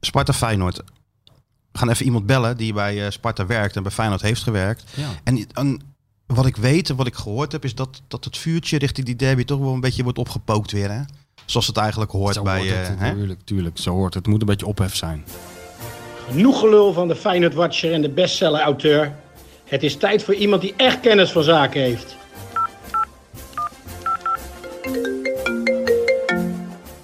[SPEAKER 2] Sparta Feyenoord. We gaan even iemand bellen die bij eh, Sparta werkt en bij Feyenoord heeft gewerkt.
[SPEAKER 3] Ja.
[SPEAKER 2] En, en wat ik weet en wat ik gehoord heb, is dat, dat het vuurtje richting die derby toch wel een beetje wordt opgepookt weer. Hè? Zoals het eigenlijk hoort
[SPEAKER 3] Zo
[SPEAKER 2] bij.
[SPEAKER 3] hoort
[SPEAKER 2] eh,
[SPEAKER 3] het,
[SPEAKER 2] hè?
[SPEAKER 3] tuurlijk, tuurlijk, zo hoort het. Het moet een beetje ophef zijn.
[SPEAKER 5] Genoeg gelul van de Feyenoord Watcher en de bestseller-auteur. Het is tijd voor iemand die echt kennis van zaken heeft.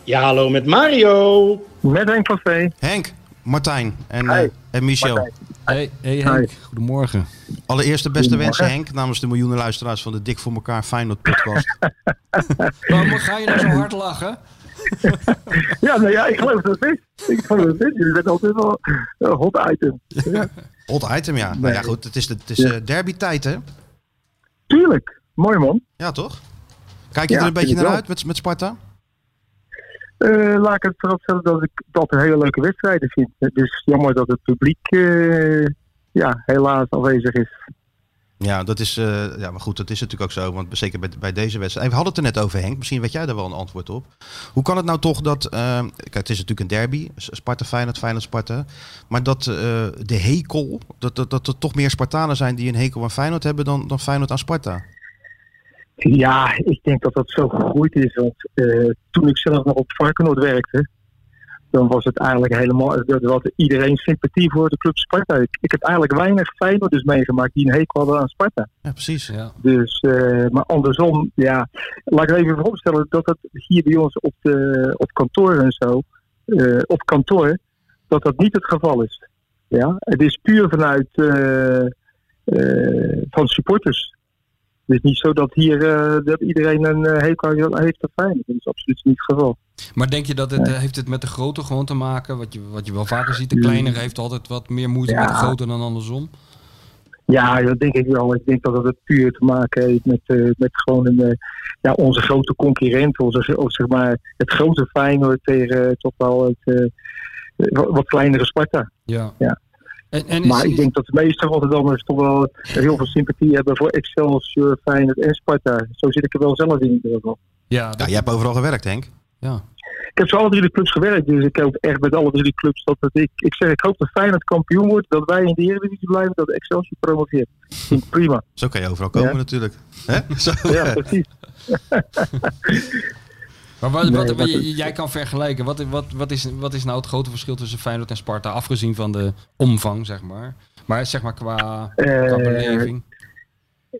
[SPEAKER 5] Ja, hallo met Mario.
[SPEAKER 6] Met Henk van Vee.
[SPEAKER 2] Henk, Martijn en, eh,
[SPEAKER 6] Hey,
[SPEAKER 2] en Michel.
[SPEAKER 6] Martijn.
[SPEAKER 3] Hey, hey Henk, goedemorgen.
[SPEAKER 2] Allereerst de beste wensen, Henk, namens de miljoenen luisteraars van de Dik voor elkaar Feyenoord
[SPEAKER 6] <laughs>
[SPEAKER 2] podcast.
[SPEAKER 3] Waarom ga je nou zo hard lachen?
[SPEAKER 6] Ja, nou ja, ik geloof dat het is. Ik geloof dat het is. Je bent altijd wel een hot item.
[SPEAKER 2] Hot item, ja. Nou ja, goed, het is, de, het is
[SPEAKER 6] Ja.
[SPEAKER 2] eh, derby-tijd, hè?
[SPEAKER 6] Tuurlijk. Mooi man.
[SPEAKER 2] Ja, toch? Kijk je
[SPEAKER 6] Ja,
[SPEAKER 2] er een beetje
[SPEAKER 6] vind ik
[SPEAKER 2] naar
[SPEAKER 6] wel.
[SPEAKER 2] uit met, met Sparta?
[SPEAKER 6] Eh, laat ik het vooropstellen dat ik dat een hele leuke wedstrijden vind. Het is jammer dat het publiek eh, ja, helaas afwezig is.
[SPEAKER 2] Ja, dat is, eh, ja, maar goed, dat is natuurlijk ook zo. Want zeker bij, bij deze wedstrijd. We hadden het er net over, Henk. Misschien weet jij daar wel een antwoord op. Hoe kan het nou toch dat. eh, kijk, het is natuurlijk een derby. Sparta Feyenoord, Feyenoord Sparta. Maar dat eh, de hekel. Dat, dat, dat er toch meer Spartanen zijn die een hekel aan Feyenoord hebben. dan, dan Feyenoord aan Sparta.
[SPEAKER 6] Ja, ik denk dat dat zo gegroeid is. Want eh, toen ik zelf nog op Varkenoord werkte, dan was het eigenlijk helemaal. eh, Dat had iedereen sympathie voor de club Sparta. Ik, ik heb eigenlijk weinig Feyenoorders meegemaakt die een hekel hadden aan Sparta.
[SPEAKER 2] Ja, precies.
[SPEAKER 3] Ja.
[SPEAKER 6] Dus, eh, maar andersom, ja. Laat ik er even vooropstellen dat het hier bij ons op, de, op kantoor en zo, eh, op kantoor, dat dat niet het geval is. Ja? Het is puur vanuit eh, eh, van supporters. Het is niet zo dat hier eh, dat iedereen een eh, hekel aan heeft aan Feyenoord. Dat is absoluut niet het geval.
[SPEAKER 3] Maar denk je dat het, eh, heeft het met de grootte gewoon te maken? Wat je, wat je wel vaker ziet, de kleinere heeft altijd wat meer moeite
[SPEAKER 6] Hmm. Ja.
[SPEAKER 3] met de grootte dan andersom.
[SPEAKER 6] Ja, dat denk ik wel. Ik denk dat het puur te maken heeft met, eh, met gewoon een, eh, ja, onze grote concurrent. Onze, gro- zeg maar, het grote Feyenoord tegen eh, toch wel het eh, wa- wat kleinere Sparta.
[SPEAKER 3] Ja.
[SPEAKER 6] Ja.
[SPEAKER 3] En, en is-
[SPEAKER 6] Maar ik denk dat de meeste Rotterdammers toch wel heel veel sympathie hebben voor Excelsior, Feyenoord en Sparta. Zo zit ik er wel zelf in. in ieder geval.
[SPEAKER 3] Ja,
[SPEAKER 2] Ja,
[SPEAKER 3] dat-
[SPEAKER 2] jij hebt overal gewerkt, Henk.
[SPEAKER 3] ja.
[SPEAKER 6] Ik heb voor alle drie de clubs gewerkt, dus ik hoop echt met alle drie de clubs dat het, ik, ik zeg, ik hoop dat Feyenoord kampioen wordt, dat wij in de Eredivisie blijven, dat Excelsior promoveert. Vind ik Prima.
[SPEAKER 2] Zo kan je overal komen,
[SPEAKER 6] Ja.
[SPEAKER 2] natuurlijk. Hè? Zo,
[SPEAKER 6] Ja, precies.
[SPEAKER 3] Maar wat, wat,
[SPEAKER 6] Nee, dat
[SPEAKER 3] j-
[SPEAKER 6] is-
[SPEAKER 3] jij kan vergelijken. Wat, wat, wat, is, wat is nou het grote verschil tussen Feyenoord en Sparta? Afgezien van de omvang, zeg maar. Maar zeg maar qua, qua
[SPEAKER 6] Eh,
[SPEAKER 3] beleving.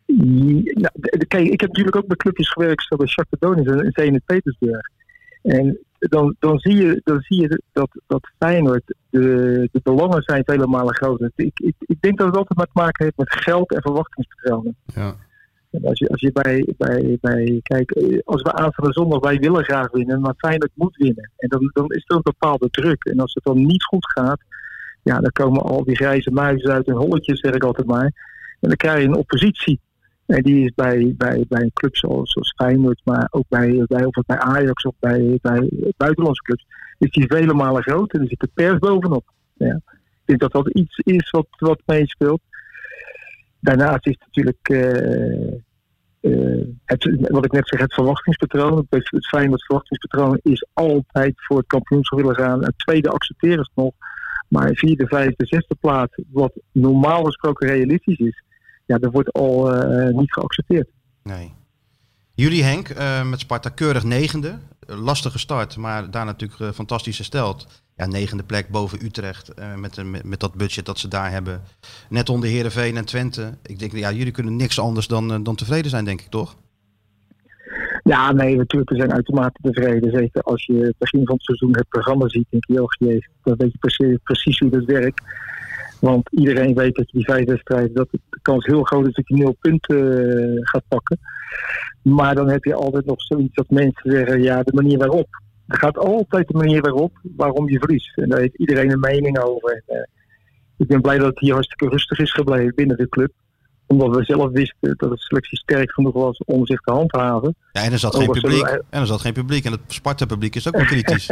[SPEAKER 6] Ja, nou, de- de- kijk, ik heb natuurlijk ook bij clubjes gewerkt, zoals bij Shakhtar Donetsk en Zenit Petersburg. En dan, dan, zie je, dan zie je dat, dat Feyenoord, de, de belangen zijn vele malen groter. Ik, ik, ik denk dat het altijd maar te maken heeft met geld en verwachtingspatronen.
[SPEAKER 3] Ja.
[SPEAKER 6] En Als je, als je bij, bij, bij, kijk, eh, als we aanstaande zondag, wij willen graag winnen, maar Feyenoord moet winnen. En dan, dan is er een bepaalde druk. En als het dan niet goed gaat, ja, dan komen al die grijze muizen uit hun holletjes, zeg ik altijd maar. En dan krijg je een oppositie. En die is bij, bij, bij een club zoals, zoals Feyenoord, maar ook bij, bij, of bij Ajax of bij, bij buitenlandse clubs, is die vele malen groot en er zit de pers bovenop. Ja. Ik denk dat dat iets is wat, wat meespeelt. Daarnaast is natuurlijk, eh, eh, het, wat ik net zeg, het verwachtingspatroon. Het is fijn dat het verwachtingspatroon is altijd voor het kampioenschap willen gaan. En tweede accepteren ze het nog. Maar vierde, vijfde, zesde plaats, wat normaal gesproken realistisch is, ja, dat wordt al eh, niet geaccepteerd.
[SPEAKER 2] Nee. Jullie Henk, eh, met Sparta keurig negende. Eh, Lastige start, maar daar natuurlijk eh, fantastisch hersteld. Ja, negende plek boven Utrecht. eh, met, een- met, met dat budget dat ze daar hebben. Net onder Heerenveen en Twente. Ik denk, ja, jullie kunnen niks anders dan, eh, dan tevreden zijn, denk ik, toch?
[SPEAKER 6] Ja, nee, natuurlijk, we zijn uitermate tevreden. Zeker als je het begin van het seizoen het programma ziet, denk je, oh jee, dan weet je precies, precies hoe dat werkt. Want iedereen weet dat je die vijf wedstrijden, dat de kans heel groot is dat je nul punten eh, gaat pakken. Maar dan heb je altijd nog zoiets dat mensen zeggen, ja, de manier waarop. Er gaat altijd de manier waarop, waarom je verliest. En daar heeft iedereen een mening over. En, eh, ik ben blij dat het hier hartstikke rustig is gebleven binnen de club. Omdat we zelf wisten dat de selectie sterk genoeg was om zich te handhaven.
[SPEAKER 2] Ja, en er zat
[SPEAKER 6] Oh,
[SPEAKER 2] geen
[SPEAKER 6] wat zullen
[SPEAKER 2] publiek.
[SPEAKER 6] wij-
[SPEAKER 2] En er zat geen publiek. En het Sparta-publiek is ook wel
[SPEAKER 6] <laughs>
[SPEAKER 2] kritisch.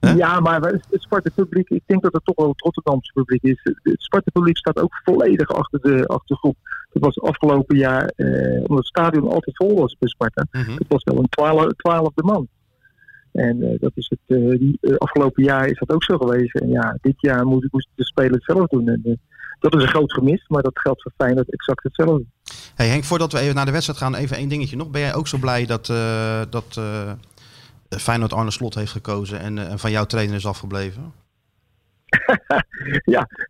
[SPEAKER 2] Hè?
[SPEAKER 6] Ja, maar wij- het Sparta publiek, ik denk dat het toch wel het Rotterdamse publiek is. Het Sparta publiek staat ook volledig achter de, achter de groep. Dat was afgelopen jaar, eh, omdat het stadion altijd vol was bij Sparta.
[SPEAKER 2] Mhm.
[SPEAKER 6] Het was wel een twaalf, twaalfde man. En eh, dat is het, eh, die- eh, afgelopen jaar is dat ook zo geweest. En ja, dit jaar moest- moesten de spelers het zelf doen. En, eh, dat is een groot gemis, maar dat geldt voor Feyenoord exact hetzelfde.
[SPEAKER 2] Hey Henk, voordat we even naar de wedstrijd gaan, even één dingetje nog. Ben jij ook zo blij dat, eh, dat eh, Feyenoord Arne Slot heeft gekozen en, eh, en van jouw trainer is afgebleven?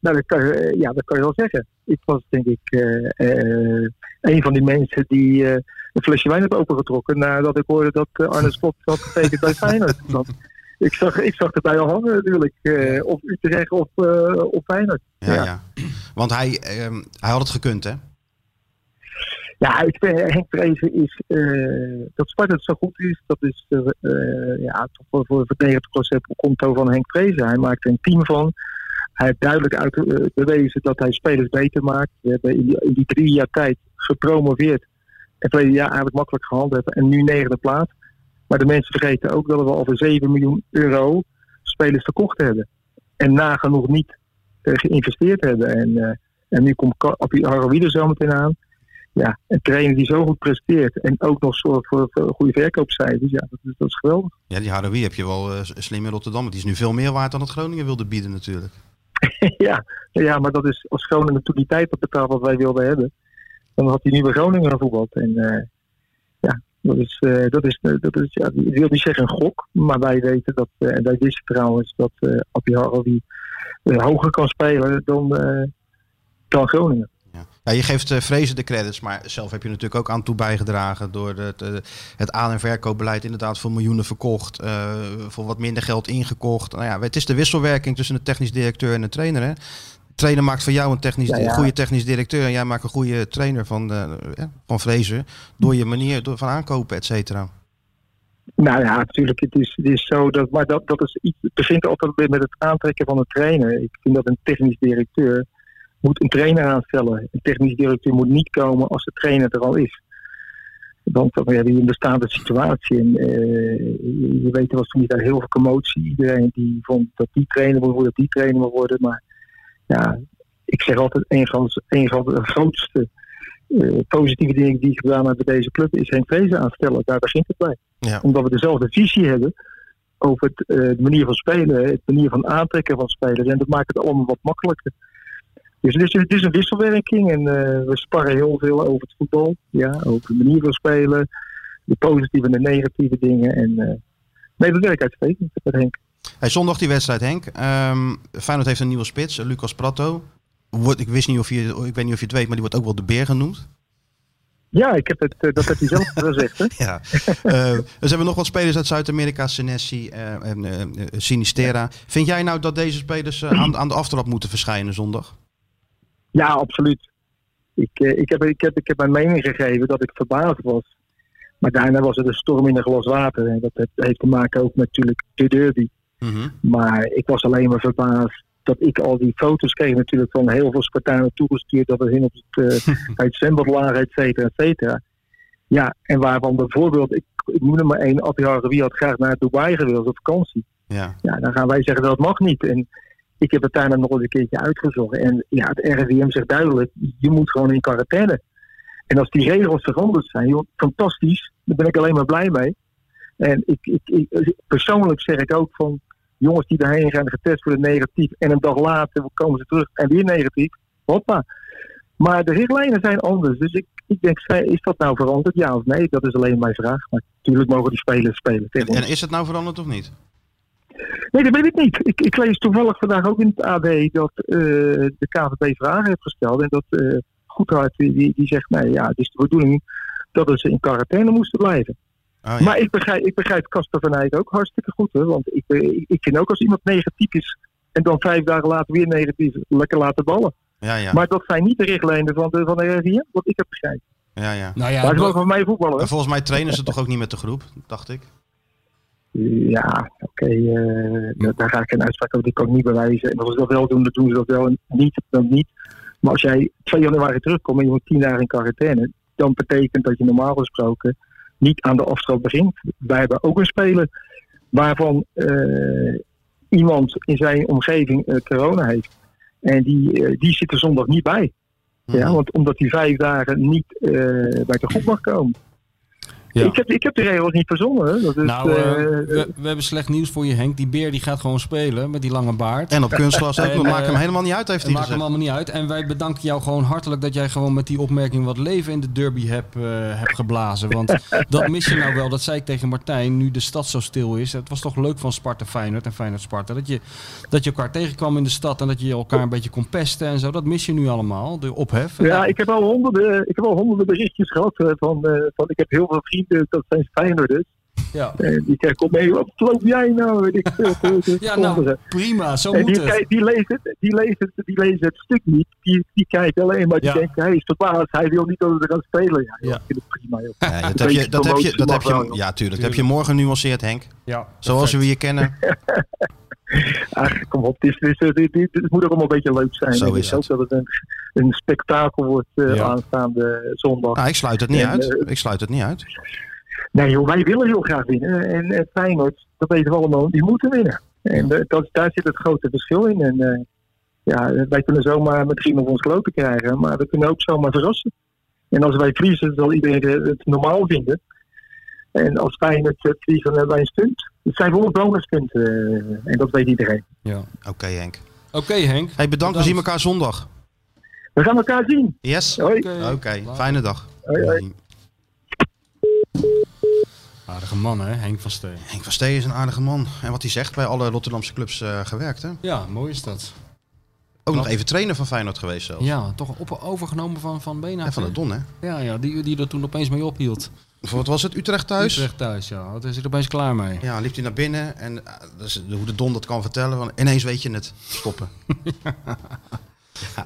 [SPEAKER 6] Nou, dat kan, je- eh, ja, dat kan je wel zeggen. Ik was denk ik eh, eh, een van die mensen die eh, een flesje wijn heeft opengetrokken nadat ik hoorde dat eh, Arne Slot had getekend bij Feyenoord. Want ik zag, ik zag erbij al hangen natuurlijk, eh, of Utrecht of, eh of Feyenoord.
[SPEAKER 2] Ja, ja.
[SPEAKER 6] Ja.
[SPEAKER 2] Want hij, ehm, hij had het gekund, hè?
[SPEAKER 6] Ja, ik vind, eh, Henk Vrezen is, eh, dat Sparta zo goed is, dat is eh, eh, ja, toch wel voor, voor 90% op konto van Henk Vrezen. Hij maakt er een team van. Hij heeft duidelijk uit, eh, bewezen dat hij spelers beter maakt. We hebben in die, in die drie jaar tijd gepromoveerd. Het tweede jaar eigenlijk makkelijk gehandeld hebben en nu negende plaats. Maar de mensen vergeten ook dat we al voor 7 miljoen euro spelers verkocht hebben. En nagenoeg niet eh, geïnvesteerd hebben. En, eh, en nu komt Ka- Appie Haroui er zo meteen aan. Ja, een trainer die zo goed presteert en ook nog zorgt voor, voor goede verkoopcijfers. Ja, dat is, dat is geweldig.
[SPEAKER 2] Ja, die Haroui heb je wel eh, s- slim in Rotterdam. want Die is nu veel meer waard dan het Groningen wilde bieden natuurlijk.
[SPEAKER 6] ja, ja, maar dat is als Groningen toen die tijd had betaald wat wij wilden hebben, dan had hij nu bij Groningen gevoetbald. En eh, ja, dat is, eh, dat is, eh, dat is ja, ik wil niet zeggen een gok, maar wij weten dat, eh, en wij wisten trouwens dat eh Appie Harrowie eh, hoger kan spelen dan, eh, dan Groningen.
[SPEAKER 2] Ja. Ja, je geeft eh Vrezen de credits, maar zelf heb je natuurlijk ook aan toe bijgedragen door het, eh, het aan- en verkoopbeleid inderdaad voor miljoenen verkocht, eh, voor wat minder geld ingekocht. Nou ja, het is de wisselwerking tussen de technisch directeur en de trainer. Hè? De trainer maakt van jou een technisch,
[SPEAKER 6] Ja, ja.
[SPEAKER 2] goede technisch directeur en jij maakt een goede trainer van, eh, ja, van Vrezen door je manier door, van aankopen, et cetera.
[SPEAKER 6] Nou ja, natuurlijk. Het is, het is zo dat. Maar dat, dat is iets. Het begint altijd met het aantrekken van een trainer. Ik vind dat een technisch directeur. moet een trainer aanstellen. Een technisch directeur moet niet komen als de trainer er al is. Want dan hebben je een bestaande situatie. En eh, je- je weet, er was toen niet heel veel commotie. Iedereen die vond dat die trainer moet worden, dat die trainer moet worden. Maar ja, ik zeg altijd: een van, een van de grootste eh, positieve dingen die ik gedaan heb bij deze club is geen vrezen aanstellen. Daar begint het bij omdat we dezelfde visie hebben over het, eh, de manier van spelen, het manier van aantrekken van spelers. En dat maakt het allemaal wat makkelijker. Dus het is, het is een wisselwerking en eh, we sparren heel veel over het voetbal. Ja, over de manier van spelen, de positieve en de negatieve dingen. En, eh, nee, dat werkt uitstekend met Henk.
[SPEAKER 2] Hey, zondag die wedstrijd, Henk. Ehm, Feyenoord heeft een nieuwe spits, eh, Lucas Pratto. Wordt, ik, wist niet of je, ik weet niet of je het weet, maar die wordt ook wel de beer genoemd. <laughs>
[SPEAKER 6] Ja, ik heb het, eh, dat heb je zelf gezegd. Hè?
[SPEAKER 2] Ja. Eh, dus hebben we nog wat spelers uit Zuid-Amerika, Senesi eh, en eh, eh, Sinistera. Vind jij nou dat deze spelers eh, aan, aan de aftrap moeten verschijnen zondag?
[SPEAKER 6] Ja, absoluut. Ik, eh, ik, heb, ik, heb, ik heb mijn mening gegeven dat ik verbaasd was. Maar daarna was het een storm in een glas water. En dat heeft- heeft te maken ook met natuurlijk de derby. Mhm. Maar ik was alleen maar verbaasd dat ik al die foto's kreeg natuurlijk van heel veel Spartanen toegestuurd. Dat we hun op het, eh bij het zwembad lagen, et cetera, et cetera. Ja, en waarvan bijvoorbeeld, ik, ik noem er maar één, Abdi Harawi had graag naar Dubai gewild op vakantie
[SPEAKER 2] Ja.
[SPEAKER 6] ja, dan gaan wij zeggen dat mag niet. En ik heb het daarna nog eens een keertje uitgezocht. En ja, het RIVM zegt duidelijk, je moet gewoon in quarantaine. En als die regels veranderd zijn, joh, fantastisch, daar ben ik alleen maar blij mee. En ik, ik, ik, persoonlijk zeg ik ook van jongens die daarheen gaan getest worden negatief en een dag later komen ze terug en weer negatief. Hoppa. Maar de richtlijnen zijn anders. Dus ik, ik denk, zij- is dat nou veranderd? Ja of nee? Dat is alleen mijn vraag. Maar natuurlijk mogen die spelers spelen.
[SPEAKER 2] En, en is het nou veranderd of niet?
[SPEAKER 6] Nee, dat weet ik niet. Ik, ik lees toevallig vandaag ook in het AD dat eh, de KVB vragen heeft gesteld. En dat eh Goedhart die, die, die zegt, nee ja, het is de bedoeling dat ze in quarantaine moesten blijven.
[SPEAKER 2] Oh, ja.
[SPEAKER 6] Maar ik begrijp, ik begrijp Casper van Eyck ook hartstikke goed. Hè? Want ik, eh, ik vind ook als iemand negatief is en dan vijf dagen later weer negatief, lekker laten ballen.
[SPEAKER 2] ja, ja,
[SPEAKER 6] Maar dat zijn niet de richtlijnen van de, van de RIVM, wat ik heb begrepen.
[SPEAKER 2] ja, ja.
[SPEAKER 3] Nou ja,
[SPEAKER 6] maar ze
[SPEAKER 3] dat-
[SPEAKER 6] mogen van mij voetballen. hè?
[SPEAKER 2] En volgens mij trainen ze toch ook niet met de groep, dacht ik.
[SPEAKER 6] Ja, oké. eh, da- daar ga ik een uitspraak over. Die kan ik niet bewijzen. En als ze dat wel doen, dan doen ze dat wel. En niet, dan niet. Maar als jij 2 januari terugkomt en je moet 10 dagen in quarantaine. dan betekent dat je normaal gesproken niet aan de afstand begint. Wij hebben ook een speler waarvan eh, iemand in zijn omgeving eh, corona heeft. En die, eh, die zit er zondag niet bij.
[SPEAKER 3] Mhm.
[SPEAKER 6] Ja, want omdat hij vijf dagen niet eh, bij de groep mag komen.
[SPEAKER 3] Ja.
[SPEAKER 6] Ik, heb, ik heb de regels niet verzonnen. Hè. Dat is,
[SPEAKER 3] nou, eh,
[SPEAKER 6] eh,
[SPEAKER 3] we, we hebben slecht nieuws voor je, Henk. Die beer die gaat gewoon spelen met die lange baard.
[SPEAKER 2] En op kunstglas ook,
[SPEAKER 3] En,
[SPEAKER 2] maar
[SPEAKER 3] eh,
[SPEAKER 2] maakt hem helemaal niet uit, heeft
[SPEAKER 3] Het
[SPEAKER 2] hij
[SPEAKER 3] maakt hem
[SPEAKER 2] gezegd.
[SPEAKER 3] allemaal niet uit. En wij bedanken jou gewoon hartelijk dat jij gewoon met die opmerking wat leven in de derby hebt eh, hebt geblazen. <laughs> Want dat mis je nou wel. Dat zei ik tegen Martijn, nu de stad zo stil is. Het was toch leuk van Sparta Feyenoord en Feyenoord Sparta. Dat je, dat je elkaar tegenkwam in de stad en dat je elkaar een beetje kon pesten en zo. Dat mis je nu allemaal, de ophef.
[SPEAKER 6] Ja, ik heb al honderden, ik heb al honderden berichtjes gehad eh, van, eh, van ik heb heel veel vrienden, dat zijn Feyenoorders.
[SPEAKER 3] ja.
[SPEAKER 6] En die kijken op mee, wat loop jij nou? Weet ik
[SPEAKER 3] <laughs>
[SPEAKER 6] veel.
[SPEAKER 3] Ja, nou, prima. Zo
[SPEAKER 6] en
[SPEAKER 3] moet
[SPEAKER 6] die,
[SPEAKER 3] het.
[SPEAKER 6] kijk- die, lezen het, die, lezen het, die lezen het stuk niet, die, die kijken alleen maar, die
[SPEAKER 3] Ja.
[SPEAKER 6] denken, hij is verbaasd, hij wil niet dat we gaan spelen. Ja, joh,
[SPEAKER 3] Ja.
[SPEAKER 6] ik vind het prima. Joh.
[SPEAKER 2] Ja, dat heb
[SPEAKER 6] beetje <laughs>
[SPEAKER 2] je, dat heb je,
[SPEAKER 6] promotie
[SPEAKER 2] dat heb
[SPEAKER 6] mag wel,
[SPEAKER 2] je,
[SPEAKER 6] joh.
[SPEAKER 2] ja, tuurlijk. Dat heb je morgen genuanceerd, Henk.
[SPEAKER 3] Ja,
[SPEAKER 2] Zoals we je kennen.
[SPEAKER 6] Ach, kom op, dit, dit, dit, dit, dit- dit moet ook allemaal een beetje leuk zijn.
[SPEAKER 2] Zo
[SPEAKER 6] En
[SPEAKER 2] is
[SPEAKER 6] ik
[SPEAKER 2] het.
[SPEAKER 6] hoop dat het een, een spektakel wordt eh,
[SPEAKER 3] Ja.
[SPEAKER 6] aanstaande zondag.
[SPEAKER 2] Nou, ik sluit het niet
[SPEAKER 6] En,
[SPEAKER 2] uit.
[SPEAKER 6] eh,
[SPEAKER 2] Ik sluit het niet uit.
[SPEAKER 6] Nee joh, wij willen heel graag winnen. En, en Feyenoord, dat weten we allemaal, die moeten winnen. En eh, dat, daar zit het grote verschil in. En eh, ja, wij kunnen zomaar misschien nog ons kloten krijgen, maar we kunnen ook zomaar verrassen. En als wij verliezen, zal iedereen het normaal vinden. En als Feyenoord eh, verliezen, dan hebben wij een stunt. Het zijn wel bonuspunten eh, en dat weet iedereen.
[SPEAKER 3] Ja.
[SPEAKER 2] Oké Henk.
[SPEAKER 3] Oké Henk.
[SPEAKER 2] Hey, bedankt, we zien elkaar zondag.
[SPEAKER 6] We gaan elkaar zien.
[SPEAKER 2] Yes? Oké,
[SPEAKER 6] Hoi.
[SPEAKER 3] Later.
[SPEAKER 2] fijne dag.
[SPEAKER 6] Hoi, hoi.
[SPEAKER 3] Aardige man hè, Henk van Steen.
[SPEAKER 2] Henk van Steen is een aardige man. En wat hij zegt, bij alle Rotterdamse clubs eh, gewerkt hè?
[SPEAKER 3] Ja, mooi is dat.
[SPEAKER 2] Ook nog even trainer van Feyenoord geweest zelfs.
[SPEAKER 3] Ja, toch op, overgenomen van, van Bena.
[SPEAKER 2] En van de Don hè?
[SPEAKER 3] Ja, ja die, die er toen opeens mee ophield.
[SPEAKER 2] Voor wat was het? Utrecht thuis?
[SPEAKER 3] Utrecht thuis, ja. Daar is hij opeens klaar mee.
[SPEAKER 2] Ja, liep hij naar binnen en ah, dat is hoe de Don dat kan vertellen, van ineens weet je het. Stoppen. <laughs>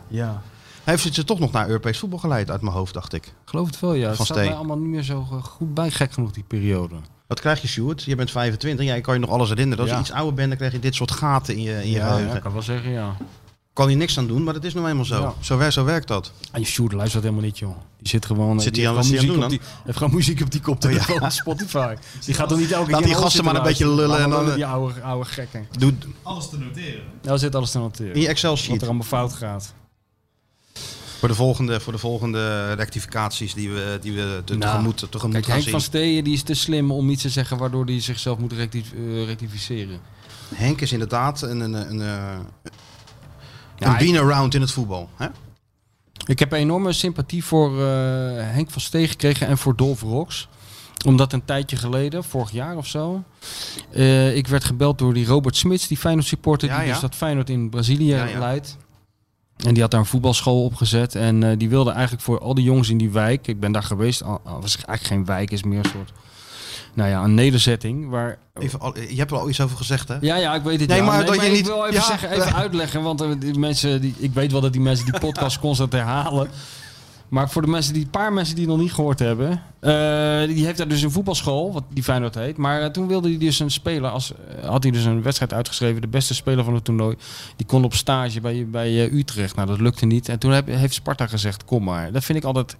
[SPEAKER 3] Ja.
[SPEAKER 2] Hij heeft ze toch nog naar Europees voetbal geleid uit mijn hoofd, dacht ik.
[SPEAKER 3] Geloof het wel, ja. Het
[SPEAKER 2] Van
[SPEAKER 3] staat
[SPEAKER 2] Steen.
[SPEAKER 3] mij allemaal niet meer zo eh, goed bij, gek genoeg, die periode.
[SPEAKER 2] Wat krijg je, Stuart? Je bent 25, jij kan je nog alles herinneren. Als
[SPEAKER 3] Ja.
[SPEAKER 2] je iets ouder bent, dan krijg je dit soort gaten in je, in je
[SPEAKER 3] Ja,
[SPEAKER 2] geheugen.
[SPEAKER 3] ja, kan wel zeggen, ja.
[SPEAKER 2] Kan je niks aan doen, maar dat is nou eenmaal zo.
[SPEAKER 3] Ja.
[SPEAKER 2] Zo, wer- zo werkt dat.
[SPEAKER 3] En je Sjoerd luistert helemaal niet, joh. Die zit gewoon...
[SPEAKER 2] Zit
[SPEAKER 3] die
[SPEAKER 2] hij aan-
[SPEAKER 3] heeft
[SPEAKER 2] wat is hij
[SPEAKER 3] gewoon
[SPEAKER 2] aan
[SPEAKER 3] muziek
[SPEAKER 2] het doen Oh,
[SPEAKER 3] op die- heeft gewoon muziek op die koptelefoon op
[SPEAKER 2] <laughs>
[SPEAKER 3] Spotify. Die gaat dan niet elke keer...
[SPEAKER 2] die
[SPEAKER 3] in de
[SPEAKER 2] gasten
[SPEAKER 3] zitten
[SPEAKER 2] maar een beetje
[SPEAKER 3] luisteren.
[SPEAKER 2] lullen
[SPEAKER 3] Laat
[SPEAKER 2] en
[SPEAKER 3] maar
[SPEAKER 2] dan- eh,
[SPEAKER 3] Die oude, oude gekken.
[SPEAKER 2] Doe
[SPEAKER 4] Alles te noteren.
[SPEAKER 3] Daar zit alles te noteren.
[SPEAKER 2] in je
[SPEAKER 3] Wat er
[SPEAKER 2] Excel-sheet
[SPEAKER 3] allemaal fout gaat.
[SPEAKER 2] voor de volgende, voor de volgende rectificaties die we, die we te,
[SPEAKER 3] Nou,
[SPEAKER 2] tegemoet, tegemoet
[SPEAKER 3] Kijk,
[SPEAKER 2] gaan
[SPEAKER 3] Henk
[SPEAKER 2] zien.
[SPEAKER 3] van Steen die is te slim om iets te zeggen waardoor hij zichzelf moet recti- eh, rectificeren.
[SPEAKER 2] Henk is inderdaad een, een, een, eh,
[SPEAKER 3] Ja,
[SPEAKER 2] een
[SPEAKER 3] ik-
[SPEAKER 2] been-around in het voetbal. Hè?
[SPEAKER 3] Oh. Ik heb enorme sympathie voor eh, Henk van Steen gekregen en voor Dolf Rox. Omdat een tijdje geleden, vorig jaar of zo, eh, ik werd gebeld door die Robert Smits, die Feyenoord supporter,
[SPEAKER 2] Ja,
[SPEAKER 3] die
[SPEAKER 2] ja.
[SPEAKER 3] dus dat Feyenoord in Brazilië
[SPEAKER 2] Ja, ja.
[SPEAKER 3] leidt. En die had daar een voetbalschool opgezet. En eh, die wilde eigenlijk voor al die jongens in die wijk, ik ben daar geweest, al, al was het eigenlijk geen wijk, is meer een soort, nou ja, een nederzetting. Waar
[SPEAKER 2] Even, al- je hebt er al iets over gezegd, hè?
[SPEAKER 3] ja, ja, ik weet het.
[SPEAKER 2] Nee,
[SPEAKER 3] ja.
[SPEAKER 2] maar dat je
[SPEAKER 3] ik
[SPEAKER 2] niet-
[SPEAKER 3] wil even
[SPEAKER 2] ja.
[SPEAKER 3] zeggen, even uitleggen, want eh, die mensen, die, ik weet wel dat die mensen
[SPEAKER 2] <laughs>
[SPEAKER 3] die podcast constant herhalen. Maar voor de mensen die, paar mensen die het nog niet gehoord hebben, eh, die heeft daar dus een voetbalschool, wat die Feyenoord heet. Maar eh, toen wilde hij dus een speler, als, eh, had hij dus een wedstrijd uitgeschreven, de beste speler van het toernooi. Die kon op stage bij, bij eh, Utrecht. Nou, dat lukte niet. En toen heb- heeft Sparta gezegd, kom maar. Dat vind ik altijd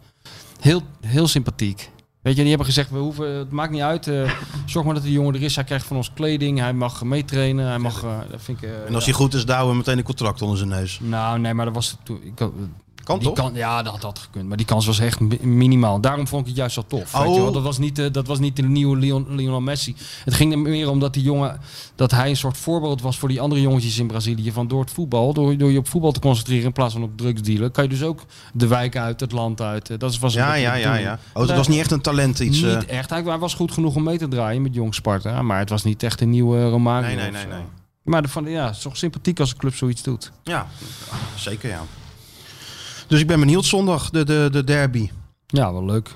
[SPEAKER 3] heel, heel sympathiek. Weet je, die hebben gezegd, we hoeven, het maakt niet uit. eh, <laughs> zorg maar dat die jongen er is. Hij krijgt van ons kleding. Hij mag meetrainen. Hij mag, eh, dat vind ik... eh,
[SPEAKER 2] En als
[SPEAKER 3] ja.
[SPEAKER 2] hij goed is, douwen we meteen een contract onder zijn neus.
[SPEAKER 3] Nou, nee, maar dat was... Toen, ik,
[SPEAKER 2] Kan
[SPEAKER 3] die
[SPEAKER 2] toch?
[SPEAKER 3] kan, ja, dat had gekund. Maar die kans was echt mi- minimaal. Daarom vond ik het juist zo tof. Weet
[SPEAKER 2] Oh.
[SPEAKER 3] je wel? Dat, was niet, eh, dat was niet de nieuwe Leon, Lionel Messi. Het ging er meer om dat die jongen, dat hij een soort voorbeeld was voor die andere jongetjes in Brazilië. Van door het voetbal, door, door je op voetbal te concentreren in plaats van op drugs dealen, kan je dus ook de wijk uit, het land uit. Eh, Dat was een
[SPEAKER 2] Ja,
[SPEAKER 3] beetje
[SPEAKER 2] ja,
[SPEAKER 3] de
[SPEAKER 2] ja,
[SPEAKER 3] bedoeling.
[SPEAKER 2] ja. Oh, dat was niet echt een talent iets. eh.
[SPEAKER 3] Niet echt. Hij hij was goed genoeg om mee te draaien met Jong Sparta. Maar het was niet echt een nieuwe Romario.
[SPEAKER 2] Nee, nee,
[SPEAKER 3] of
[SPEAKER 2] nee,
[SPEAKER 3] zo.
[SPEAKER 2] nee.
[SPEAKER 3] Maar de, van, ja, het is toch sympathiek als een club zoiets doet.
[SPEAKER 2] Ja, zeker ja. Dus ik ben benieuwd zondag, de, de, de derby.
[SPEAKER 3] Ja, wel leuk.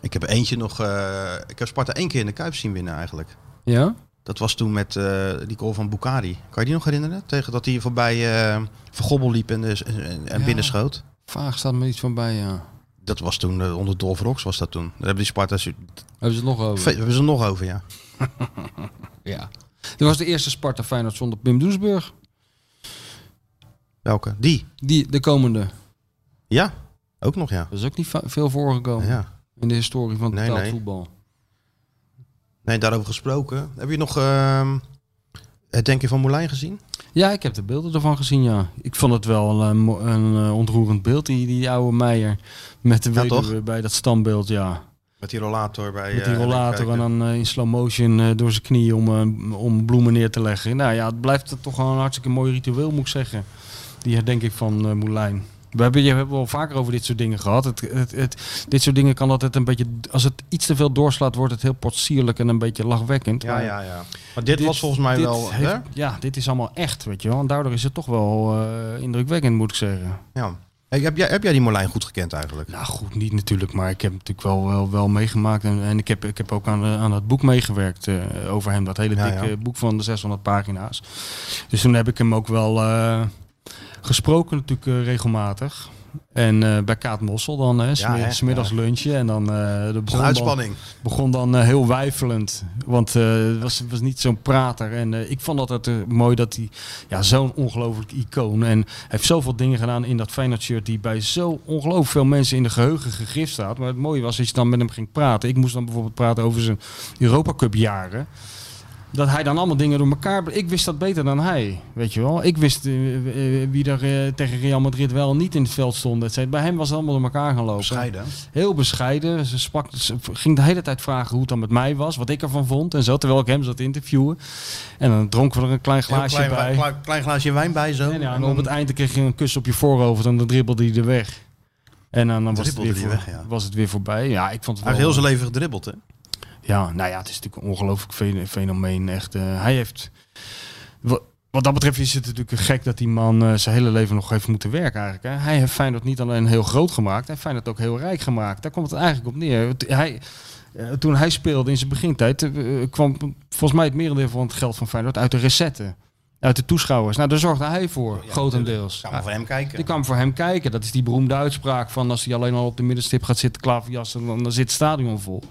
[SPEAKER 2] Ik heb eentje nog. eh, ik heb Sparta één keer in de Kuip zien winnen eigenlijk.
[SPEAKER 3] Ja?
[SPEAKER 2] Dat was toen met eh, die goal van Bukari. Kan je die nog herinneren? Tegen dat hij voorbij eh Vergobbel liep en, dus- en, en
[SPEAKER 3] Ja.
[SPEAKER 2] binnenschoot.
[SPEAKER 3] Vaag staat me iets van bij, ja.
[SPEAKER 2] Dat was toen eh, onder Dolph Rox was dat toen. Daar hebben die Sparta's...
[SPEAKER 3] Hebben ze het nog over?
[SPEAKER 2] Ve- hebben ze er nog over, ja.
[SPEAKER 3] ja. Dit was de eerste Sparta Feyenoord zonder Pim Doesburg.
[SPEAKER 2] Welke? Die.
[SPEAKER 3] Die, de komende.
[SPEAKER 2] Ja, ook nog ja.
[SPEAKER 3] Dat is ook niet va- veel voorgekomen
[SPEAKER 2] ja.
[SPEAKER 3] in de historie van
[SPEAKER 2] Nee,
[SPEAKER 3] totaal
[SPEAKER 2] nee.
[SPEAKER 3] voetbal.
[SPEAKER 2] Nee, daarover gesproken. Heb je nog ehm, het Denken van Moulijn gezien?
[SPEAKER 3] Ja, ik heb de beelden ervan gezien, ja. Ik vond het wel een, eh, mo- een eh, ontroerend beeld, die, die oude Meijer. Met de
[SPEAKER 2] Ja,
[SPEAKER 3] weduwe
[SPEAKER 2] toch?
[SPEAKER 3] bij dat standbeeld, ja.
[SPEAKER 2] Met die rollator bij...
[SPEAKER 3] Met die
[SPEAKER 2] eh,
[SPEAKER 3] rollator en
[SPEAKER 2] Rijnkijker.
[SPEAKER 3] dan eh, in slow motion eh, door zijn knieën om, eh, om bloemen neer te leggen. Nou ja, het blijft toch gewoon een hartstikke mooi ritueel, moet ik zeggen. Die denk ik van eh Moulijn. We hebben, je hebben wel vaker over dit soort dingen gehad. Het, het, het- dit soort dingen kan altijd een beetje... Als het iets te veel doorslaat, wordt het heel potsierlijk en een beetje lachwekkend.
[SPEAKER 2] Ja,
[SPEAKER 3] Maar
[SPEAKER 2] ja, ja. Maar dit,
[SPEAKER 3] dit-
[SPEAKER 2] was volgens mij
[SPEAKER 3] dit
[SPEAKER 2] wel...
[SPEAKER 3] heeft-
[SPEAKER 2] hè?
[SPEAKER 3] ja, dit is allemaal echt, weet je wel. En daardoor is het toch wel eh, indrukwekkend, moet ik zeggen.
[SPEAKER 2] Ja. Hey, heb, jij, heb jij die Moulijn goed gekend eigenlijk?
[SPEAKER 3] Nou goed, niet natuurlijk, maar ik heb natuurlijk wel, wel, wel meegemaakt. En, en ik, heb, ik heb ook aan, eh, aan dat boek meegewerkt eh, over hem. Dat hele
[SPEAKER 2] Ja,
[SPEAKER 3] dikke
[SPEAKER 2] ja.
[SPEAKER 3] boek van de 600 pagina's. Dus toen heb ik hem ook wel eh, gesproken natuurlijk eh, regelmatig. En eh, bij Kaat Mossel dan, hè, smid-
[SPEAKER 2] hè,
[SPEAKER 3] smiddags lunchen. En dan eh de
[SPEAKER 2] Een uitspanning.
[SPEAKER 3] begon dan eh, heel weifelend. Want eh, het was, was niet zo'n prater. En eh, ik vond dat altijd eh, mooi dat hij ja, zo'n ongelooflijk icoon. En hij heeft zoveel dingen gedaan in dat Feyenoord shirt. Die bij zo ongelooflijk veel mensen in de geheugen gegrift staat. Maar het mooie was als je dan met hem ging praten. Ik moest dan bijvoorbeeld praten over zijn Europa Cup jaren. Dat hij dan allemaal dingen door elkaar... Ik wist dat beter dan hij, weet je wel. Ik wist eh, eh, wie er eh, tegen Real Madrid wel en niet in het veld stond. et cetera. Bij hem was het allemaal door elkaar gaan lopen
[SPEAKER 2] Scheiden.
[SPEAKER 3] heel bescheiden. Ze, sprak, ze ging de hele tijd vragen hoe het dan met mij was, wat ik ervan vond en zo, terwijl ik hem zat te interviewen. En dan dronken we er een klein
[SPEAKER 2] Heel
[SPEAKER 3] glaasje
[SPEAKER 2] klein,
[SPEAKER 3] bij.
[SPEAKER 2] Klein, klein glaasje wijn bij zo.
[SPEAKER 3] en, ja, en op het eind kreeg je een kus op je voorhoofd en dan dribbelde hij er weg. En dan, dan was, het weer
[SPEAKER 2] Dribbelde hij
[SPEAKER 3] voor-
[SPEAKER 2] weg, ja.
[SPEAKER 3] was het weer voorbij. Ja, ik vond het
[SPEAKER 2] Hij heeft heel
[SPEAKER 3] wel-
[SPEAKER 2] zijn leven gedribbeld, hè?
[SPEAKER 3] ja, nou ja, het is natuurlijk een ongelooflijk fe- fenomeen. Echt, eh, hij heeft. wa- Wat dat betreft is het natuurlijk gek dat die man eh, zijn hele leven nog heeft moeten werken eigenlijk. Hè. Hij heeft Feyenoord niet alleen heel groot gemaakt, hij heeft Feyenoord ook heel rijk gemaakt. Daar komt het eigenlijk op neer. Het- Hij, eh, toen hij speelde in zijn begintijd eh, kwam volgens mij het merendeel van het geld van Feyenoord uit de recetten. Uit de toeschouwers. Nou, daar zorgde hij voor, grotendeels.
[SPEAKER 2] Gaan we voor hem kijken.
[SPEAKER 3] Ik kwam voor hem kijken. Dat is die beroemde uitspraak van als hij alleen al op de middenstip gaat zitten klaverjassen, dan, dan zit het stadion vol.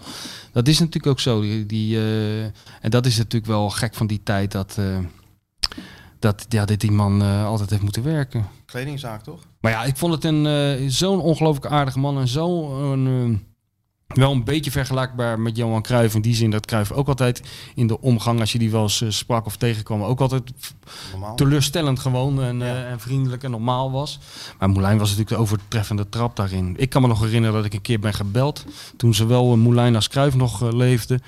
[SPEAKER 3] Dat is natuurlijk ook zo. Die, die, eh, en dat is natuurlijk wel gek van die tijd dat, eh, dat, ja, dat die man eh, altijd heeft moeten werken.
[SPEAKER 2] Kledingzaak, toch?
[SPEAKER 3] Maar ja, ik vond het een, eh, zo'n ongelooflijk aardige man en zo'n... eh, wel een beetje vergelijkbaar met Johan Cruijff. In die zin dat Cruijff ook altijd in de omgang, als je die wel eens eh, sprak of tegenkwam, ook altijd
[SPEAKER 2] Normaal.
[SPEAKER 3] teleurstellend gewoon en, eh, en vriendelijk en normaal was. Maar Moulijn was natuurlijk de overtreffende trap daarin. Ik kan me nog herinneren dat ik een keer ben gebeld toen zowel eh, Moulijn als Kruijf nog eh, leefden.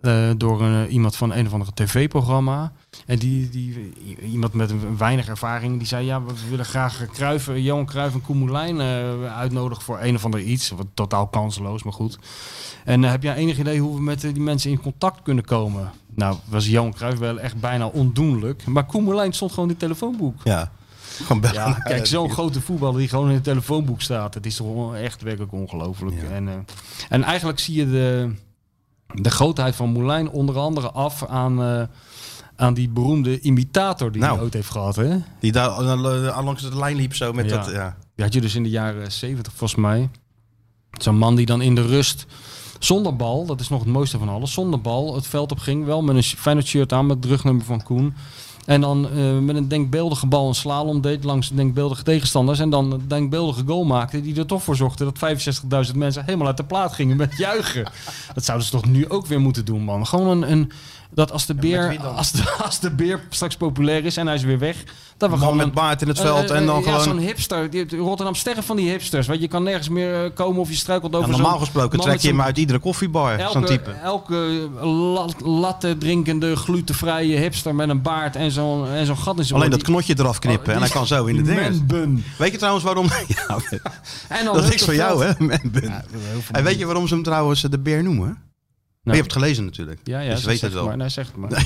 [SPEAKER 3] eh, door een, eh, iemand van een of andere tv-programma. En die, die, i- iemand met een weinig ervaring, die zei... ja, we willen graag Kruijf, eh, Johan Kruijf en Koen Moulijn eh, uitnodigen... voor een of ander iets. Wat totaal kansloos, maar goed. En eh, heb jij enig idee hoe we met eh, die mensen in contact kunnen komen? Nou, was Johan Cruijff wel echt bijna ondoenlijk. Maar Koen Moulijn stond gewoon in het telefoonboek.
[SPEAKER 2] Ja. eh, Gewoon bellen.
[SPEAKER 3] Ja, <laughs> kijk, zo'n grote voetballer die gewoon in het telefoonboek staat. Het is toch wel echt werkelijk ongelooflijk.
[SPEAKER 2] Ja.
[SPEAKER 3] En, eh, en eigenlijk zie je de, de grootheid van Moulijn onder andere af aan, eh, aan die beroemde imitator die
[SPEAKER 2] Nou.
[SPEAKER 3] hij ooit heeft gehad. Hè?
[SPEAKER 2] Die daar eh, eh, langs de lijn liep zo met
[SPEAKER 3] Ja.
[SPEAKER 2] dat... Ja. Nou,
[SPEAKER 3] Die had je dus in de jaren 70 volgens mij. Zo'n man die dan in de rust zonder bal, dat is nog het mooiste van alles, zonder bal het veld op ging. Wel met een sh- Feyenoord shirt aan met het rugnummer van Koen. En dan eh, met een denkbeeldige bal een slalom deed langs denkbeeldige tegenstanders. En dan een denkbeeldige goal maakte die er toch voor zorgde dat 65.000 mensen helemaal uit de plaat gingen met juichen.
[SPEAKER 2] <laughs>
[SPEAKER 3] Dat zouden ze toch nu ook weer moeten doen, man. Gewoon een... een dat als de, beer,
[SPEAKER 2] wie dan?
[SPEAKER 3] als, de, <laughs> als de beer straks populair is en hij is weer weg... Dat we
[SPEAKER 2] Man
[SPEAKER 3] gewoon
[SPEAKER 2] met
[SPEAKER 3] een-
[SPEAKER 2] baard in het
[SPEAKER 3] eh,
[SPEAKER 2] veld
[SPEAKER 3] eh,
[SPEAKER 2] en dan
[SPEAKER 3] ja,
[SPEAKER 2] gewoon-
[SPEAKER 3] zo'n hipster. Die- de Rotterdam sterren van die hipsters. Want je kan nergens meer eh, komen of je struikelt over
[SPEAKER 2] Ja,
[SPEAKER 3] zo'n
[SPEAKER 2] normaal gesproken
[SPEAKER 3] man
[SPEAKER 2] trek
[SPEAKER 3] met
[SPEAKER 2] je hem
[SPEAKER 3] zo'n-
[SPEAKER 2] uit iedere koffiebar, zo'n
[SPEAKER 3] Elke,
[SPEAKER 2] type.
[SPEAKER 3] elke eh, lat- latte drinkende, glutenvrije hipster met een baard en zo'n en zo'n gat in zijn
[SPEAKER 2] Alleen dat
[SPEAKER 3] oor, die- Oh,
[SPEAKER 2] knotje eraf knippen en hij kan zo in de
[SPEAKER 3] die
[SPEAKER 2] dingen. <laughs>
[SPEAKER 3] manbun.
[SPEAKER 2] Weet je trouwens waarom... Ja,
[SPEAKER 3] <laughs> En dan
[SPEAKER 2] <laughs> Nou, dat is
[SPEAKER 3] hup,
[SPEAKER 2] niks voor
[SPEAKER 3] het
[SPEAKER 2] jou,
[SPEAKER 3] veld.
[SPEAKER 2] hè? Manbun. en weet je waarom ze hem trouwens eh, de beer noemen? Maar je hebt het gelezen natuurlijk.
[SPEAKER 3] Ja, ja,
[SPEAKER 2] dus je
[SPEAKER 3] ze
[SPEAKER 2] weet
[SPEAKER 3] zegt
[SPEAKER 2] het wel.
[SPEAKER 3] Maar, <laughs> nee, zeg het
[SPEAKER 2] <laughs>
[SPEAKER 3] maar.
[SPEAKER 2] dat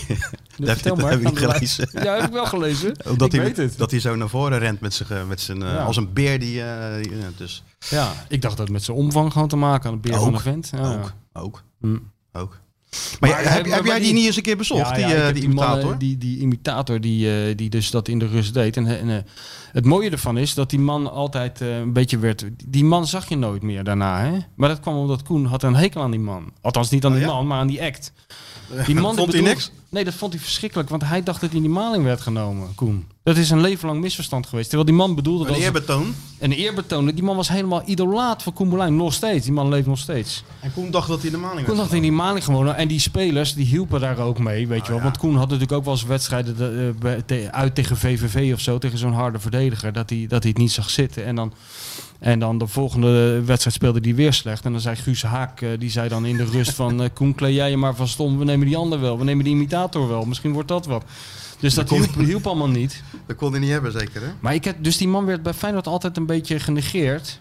[SPEAKER 2] heb,
[SPEAKER 3] vertel
[SPEAKER 2] dat
[SPEAKER 3] maar,
[SPEAKER 2] heb ik
[SPEAKER 3] gaan <laughs>
[SPEAKER 2] niet
[SPEAKER 3] we
[SPEAKER 2] gelezen.
[SPEAKER 3] Ja, heb ik wel gelezen.
[SPEAKER 2] Omdat
[SPEAKER 3] ik
[SPEAKER 2] hij,
[SPEAKER 3] weet het.
[SPEAKER 2] <laughs> dat hij zo naar voren rent met zijn, eh, met zijn, eh,
[SPEAKER 3] Ja.
[SPEAKER 2] als een beer die... eh, die- ja, dus
[SPEAKER 3] Ja, ik dacht dat het met zijn omvang gewoon te maken had. Een beer van
[SPEAKER 2] Ook.
[SPEAKER 3] een vent. Ja.
[SPEAKER 2] ook, ook,
[SPEAKER 3] Hm.
[SPEAKER 2] ook.
[SPEAKER 3] Maar
[SPEAKER 2] Maar, ja, heb,
[SPEAKER 3] hij-
[SPEAKER 2] heb
[SPEAKER 3] maar
[SPEAKER 2] jij die
[SPEAKER 3] die-
[SPEAKER 2] niet eens een keer bezocht, die,
[SPEAKER 3] ik
[SPEAKER 2] eh,
[SPEAKER 3] heb
[SPEAKER 2] die
[SPEAKER 3] man, eh,
[SPEAKER 2] imitator?
[SPEAKER 3] die, die imitator die, eh, die dus dat in de rust deed. En, en, eh, het mooie ervan is dat die man altijd eh, een beetje werd... Die man zag je nooit meer daarna, hè? Maar dat kwam omdat Koen had een hekel aan die man. Althans, niet aan die
[SPEAKER 2] Oh, ja?
[SPEAKER 3] man, maar aan die
[SPEAKER 2] <laughs>
[SPEAKER 3] act. Die man
[SPEAKER 2] Vond
[SPEAKER 3] die
[SPEAKER 2] hij
[SPEAKER 3] bedroeg- Nee, dat vond hij verschrikkelijk. Want hij dacht dat hij in die maling werd genomen, Koen. Dat is een leven lang misverstand geweest. Terwijl die man bedoelde
[SPEAKER 2] Een
[SPEAKER 3] dat als
[SPEAKER 2] eerbetoon.
[SPEAKER 3] een eerbetoon. Die man was helemaal idolaat van Koen Moulijn. Nog steeds. Die man leeft nog steeds.
[SPEAKER 2] En Koen dacht dat hij de maling
[SPEAKER 3] Koen
[SPEAKER 2] werd.
[SPEAKER 3] had in die maling gewonnen. En die spelers die hielpen daar ook mee. Weet je wel.
[SPEAKER 2] ja.
[SPEAKER 3] Want Koen had natuurlijk ook wel eens wedstrijden eh, bij- te- uit tegen VVV of zo. Tegen zo'n harde verdediger. Dat hij, dat hij het niet zag zitten. En dan, en dan de volgende wedstrijd speelde hij weer slecht. En dan zei Guus Haak. eh, die zei dan in de rust van. eh, Koen, kleed jij je maar van stom. We nemen die ander wel. We nemen die imitator wel. Misschien wordt dat wat. Dus dat hielp, hielp allemaal niet.
[SPEAKER 2] Dat kon hij niet hebben, zeker, hè?
[SPEAKER 3] Maar ik heb, dus die man werd bij Feyenoord altijd een beetje genegeerd.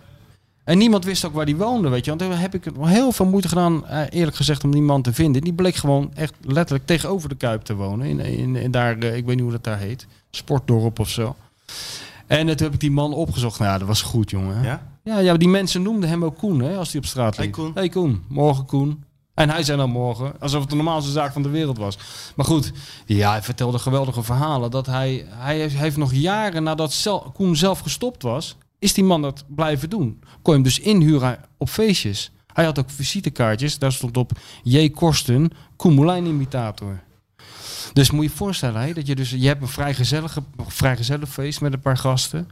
[SPEAKER 3] En niemand wist ook waar die woonde, weet je. Want daar heb ik heel veel moeite gedaan, eh, eerlijk gezegd, om die man te vinden. Die bleek gewoon echt letterlijk tegenover de Kuip te wonen. In, in, in daar, eh, ik weet niet hoe dat daar heet. Sportdorp of zo. En eh, toen heb ik die man opgezocht. Nou, ja, dat was goed, jongen.
[SPEAKER 2] Ja?
[SPEAKER 3] Ja, ja, die mensen noemden hem ook Koen, hè, als hij op straat
[SPEAKER 2] Hey,
[SPEAKER 3] liep.
[SPEAKER 2] Koen.
[SPEAKER 3] hey Koen, morgen Koen. En hij zei dan morgen, alsof het de normaalste zaak van de wereld was. Maar goed, ja, hij vertelde geweldige verhalen. Dat hij, hij, heeft- hij heeft nog jaren nadat zel- Koen zelf gestopt was, is die man dat blijven doen. Kon je hem dus inhuren op feestjes. Hij had ook visitekaartjes, daar stond op J. Korsten, Koemelijn imitator. Dus moet je je voorstellen, hè, dat je dus, je hebt een vrijgezellige, vrijgezellig feest met een paar gasten.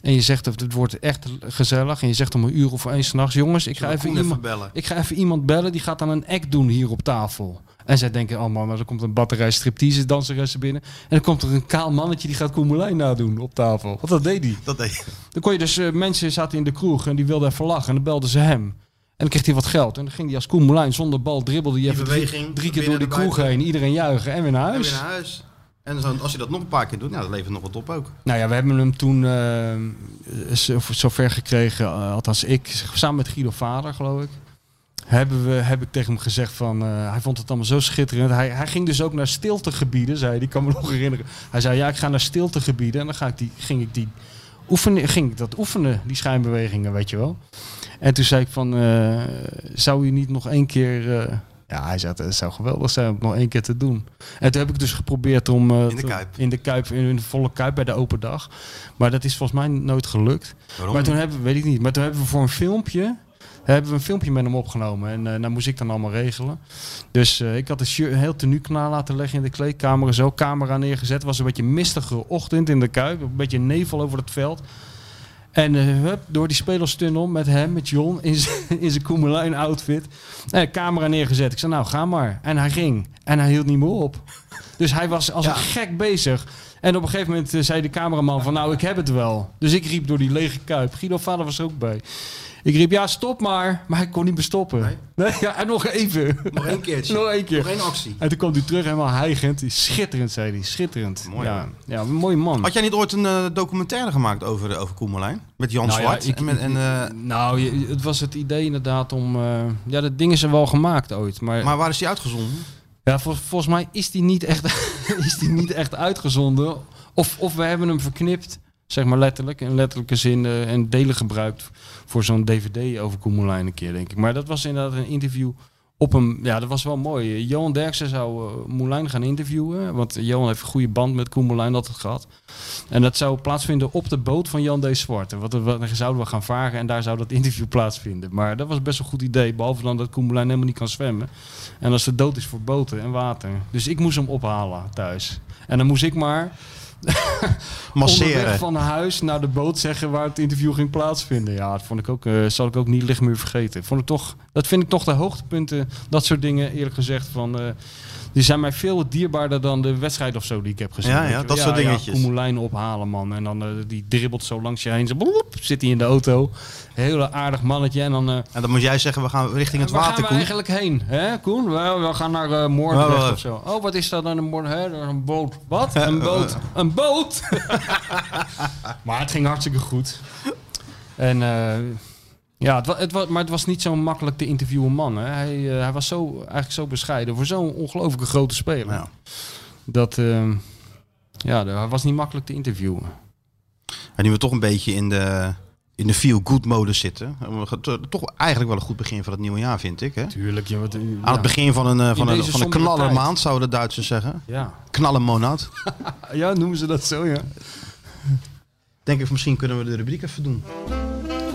[SPEAKER 3] En je zegt, het wordt echt gezellig. En je zegt om een uur of één s'nachts, jongens, ik ga
[SPEAKER 2] Zullen we
[SPEAKER 3] even
[SPEAKER 2] Koen even
[SPEAKER 3] iemand,
[SPEAKER 2] bellen?
[SPEAKER 3] ik ga even iemand bellen, die gaat dan een act doen hier op tafel. En zij denken, oh man, er komt een batterij striptease danseressen binnen. En dan komt er een kaal mannetje die gaat Koemelijn nadoen op tafel. Want dat deed hij.
[SPEAKER 2] Dat deed
[SPEAKER 3] Dan kon je dus, eh, mensen zaten in de kroeg en die wilden even lachen. En dan belden ze hem. En dan kreeg hij wat geld. En dan ging hij als Koen Moulijn zonder bal dribbelde. Die
[SPEAKER 2] Die
[SPEAKER 3] even drie,
[SPEAKER 2] beweging,
[SPEAKER 3] drie keer
[SPEAKER 2] binnen
[SPEAKER 3] door de
[SPEAKER 2] de
[SPEAKER 3] kroeg
[SPEAKER 2] buiten.
[SPEAKER 3] heen. Iedereen juichen en weer naar
[SPEAKER 2] En
[SPEAKER 3] huis.
[SPEAKER 2] weer naar huis. En zo, als je dat nog een paar keer doet, nou, dat levert nog wat op ook.
[SPEAKER 3] Nou ja, we hebben hem toen eh, zo- zover gekregen, eh, althans ik, samen met Guido Vader geloof ik. Hebben we, heb ik tegen hem gezegd van, eh, hij vond het allemaal zo schitterend. Hij, hij ging dus ook naar stiltegebieden, zei hij, die kan me nog herinneren. Hij zei, ja, ik ga naar stiltegebieden en dan ga ik die, ging, ik die oefenen, ging ik dat oefenen, die schijnbewegingen, weet je wel. En toen zei ik van, eh, zou je niet nog één keer... eh, ja, hij zei, het zou geweldig zijn om het nog één keer te doen. En toen heb ik dus geprobeerd om... eh,
[SPEAKER 2] In de Kuip.
[SPEAKER 3] In de Kuip, in de volle Kuip bij de open dag. Maar dat is volgens mij nooit gelukt.
[SPEAKER 2] Waarom?
[SPEAKER 3] Maar toen hebben we, weet ik niet, maar toen hebben we voor een filmpje, hebben we een filmpje met hem opgenomen. En eh nou moest ik dan allemaal regelen. Dus eh, ik had een, shirt, een heel tenue klaar laten leggen in de kleedkamer. en Zo camera neergezet. Het was een beetje mistige ochtend in de Kuip. Een beetje nevel over het veld. En eh, hup, door die spelerstunnel met hem, met John, in zijn- <laughs> in zijn Koemelijn outfit. Eh, camera neergezet. Ik zei, nou, ga maar. En hij ging. En hij hield niet meer op. Dus hij was als een gek bezig. En op een gegeven moment eh, zei de cameraman van, nou, ik heb het wel. Dus ik riep door die lege kuip. Guido vader was er ook bij. Ik riep, ja, stop maar. Maar hij kon niet meer stoppen. Nee.
[SPEAKER 2] Nee?
[SPEAKER 3] ja, en nog even.
[SPEAKER 2] Nog één
[SPEAKER 3] <laughs>
[SPEAKER 2] keertje.
[SPEAKER 3] Nog één keer.
[SPEAKER 2] Nog één actie.
[SPEAKER 3] En toen kwam hij terug helemaal hijgend. Schitterend, zei hij. Schitterend.
[SPEAKER 2] Mooi,
[SPEAKER 3] ja.
[SPEAKER 2] man.
[SPEAKER 3] ja, een mooie man.
[SPEAKER 2] Had jij niet ooit een eh, documentaire gemaakt over, eh, over Koemelijn? Met Jan
[SPEAKER 3] Nou ja,
[SPEAKER 2] Zwart?
[SPEAKER 3] ik-
[SPEAKER 2] en met, en, eh,
[SPEAKER 3] Nou, je- je- het was het idee inderdaad om... eh, ja, dat ding is er wel gemaakt ooit. Maar,
[SPEAKER 2] maar waar is die uitgezonden?
[SPEAKER 3] ja, vol- volgens mij is die niet echt, <laughs> is die niet echt uitgezonden. Of, of we hebben hem verknipt, zeg maar letterlijk. In letterlijke zin eh, en delen gebruikt voor zo'n dvd over Koemelijn een keer, denk ik. Maar dat was inderdaad een interview op een... Ja, dat was wel mooi. Eh, Johan Derksen zou eh, Moulijn gaan interviewen. Want Johan heeft een goede band met Koen Moulijn altijd gehad. En dat zou plaatsvinden op de boot van Jan D. Zwart. En wat, wat, dan zouden we gaan varen en daar zou dat <laughs> interview plaatsvinden. Maar dat was best een goed idee. Behalve dan dat Koemelijn helemaal niet kan zwemmen. En als ze dood is voor boten en water. Dus ik moest hem ophalen thuis. En dan moest ik maar onderweg
[SPEAKER 2] Masseren.
[SPEAKER 3] van huis naar de boot zeggen waar het interview ging plaatsvinden. Ja, dat vond ik ook, eh, zal ik ook niet licht meer vergeten. Vond ik toch, dat vind ik toch de hoogtepunten, dat soort dingen eerlijk gezegd. Van, eh, die zijn mij veel dierbaarder dan de wedstrijd of zo die ik heb gezien.
[SPEAKER 2] Ja,
[SPEAKER 3] weet
[SPEAKER 2] ja,
[SPEAKER 3] je wel.
[SPEAKER 2] dat soort dingetjes.
[SPEAKER 3] Ja, Koemelijn ophalen man. En dan eh, die dribbelt zo langs je heen. Zo, bloep, zit hij in de auto. Heel aardig mannetje. En dan... eh,
[SPEAKER 2] En dan moet jij zeggen, we gaan richting het
[SPEAKER 3] waar
[SPEAKER 2] water,
[SPEAKER 3] gaan we
[SPEAKER 2] Koen.
[SPEAKER 3] eigenlijk heen, hè, Koen? We, we gaan naar eh Moordrecht
[SPEAKER 2] Oh, eh.
[SPEAKER 3] of zo. Oh, wat is dat dan een Moordrecht? Hè, dat is Een boot. Wat? Een
[SPEAKER 2] eh.
[SPEAKER 3] boot. Een boot? <laughs> maar het ging hartstikke goed. En eh, ja, het, wa- het, wa- maar het was niet zo'n makkelijk te interviewen man. Hè. Hij, eh, hij was zo, eigenlijk zo bescheiden voor zo'n ongelooflijke grote speler.
[SPEAKER 2] Ja.
[SPEAKER 3] Dat, eh, ja, hij was niet makkelijk te interviewen.
[SPEAKER 2] En nu we toch een beetje in de, in de feel-good mode zitten. We gaan to- Toch eigenlijk wel een goed begin van het nieuwe jaar, vind ik. Hè?
[SPEAKER 3] Tuurlijk. Ja, wat,
[SPEAKER 2] Aan het begin van een, eh, van
[SPEAKER 3] In
[SPEAKER 2] een,
[SPEAKER 3] deze
[SPEAKER 2] van een
[SPEAKER 3] sombere
[SPEAKER 2] knaller
[SPEAKER 3] tijd.
[SPEAKER 2] maand, zouden de Duitsers zeggen.
[SPEAKER 3] Ja.
[SPEAKER 2] Knallen monat.
[SPEAKER 3] ja, noemen ze dat zo, ja.
[SPEAKER 2] Denk ik, misschien kunnen we de rubriek even doen.
[SPEAKER 3] Oh,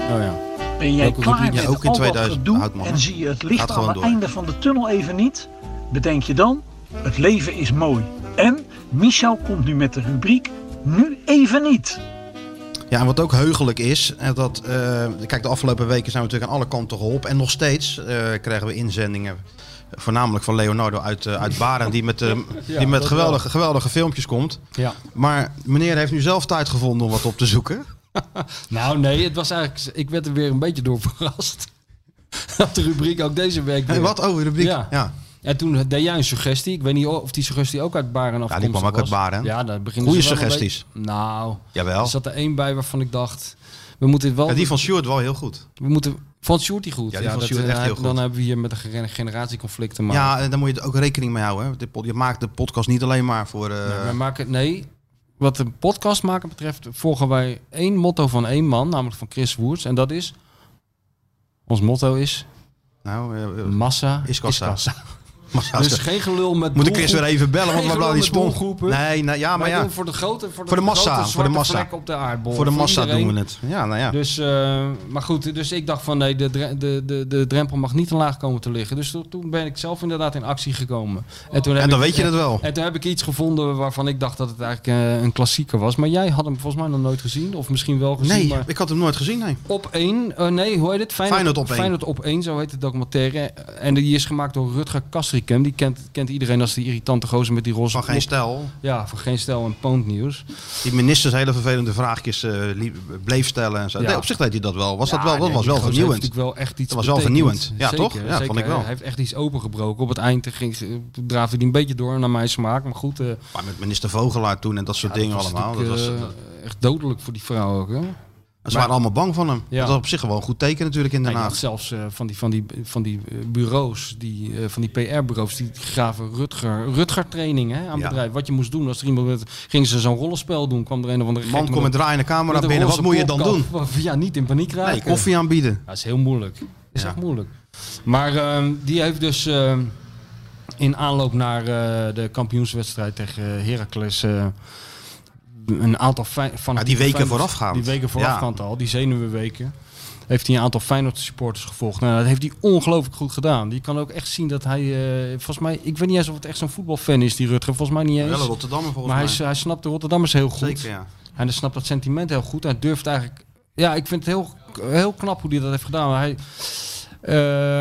[SPEAKER 3] ja.
[SPEAKER 4] Ben jij
[SPEAKER 3] Welke
[SPEAKER 4] klaar
[SPEAKER 3] rubriek?
[SPEAKER 4] met
[SPEAKER 2] Ja, ook in
[SPEAKER 4] al
[SPEAKER 2] 2000
[SPEAKER 4] dat gedoe
[SPEAKER 2] houdt me op.
[SPEAKER 4] en zie je het
[SPEAKER 2] Gaat
[SPEAKER 4] licht
[SPEAKER 2] gewoon
[SPEAKER 4] aan het
[SPEAKER 2] door.
[SPEAKER 4] einde van de tunnel even niet? Bedenk je dan, het leven is mooi. En Michel komt nu met de rubriek Nu Even Niet.
[SPEAKER 2] Ja, en wat ook heugelijk is, eh, dat, eh, kijk, de afgelopen weken zijn we natuurlijk aan alle kanten geholpen. En nog steeds eh, krijgen we inzendingen, eh, voornamelijk van Leonardo uit, eh, uit Baren, die
[SPEAKER 3] <laughs>
[SPEAKER 2] met, eh, die met
[SPEAKER 3] dat
[SPEAKER 2] geweldige, geweldige filmpjes komt.
[SPEAKER 3] ja.
[SPEAKER 2] Maar meneer heeft nu zelf tijd gevonden om wat op te zoeken.
[SPEAKER 3] Nou nee, het was eigenlijk, ik werd er weer een beetje door <laughs> verrast. Op de rubriek ook deze week weer.
[SPEAKER 2] Hey, wat? Oh, de rubriek.
[SPEAKER 3] <laughs> Ja.
[SPEAKER 2] Ja.
[SPEAKER 3] En toen deed jij een suggestie. Ik weet niet of die suggestie ook uit Baren afkomstig
[SPEAKER 2] kwam ook
[SPEAKER 3] was.
[SPEAKER 2] uit Baren.
[SPEAKER 3] Ja, daar beginnen
[SPEAKER 2] Goeie
[SPEAKER 3] ze wel een
[SPEAKER 2] suggesties.
[SPEAKER 3] beetje- Nou,
[SPEAKER 2] Jawel.
[SPEAKER 3] er zat er één bij waarvan ik dacht, we moeten het wel...
[SPEAKER 2] Ja, die van Stuart wel heel goed.
[SPEAKER 3] we moeten, van Sjoerd die goed.
[SPEAKER 2] Ja, die van
[SPEAKER 3] dat-
[SPEAKER 2] Sjoerd
[SPEAKER 3] eh,
[SPEAKER 2] echt heel goed.
[SPEAKER 3] Dan hebben we hier met een gener- generatieconflict te maken.
[SPEAKER 2] Ja, en daar moet je ook rekening mee houden. Hè. De pod- Je maakt de podcast niet alleen maar voor... eh,
[SPEAKER 3] Nee, wij maken, nee, wat de podcast maken betreft volgen wij één motto van één man, namelijk van Chris Woerts. En dat is, ons motto is
[SPEAKER 2] nou, eh, eh,
[SPEAKER 3] massa
[SPEAKER 2] <laughs> Is
[SPEAKER 3] is
[SPEAKER 2] kassa.
[SPEAKER 3] kassa.
[SPEAKER 2] als
[SPEAKER 3] Dus
[SPEAKER 2] de-
[SPEAKER 3] geen gelul met
[SPEAKER 2] Moet ik Chris weer even bellen, want we
[SPEAKER 3] blijven
[SPEAKER 2] blijven die spon.
[SPEAKER 3] Nee,
[SPEAKER 2] Nee, nou, ja, maar ja.
[SPEAKER 3] voor de grote, voor de,
[SPEAKER 2] Voor de massa,
[SPEAKER 3] grote
[SPEAKER 2] voor de
[SPEAKER 3] zwarte
[SPEAKER 2] massa.
[SPEAKER 3] plek op de aardbol.
[SPEAKER 2] Voor de massa
[SPEAKER 3] iedereen.
[SPEAKER 2] doen we het. Ja, nou ja.
[SPEAKER 3] Dus, eh, maar goed, dus ik dacht van nee, de, dre- de, de, de drempel mag niet te laag komen te liggen. Dus toen- toen ben ik zelf inderdaad in actie gekomen. En, toen heb
[SPEAKER 2] En dan
[SPEAKER 3] ik-
[SPEAKER 2] weet je het wel.
[SPEAKER 3] En toen heb ik iets gevonden waarvan ik dacht dat het eigenlijk eh, een klassieker was. Maar jij had hem volgens mij nog nooit gezien. Of misschien wel gezien.
[SPEAKER 2] Nee,
[SPEAKER 3] maar
[SPEAKER 2] ik had hem nooit gezien, nee.
[SPEAKER 3] op één. eh, nee, hoe heet het?
[SPEAKER 2] Feyenoord op één.
[SPEAKER 3] Feyenoord op één, zo heet het documentaire. En die is gemaakt door Rutger Kastrikum. Die kent, kent iedereen als die irritante gozer met die roze...
[SPEAKER 2] Van geen
[SPEAKER 3] kop.
[SPEAKER 2] stijl.
[SPEAKER 3] Ja, van geen stijl en poont nieuws.
[SPEAKER 2] Die ministers hele vervelende vraagjes eh, liep- bleef stellen en zo.
[SPEAKER 3] Ja.
[SPEAKER 2] Nee, op zich deed hij dat wel. Was dat wel, dat
[SPEAKER 3] nee,
[SPEAKER 2] was
[SPEAKER 3] die
[SPEAKER 2] wel
[SPEAKER 3] gozer
[SPEAKER 2] vernieuwend.
[SPEAKER 3] heeft natuurlijk wel echt iets
[SPEAKER 2] Dat was wel
[SPEAKER 3] betekend.
[SPEAKER 2] vernieuwend. Ja,
[SPEAKER 3] Zeker,
[SPEAKER 2] toch? Ja,
[SPEAKER 3] zeker.
[SPEAKER 2] vond ik wel.
[SPEAKER 3] Hij heeft echt iets opengebroken. Op het eind ging, draafde hij een beetje door naar mijn smaak. Maar goed, eh,
[SPEAKER 2] Maar met minister Vogelaar toen en dat soort
[SPEAKER 3] ja,
[SPEAKER 2] dingen
[SPEAKER 3] dat was
[SPEAKER 2] allemaal. Dat
[SPEAKER 3] natuurlijk,
[SPEAKER 2] was,
[SPEAKER 3] eh,
[SPEAKER 2] dat-
[SPEAKER 3] echt dodelijk voor die vrouw ook. Hè?
[SPEAKER 2] ze waren allemaal bang van hem.
[SPEAKER 3] Ja.
[SPEAKER 2] Dat was op zich gewoon een goed teken natuurlijk in Den
[SPEAKER 3] Hij had
[SPEAKER 2] Haag.
[SPEAKER 3] zelfs eh, van, die, van, die, van die eh, bureaus, die, eh, van die PR-bureaus, die gaven Rutger, Rutger training hè, aan het
[SPEAKER 2] Ja.
[SPEAKER 3] bedrijf. Wat je moest doen als er iemand werd, gingen ze zo'n rollenspel doen. Kwam er een of andere
[SPEAKER 2] Man
[SPEAKER 3] gek
[SPEAKER 2] komt met
[SPEAKER 3] een-
[SPEAKER 2] draaiende camera
[SPEAKER 3] met een
[SPEAKER 2] binnen. Wat
[SPEAKER 3] roze
[SPEAKER 2] moet je dan doen?
[SPEAKER 3] kopkap. <laughs> Ja, niet in paniek raken.
[SPEAKER 2] Nee, koffie aanbieden.
[SPEAKER 3] Ja, is heel moeilijk. Is
[SPEAKER 2] Ja.
[SPEAKER 3] echt moeilijk. Maar ehm, die heeft dus ehm, in aanloop naar eh, de kampioenswedstrijd tegen eh, Heracles eh, een aantal fijn- van
[SPEAKER 2] Ja, die weken voorafgaand.
[SPEAKER 3] Die weken voorafgaand al, die zenuwenweken. Heeft hij een aantal Feyenoord supporters gevolgd. Nou, dat heeft hij ongelooflijk goed gedaan. Je kan ook echt zien dat hij, eh, volgens mij, ik weet niet eens of het echt zo'n voetbalfan is, die Rutger. Volgens mij niet
[SPEAKER 2] Wel
[SPEAKER 3] eens.
[SPEAKER 2] een Rotterdammer volgens
[SPEAKER 3] maar hij,
[SPEAKER 2] mij.
[SPEAKER 3] is- hij snapt de Rotterdammers heel goed.
[SPEAKER 2] Zeker, ja.
[SPEAKER 3] En hij snapt dat sentiment heel goed. Hij durft eigenlijk. Ja, ik vind het heel, heel knap hoe hij dat heeft gedaan. Hij, eh,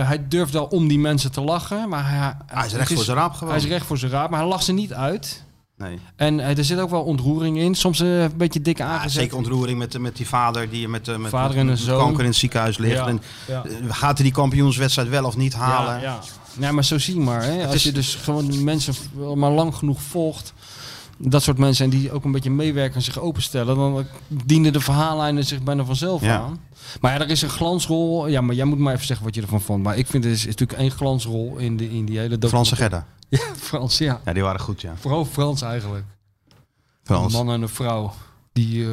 [SPEAKER 3] hij durft wel om die mensen te lachen. Maar hij,
[SPEAKER 2] Hij is
[SPEAKER 3] het
[SPEAKER 2] recht voor zijn raap gewoon.
[SPEAKER 3] Hij is recht voor zijn raap, maar hij lacht ze niet uit.
[SPEAKER 2] Nee.
[SPEAKER 3] En eh, er zit ook wel ontroering in. Soms eh, een beetje dikke
[SPEAKER 2] Ja,
[SPEAKER 3] aangezet.
[SPEAKER 2] zeker ontroering met, met die vader die met, eh, met,
[SPEAKER 3] Vader en
[SPEAKER 2] met
[SPEAKER 3] een zoon.
[SPEAKER 2] kanker in het ziekenhuis ligt.
[SPEAKER 3] Ja,
[SPEAKER 2] En,
[SPEAKER 3] ja.
[SPEAKER 2] eh, Gaat hij die kampioenswedstrijd wel of niet halen?
[SPEAKER 3] Ja, ja. Nee, maar zo zie je maar. Hè. Als
[SPEAKER 2] is-
[SPEAKER 3] je dus gewoon die mensen v- maar lang genoeg volgt. Dat soort mensen en die ook een beetje meewerken en zich openstellen, dan dienen de verhaallijnen zich bijna vanzelf
[SPEAKER 2] Ja.
[SPEAKER 3] aan. Maar ja, er is een glansrol. Ja, maar jij moet maar even zeggen wat je ervan vond. Maar ik vind er is, is natuurlijk één glansrol in, de, in die hele
[SPEAKER 2] Franse
[SPEAKER 3] documentaire.
[SPEAKER 2] Gerda.
[SPEAKER 3] <laughs> Frans, ja.
[SPEAKER 2] Ja, die waren goed, ja.
[SPEAKER 3] Vooral Frans eigenlijk.
[SPEAKER 2] Frans.
[SPEAKER 3] Een man en een vrouw. Die eh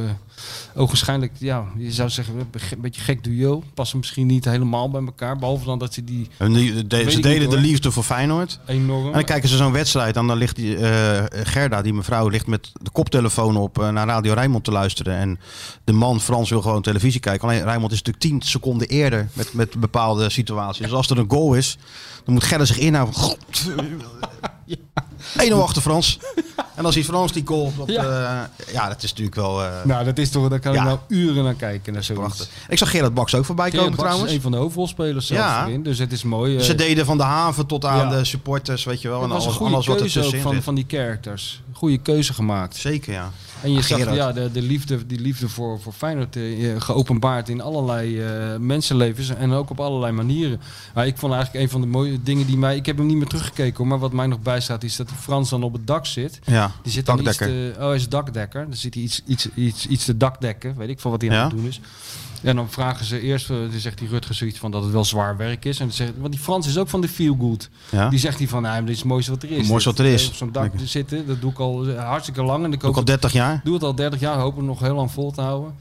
[SPEAKER 3] ogenschijnlijk, ja, je zou zeggen, een ge- beetje gek duo. Passen misschien niet helemaal bij elkaar. Behalve dan dat ze die
[SPEAKER 2] En die- de-
[SPEAKER 3] ik
[SPEAKER 2] ze
[SPEAKER 3] niet,
[SPEAKER 2] delen de
[SPEAKER 3] hoor.
[SPEAKER 2] liefde voor Feyenoord.
[SPEAKER 3] enorm...
[SPEAKER 2] En dan kijken ze zo'n wedstrijd en dan ligt die, eh, Gerda, die mevrouw, ligt met de koptelefoon op eh, naar Radio Rijnmond te luisteren. En de man, Frans, wil gewoon televisie kijken. Alleen Rijnmond is natuurlijk tien seconden eerder met, met bepaalde situaties. Dus als er een goal is, dan moet Gerda zich inhouden.
[SPEAKER 3] <laughs>
[SPEAKER 2] God. 1-0 achter Frans. En dan ziet Frans die goal. Dat, eh, ja. dat is natuurlijk wel eh,
[SPEAKER 3] Nou, dat is toch, daar kan
[SPEAKER 2] Ja.
[SPEAKER 3] ik nou uren naar kijken. Naar zoiets.
[SPEAKER 2] prachtig. Ik zag Gerard Baks ook voorbij
[SPEAKER 3] Gerard
[SPEAKER 2] komen
[SPEAKER 3] Baks
[SPEAKER 2] trouwens.
[SPEAKER 3] is een van de hoofdrolspelers zelfs
[SPEAKER 2] Ja.
[SPEAKER 3] erin, dus het is mooi. eh.
[SPEAKER 2] Ze deden van de haven tot aan
[SPEAKER 3] Ja.
[SPEAKER 2] de supporters, weet je wel.
[SPEAKER 3] het
[SPEAKER 2] En
[SPEAKER 3] was een
[SPEAKER 2] alles,
[SPEAKER 3] goede
[SPEAKER 2] alles wat er
[SPEAKER 3] keuze ook
[SPEAKER 2] tussenin
[SPEAKER 3] van,
[SPEAKER 2] zit.
[SPEAKER 3] van die characters. Goede keuze gemaakt.
[SPEAKER 2] Zeker, ja.
[SPEAKER 3] En je zag
[SPEAKER 2] Gerard.
[SPEAKER 3] ja, de, de liefde, die liefde voor, voor Feyenoord eh, geopenbaard in allerlei eh, mensenlevens en ook op allerlei manieren. Maar ik vond eigenlijk een van de mooie dingen die mij... Ik heb hem niet meer teruggekeken, hoor, maar wat mij nog bijstaat is dat die Frans dan op het dak zit.
[SPEAKER 2] Ja,
[SPEAKER 3] Die zit dan iets
[SPEAKER 2] dakdekker.
[SPEAKER 3] te, oh, hij is dakdekker. Dan zit hij iets, iets, iets, iets te dakdekken. Weet ik van wat hij
[SPEAKER 2] Ja.
[SPEAKER 3] aan het doen is. En dan vragen ze eerst, eh, dan zegt die Rutger zoiets van dat het wel zwaar werk is. En dan zegt, want die Frans is ook van de feel good.
[SPEAKER 2] Ja.
[SPEAKER 3] Die zegt hij van, nou, dit is het mooiste wat er is.
[SPEAKER 2] Het mooiste
[SPEAKER 3] Dit,
[SPEAKER 2] wat er
[SPEAKER 3] eh,
[SPEAKER 2] is.
[SPEAKER 3] Op zo'n dak
[SPEAKER 2] Lekker.
[SPEAKER 3] zitten, dat doe ik al eh, hartstikke lang. En ik
[SPEAKER 2] Ook
[SPEAKER 3] hoop
[SPEAKER 2] al 30 jaar.
[SPEAKER 3] doe het al 30 jaar, hoop het nog heel lang vol te houden.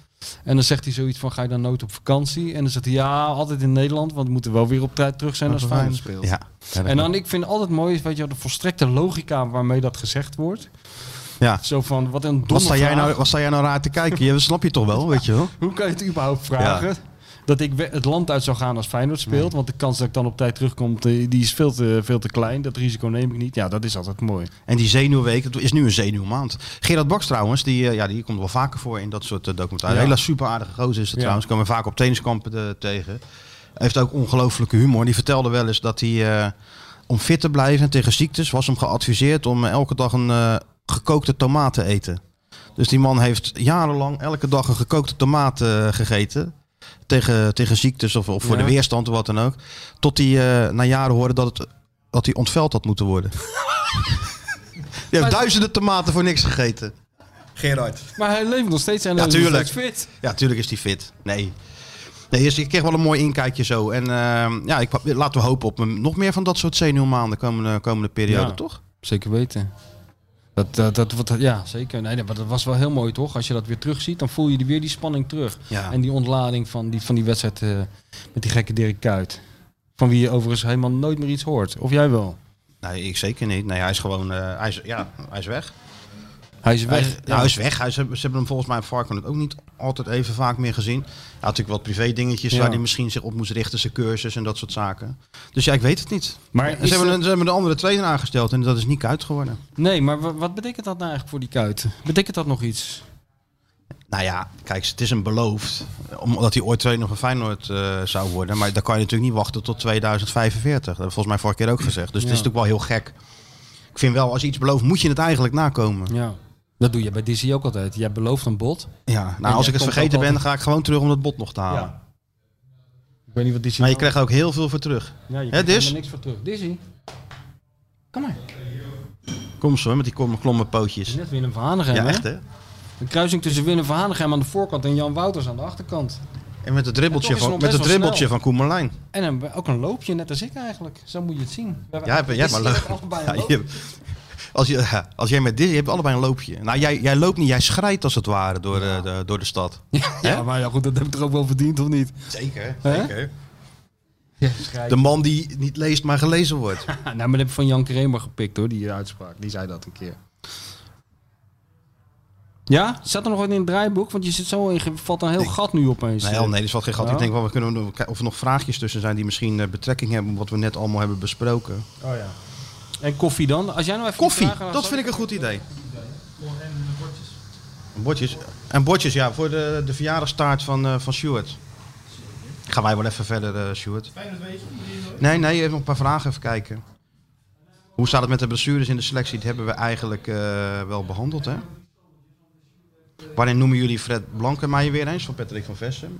[SPEAKER 3] En dan zegt hij zoiets van, ga je dan nooit op vakantie? En dan zegt hij, ja, altijd in Nederland, want we moeten wel weer op tijd terug zijn als Feyenoord speelt.
[SPEAKER 2] Ja.
[SPEAKER 3] En dan, ik vind altijd mooi, weet je, wel, de volstrekte logica waarmee dat gezegd wordt.
[SPEAKER 2] ja.
[SPEAKER 3] Zo van, wat een domme
[SPEAKER 2] Wat sta, jij
[SPEAKER 3] vraag.
[SPEAKER 2] nou, wat sta jij nou raar te kijken? Je snap je toch wel, weet je wel?
[SPEAKER 3] Hoe kan je het überhaupt vragen? Dat ik we- het land uit zou gaan als Feyenoord speelt. Want de kans dat ik dan op tijd terugkom, eh, die is veel te, veel te klein. Dat risico neem ik niet. Ja, dat is altijd mooi.
[SPEAKER 2] En die zenuwweek, het is nu een zenuwmaand. Gerard Baks trouwens, die, eh, ja, die komt wel vaker voor in dat soort eh, documentaires.
[SPEAKER 3] Ja.
[SPEAKER 2] Hele super aardige gozer is het
[SPEAKER 3] Ja.
[SPEAKER 2] trouwens. Komen we vaak op tenniskampen eh, tegen. Hij heeft ook ongelooflijke humor. Die vertelde wel eens dat hij, eh, om fit te blijven tegen ziektes, was hem geadviseerd om eh, elke dag een eh, gekookte tomaat te eten. Dus die man heeft jarenlang elke dag een gekookte tomaat eh, gegeten. Tegen, tegen ziektes of, of voor
[SPEAKER 3] Ja.
[SPEAKER 2] de weerstand of wat dan ook. Tot hij eh, na jaren hoorde dat, het, dat hij ontveld had moeten worden. <laughs> Je hebt duizenden tomaten voor niks gegeten. Gerard.
[SPEAKER 3] Maar hij leeft nog steeds en
[SPEAKER 2] Ja,
[SPEAKER 3] hij is nog
[SPEAKER 2] tuurlijk.
[SPEAKER 3] steeds fit.
[SPEAKER 2] Ja, tuurlijk is die fit. Nee. Nee, dus ik kreeg wel een mooi inkijkje zo. En ehm, ja, ik, laten we hopen op een- nog meer van dat soort zenuwmaanden komende, komende periode,
[SPEAKER 3] Ja.
[SPEAKER 2] toch?
[SPEAKER 3] Zeker weten. Dat, dat, dat, wat- ja, zeker. Nee, maar dat was wel heel mooi, toch? Als je dat weer terugziet, dan voel je die- weer die spanning terug.
[SPEAKER 2] Ja.
[SPEAKER 3] En die ontlading van die, van die wedstrijd eh, met die gekke Dirk Kuyt. Van wie je overigens helemaal nooit meer iets hoort. Of jij wel?
[SPEAKER 2] Nee, ik zeker niet. Nee, hij is gewoon, eh, hij, is, ja, hij is weg.
[SPEAKER 3] Hij is
[SPEAKER 2] Hij,
[SPEAKER 3] weg.
[SPEAKER 2] nou, hij is weg. Hij is- ze hebben hem volgens mij in Varkenoord ook niet altijd even vaak meer gezien. Hij had natuurlijk wat privé dingetjes
[SPEAKER 3] Ja.
[SPEAKER 2] waar hij misschien zich op moest richten, zijn cursus en dat soort zaken. Dus ja, ik weet het niet.
[SPEAKER 3] Maar
[SPEAKER 2] En
[SPEAKER 3] is
[SPEAKER 2] ze, hebben,
[SPEAKER 3] er-
[SPEAKER 2] een- ze hebben een andere trainer aangesteld en dat is niet kuit geworden.
[SPEAKER 3] Nee, maar wa- wat betekent dat nou eigenlijk voor die kuiten? Betekent dat nog iets?
[SPEAKER 2] Nou ja, kijk, het is een beloofd. Omdat hij ooit trainer van Feyenoord eh, zou worden. Maar daar kan je natuurlijk niet wachten tot 2045. Dat hebben we volgens mij vorige keer ook gezegd. Dus
[SPEAKER 3] Ja.
[SPEAKER 2] het is natuurlijk wel heel gek. Ik vind wel, als je iets belooft, moet je het eigenlijk nakomen.
[SPEAKER 3] Ja. Dat doe je bij Dizzy ook altijd. Jij belooft een bod.
[SPEAKER 2] Ja,
[SPEAKER 3] En
[SPEAKER 2] nou als
[SPEAKER 3] jij
[SPEAKER 2] ik
[SPEAKER 3] komt
[SPEAKER 2] het vergeten
[SPEAKER 3] ook
[SPEAKER 2] ben,
[SPEAKER 3] altijd-
[SPEAKER 2] dan ga ik gewoon terug om dat bot nog te halen.
[SPEAKER 3] Ik weet niet wat Dizzy...
[SPEAKER 2] Maar je krijgt er ook heel veel voor terug.
[SPEAKER 3] ja, je
[SPEAKER 2] Hè, dus?
[SPEAKER 3] krijgt
[SPEAKER 2] Dis?
[SPEAKER 3] helemaal niks voor terug. Dizzy? Kom maar.
[SPEAKER 2] Kom zo, met die klom- klommenpootjes.
[SPEAKER 3] Net Willem van Hanegem,
[SPEAKER 2] Ja,
[SPEAKER 3] hè?
[SPEAKER 2] echt hè?
[SPEAKER 3] Een kruising tussen Willem van Hanegem aan de voorkant en Jan Wouters aan de achterkant.
[SPEAKER 2] En met het dribbeltje
[SPEAKER 3] En toch is
[SPEAKER 2] van,
[SPEAKER 3] het nog
[SPEAKER 2] met
[SPEAKER 3] best
[SPEAKER 2] het
[SPEAKER 3] wel
[SPEAKER 2] dribbeltje
[SPEAKER 3] snel.
[SPEAKER 2] van Koemerlijn.
[SPEAKER 3] En een- ook een loopje, net als ik eigenlijk. Zo moet je het zien.
[SPEAKER 2] Ja, heb- jij hebt maar
[SPEAKER 3] leuk.
[SPEAKER 2] loop. <laughs> Ja, je hebt- als, je, <laughs> ja, als jij met dit, je hebt allebei een loopje. Nou, jij, jij loopt niet, jij schrijdt als het ware door, de- de, door de stad.
[SPEAKER 3] Ja, maar ja, goed, dat heb ik er ook wel verdiend, of niet?
[SPEAKER 2] Zeker,
[SPEAKER 3] Hè?
[SPEAKER 2] zeker. De man die niet leest, maar gelezen wordt.
[SPEAKER 3] Ah, nou, maar dat heb ik van Jan Kremer gepikt, hoor, die uitspraak. Die zei dat een keer. Ja? Zat er nog wat in het draaiboek? Want je zit zo in, je valt een heel gat nu opeens.
[SPEAKER 2] <laughs>
[SPEAKER 3] eh.
[SPEAKER 2] Nee, oh nee, dat is wat geen gat.
[SPEAKER 3] Ja.
[SPEAKER 2] Ik denk wel, we kunnen nog kijken of er nog vraagjes tussen zijn die misschien eh, betrekking hebben op wat we net allemaal hebben besproken.
[SPEAKER 3] Oh ja. En koffie dan? Als jij nou even
[SPEAKER 2] Koffie,
[SPEAKER 3] vragen aan-
[SPEAKER 2] dat vind ik een goed idee. En bordjes. En bordjes, ja, voor de, de verjaardagstaart van, eh van Stuart. Gaan wij wel even verder, eh Stuart. Nee, nee, even nog een paar vragen even kijken. Hoe staat het met de blessures in de selectie? Die hebben we eigenlijk eh, wel behandeld, hè? Wanneer noemen jullie Fred Blankenmeijer weer eens van Patrick van Vessen?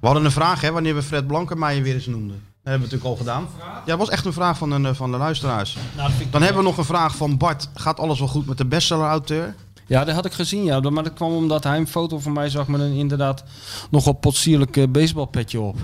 [SPEAKER 2] We hadden een vraag, hè, wanneer we Fred Blankenmeijer weer eens noemden. Dat hebben we natuurlijk al gedaan. Ja, dat was echt een vraag van, een, eh, van de luisteraars.
[SPEAKER 3] Nou, dat vind ik-
[SPEAKER 2] Dan hebben we nog een vraag van Bart. Gaat alles wel goed met de bestseller-auteur?
[SPEAKER 3] Ja, dat had ik gezien, ja. Maar dat kwam omdat hij een foto van mij zag met een inderdaad nogal potsierlijk eh, baseballpetje op.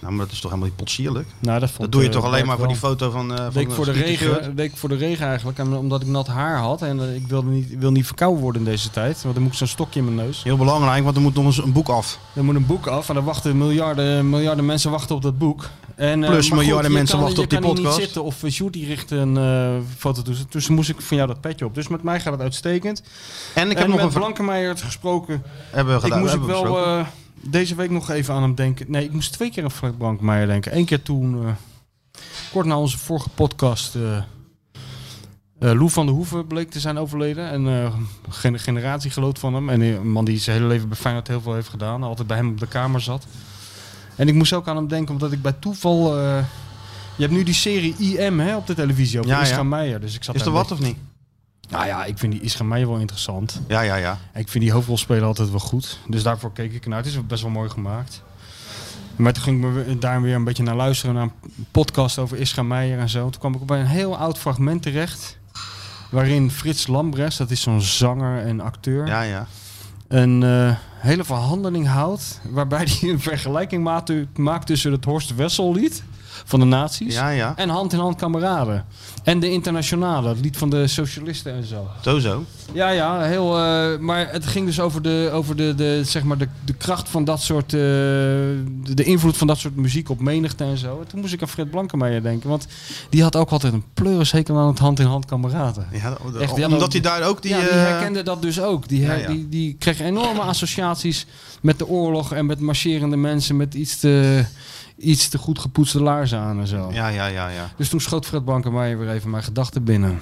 [SPEAKER 2] Nou, maar dat is toch helemaal niet potsierlijk?
[SPEAKER 3] Nou, dat, vond,
[SPEAKER 2] Dat doe je
[SPEAKER 3] eh,
[SPEAKER 2] toch
[SPEAKER 3] Bart
[SPEAKER 2] alleen maar voor
[SPEAKER 3] wel.
[SPEAKER 2] die foto van... eh, van
[SPEAKER 3] deed ik, voor de regen, deed ik voor de regen eigenlijk, en omdat ik nat haar had en eh, ik wilde niet, wil niet verkouden worden in deze tijd, want dan moet ik zo'n stokje in mijn neus.
[SPEAKER 2] Heel belangrijk, want er moet nog eens een boek af.
[SPEAKER 3] Er moet een boek af en dan wachten miljarden, miljarden mensen wachten op dat boek. En, eh,
[SPEAKER 2] Plus
[SPEAKER 3] maar
[SPEAKER 2] miljarden
[SPEAKER 3] je
[SPEAKER 2] mensen
[SPEAKER 3] kan-
[SPEAKER 2] wachten op die
[SPEAKER 3] Je kan hier
[SPEAKER 2] podcast.
[SPEAKER 3] niet zitten of eh, Sjoerd die richt een eh, foto toe. Dus moest ik van jou dat petje op. Dus met mij gaat het uitstekend.
[SPEAKER 2] En ik heb
[SPEAKER 3] en
[SPEAKER 2] nog
[SPEAKER 3] met
[SPEAKER 2] een vraag.
[SPEAKER 3] Blankenmeijer gesproken.
[SPEAKER 2] Hebben we
[SPEAKER 3] Ik
[SPEAKER 2] gedaan.
[SPEAKER 3] moest ook
[SPEAKER 2] hebben we
[SPEAKER 3] wel
[SPEAKER 2] besproken.
[SPEAKER 3] eh, deze week nog even aan hem denken. Nee, ik moest twee keer aan Frank Blankmeijer denken. Eén keer toen, eh, kort na onze vorige podcast, eh eh, Lou van der Hoeven bleek te zijn overleden. En eh, gen- generatiegenoot van hem. En eh, een man die zijn hele leven bij Feyenoord heel veel heeft gedaan. Altijd bij hem op de kamer zat. En ik moest ook aan hem denken, omdat ik bij toeval... eh, je hebt nu die serie IM hè, op de televisie over
[SPEAKER 2] Ja, ja.
[SPEAKER 3] Ischa Meijer. Dus ik zat
[SPEAKER 2] Is er
[SPEAKER 3] daar
[SPEAKER 2] wat
[SPEAKER 3] een
[SPEAKER 2] of niet?
[SPEAKER 3] beetje- Nou ja, ik vind die Ischa Meijer wel interessant.
[SPEAKER 2] Ja, ja, ja.
[SPEAKER 3] En Ik vind die hoofdrolspeler altijd wel goed. Dus daarvoor keek ik naar. Het is best wel mooi gemaakt. Maar toen ging ik me weer- daar weer een beetje naar luisteren. Naar een podcast over Ischa Meijer en zo. Toen kwam ik bij een heel oud fragment terecht. Waarin Frits Lambrechts, dat is zo'n zanger en acteur.
[SPEAKER 2] Ja, ja.
[SPEAKER 3] Een eh, hele verhandeling houdt. Waarbij <laughs> hij een vergelijking maakt, maakt tussen het Horst Wessel lied van de nazi's.
[SPEAKER 2] Ja, ja.
[SPEAKER 3] En Hand in Hand Kameraden. En de Internationale, het lied van de socialisten en zo.
[SPEAKER 2] Zo, zo.
[SPEAKER 3] Ja, ja, heel. eh, maar het ging dus over de, over de, de, zeg maar de, de kracht van dat soort. eh, de, de invloed van dat soort muziek op menigte en zo. En toen moest ik aan Fred Blankenmeijer denken. Want die had ook altijd een pleurishekel aan het hand-in-hand kameraden.
[SPEAKER 2] Ja, dat-
[SPEAKER 3] Echt, die
[SPEAKER 2] omdat
[SPEAKER 3] hadden-
[SPEAKER 2] hij daar ook die...
[SPEAKER 3] ja, die
[SPEAKER 2] eh,
[SPEAKER 3] herkende dat dus ook. Die, her-
[SPEAKER 2] Ja, ja.
[SPEAKER 3] Die, die kreeg enorme associaties met de oorlog en met marcherende mensen met iets te, iets te goed gepoetste laarzen aan en zo.
[SPEAKER 2] Ja, ja, ja, ja.
[SPEAKER 3] Dus toen schoot Fred Blankenmeijer weer even mijn gedachten binnen.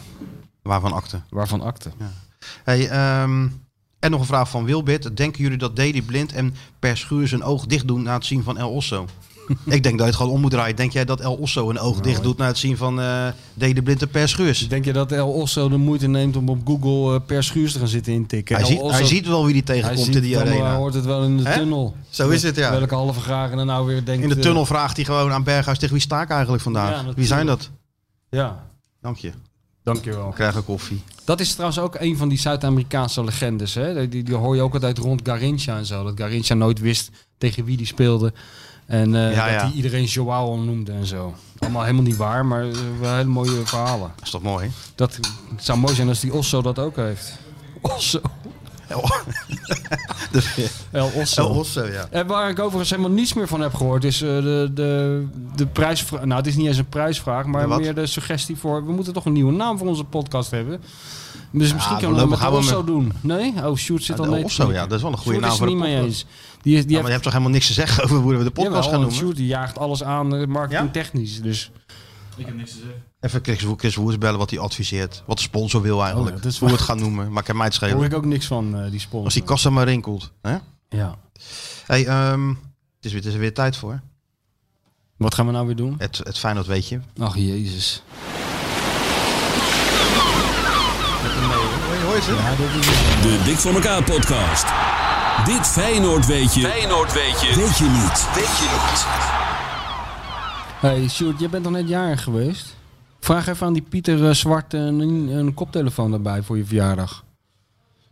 [SPEAKER 2] Waarvan akte.
[SPEAKER 3] Waarvan akte.
[SPEAKER 2] Hey, ehm, en nog een vraag van Wilbert. Denken jullie dat Deli blind en per schuur zijn oog dicht doen na het zien van El
[SPEAKER 3] <laughs>
[SPEAKER 2] Osso? ik denk dat je het gewoon om moet draaien. Denk jij dat El Osso een oog
[SPEAKER 3] Nou,
[SPEAKER 2] dicht doet na het zien van eh Deli blind en per schuurs?
[SPEAKER 3] Denk je dat El Osso de moeite neemt om op Google eh, per schuurs te gaan zitten intikken?
[SPEAKER 2] Hij,
[SPEAKER 3] El
[SPEAKER 2] ziet,
[SPEAKER 3] Osso-
[SPEAKER 2] hij ziet wel wie die
[SPEAKER 3] hij
[SPEAKER 2] tegenkomt
[SPEAKER 3] ziet eh,
[SPEAKER 2] in die
[SPEAKER 3] het allemaal, Hij
[SPEAKER 2] arena.
[SPEAKER 3] hoort het wel in de
[SPEAKER 2] Hè?
[SPEAKER 3] tunnel.
[SPEAKER 2] Zo is het, ja.
[SPEAKER 3] Welke halve graag en nou weer denkt...
[SPEAKER 2] In de
[SPEAKER 3] eh,
[SPEAKER 2] tunnel vraagt hij gewoon aan Berghuis tegen wie sta ik eigenlijk
[SPEAKER 3] Ja,
[SPEAKER 2] vandaag?
[SPEAKER 3] natuurlijk.
[SPEAKER 2] wie zijn dat?
[SPEAKER 3] ja,
[SPEAKER 2] Dank je.
[SPEAKER 3] dankjewel.
[SPEAKER 2] We krijgen koffie.
[SPEAKER 3] Dat is trouwens ook een van die Zuid-Amerikaanse legendes. Hè? Die, die hoor je ook altijd rond Garincha en zo. Dat Garincha nooit wist tegen wie die speelde. En eh,
[SPEAKER 2] Ja,
[SPEAKER 3] dat
[SPEAKER 2] ja.
[SPEAKER 3] hij iedereen Joao noemde en zo. Allemaal helemaal niet waar, maar eh, wel hele mooie verhalen. <laughs>
[SPEAKER 2] Dat is toch mooi?
[SPEAKER 3] Dat zou mooi zijn als die Osso dat ook heeft. Osso.
[SPEAKER 2] De-
[SPEAKER 3] El
[SPEAKER 2] El
[SPEAKER 3] Osso.
[SPEAKER 2] Osso, ja.
[SPEAKER 3] En Eh, waar ik overigens helemaal niets meer van heb gehoord is eh, de, de, de prijsvraag. Nou, het is niet eens een prijsvraag, maar
[SPEAKER 2] De wat?
[SPEAKER 3] meer de suggestie voor. We moeten toch een nieuwe naam voor onze podcast hebben. Dus misschien kunnen we dat
[SPEAKER 2] voorlopig
[SPEAKER 3] met El
[SPEAKER 2] houden we
[SPEAKER 3] Osso doen. Nee? Oh, Sjoerd zit al
[SPEAKER 2] El
[SPEAKER 3] nee. te
[SPEAKER 2] Osso,
[SPEAKER 3] knikken.
[SPEAKER 2] ja, dat is wel een goede
[SPEAKER 3] Sjoerd
[SPEAKER 2] naam
[SPEAKER 3] is
[SPEAKER 2] voor
[SPEAKER 3] er
[SPEAKER 2] de
[SPEAKER 3] niet mee
[SPEAKER 2] podcast.
[SPEAKER 3] eens. Die, is- die
[SPEAKER 2] Ja, maar je hebt toch helemaal niks te zeggen <laughs> over hoe we de podcast
[SPEAKER 3] Jawel,
[SPEAKER 2] gaan
[SPEAKER 3] want
[SPEAKER 2] noemen?
[SPEAKER 3] Sjoerd die jaagt alles aan eh, marketingtechnisch. Dus
[SPEAKER 2] Even Chris, Wo- Chris Woers bellen wat hij adviseert. Wat de sponsor wil eigenlijk.
[SPEAKER 3] Oh ja, dat is
[SPEAKER 2] hoe we het gaan noemen. Maar ik kan mij het
[SPEAKER 3] daar hoor
[SPEAKER 2] schelen.
[SPEAKER 3] ik ook niks van, eh, die sponsor.
[SPEAKER 2] Als die kassa maar rinkelt. Hè?
[SPEAKER 3] Ja.
[SPEAKER 2] Hey, ehm, het, is weer, het is er weer tijd voor.
[SPEAKER 3] Wat gaan we nou weer doen?
[SPEAKER 2] Het, het Feyenoord weet je.
[SPEAKER 3] Ach, jezus.
[SPEAKER 2] Hoor je het?
[SPEAKER 7] De Dik voor elkaar podcast. Dit Feyenoord weet je. Feyenoord weet je. Weet je niet. Weet je niet.
[SPEAKER 3] hey, Sjoerd, jij bent al net jarig geweest. Vraag even aan die Pieter eh, Zwart een, een koptelefoon erbij voor je verjaardag.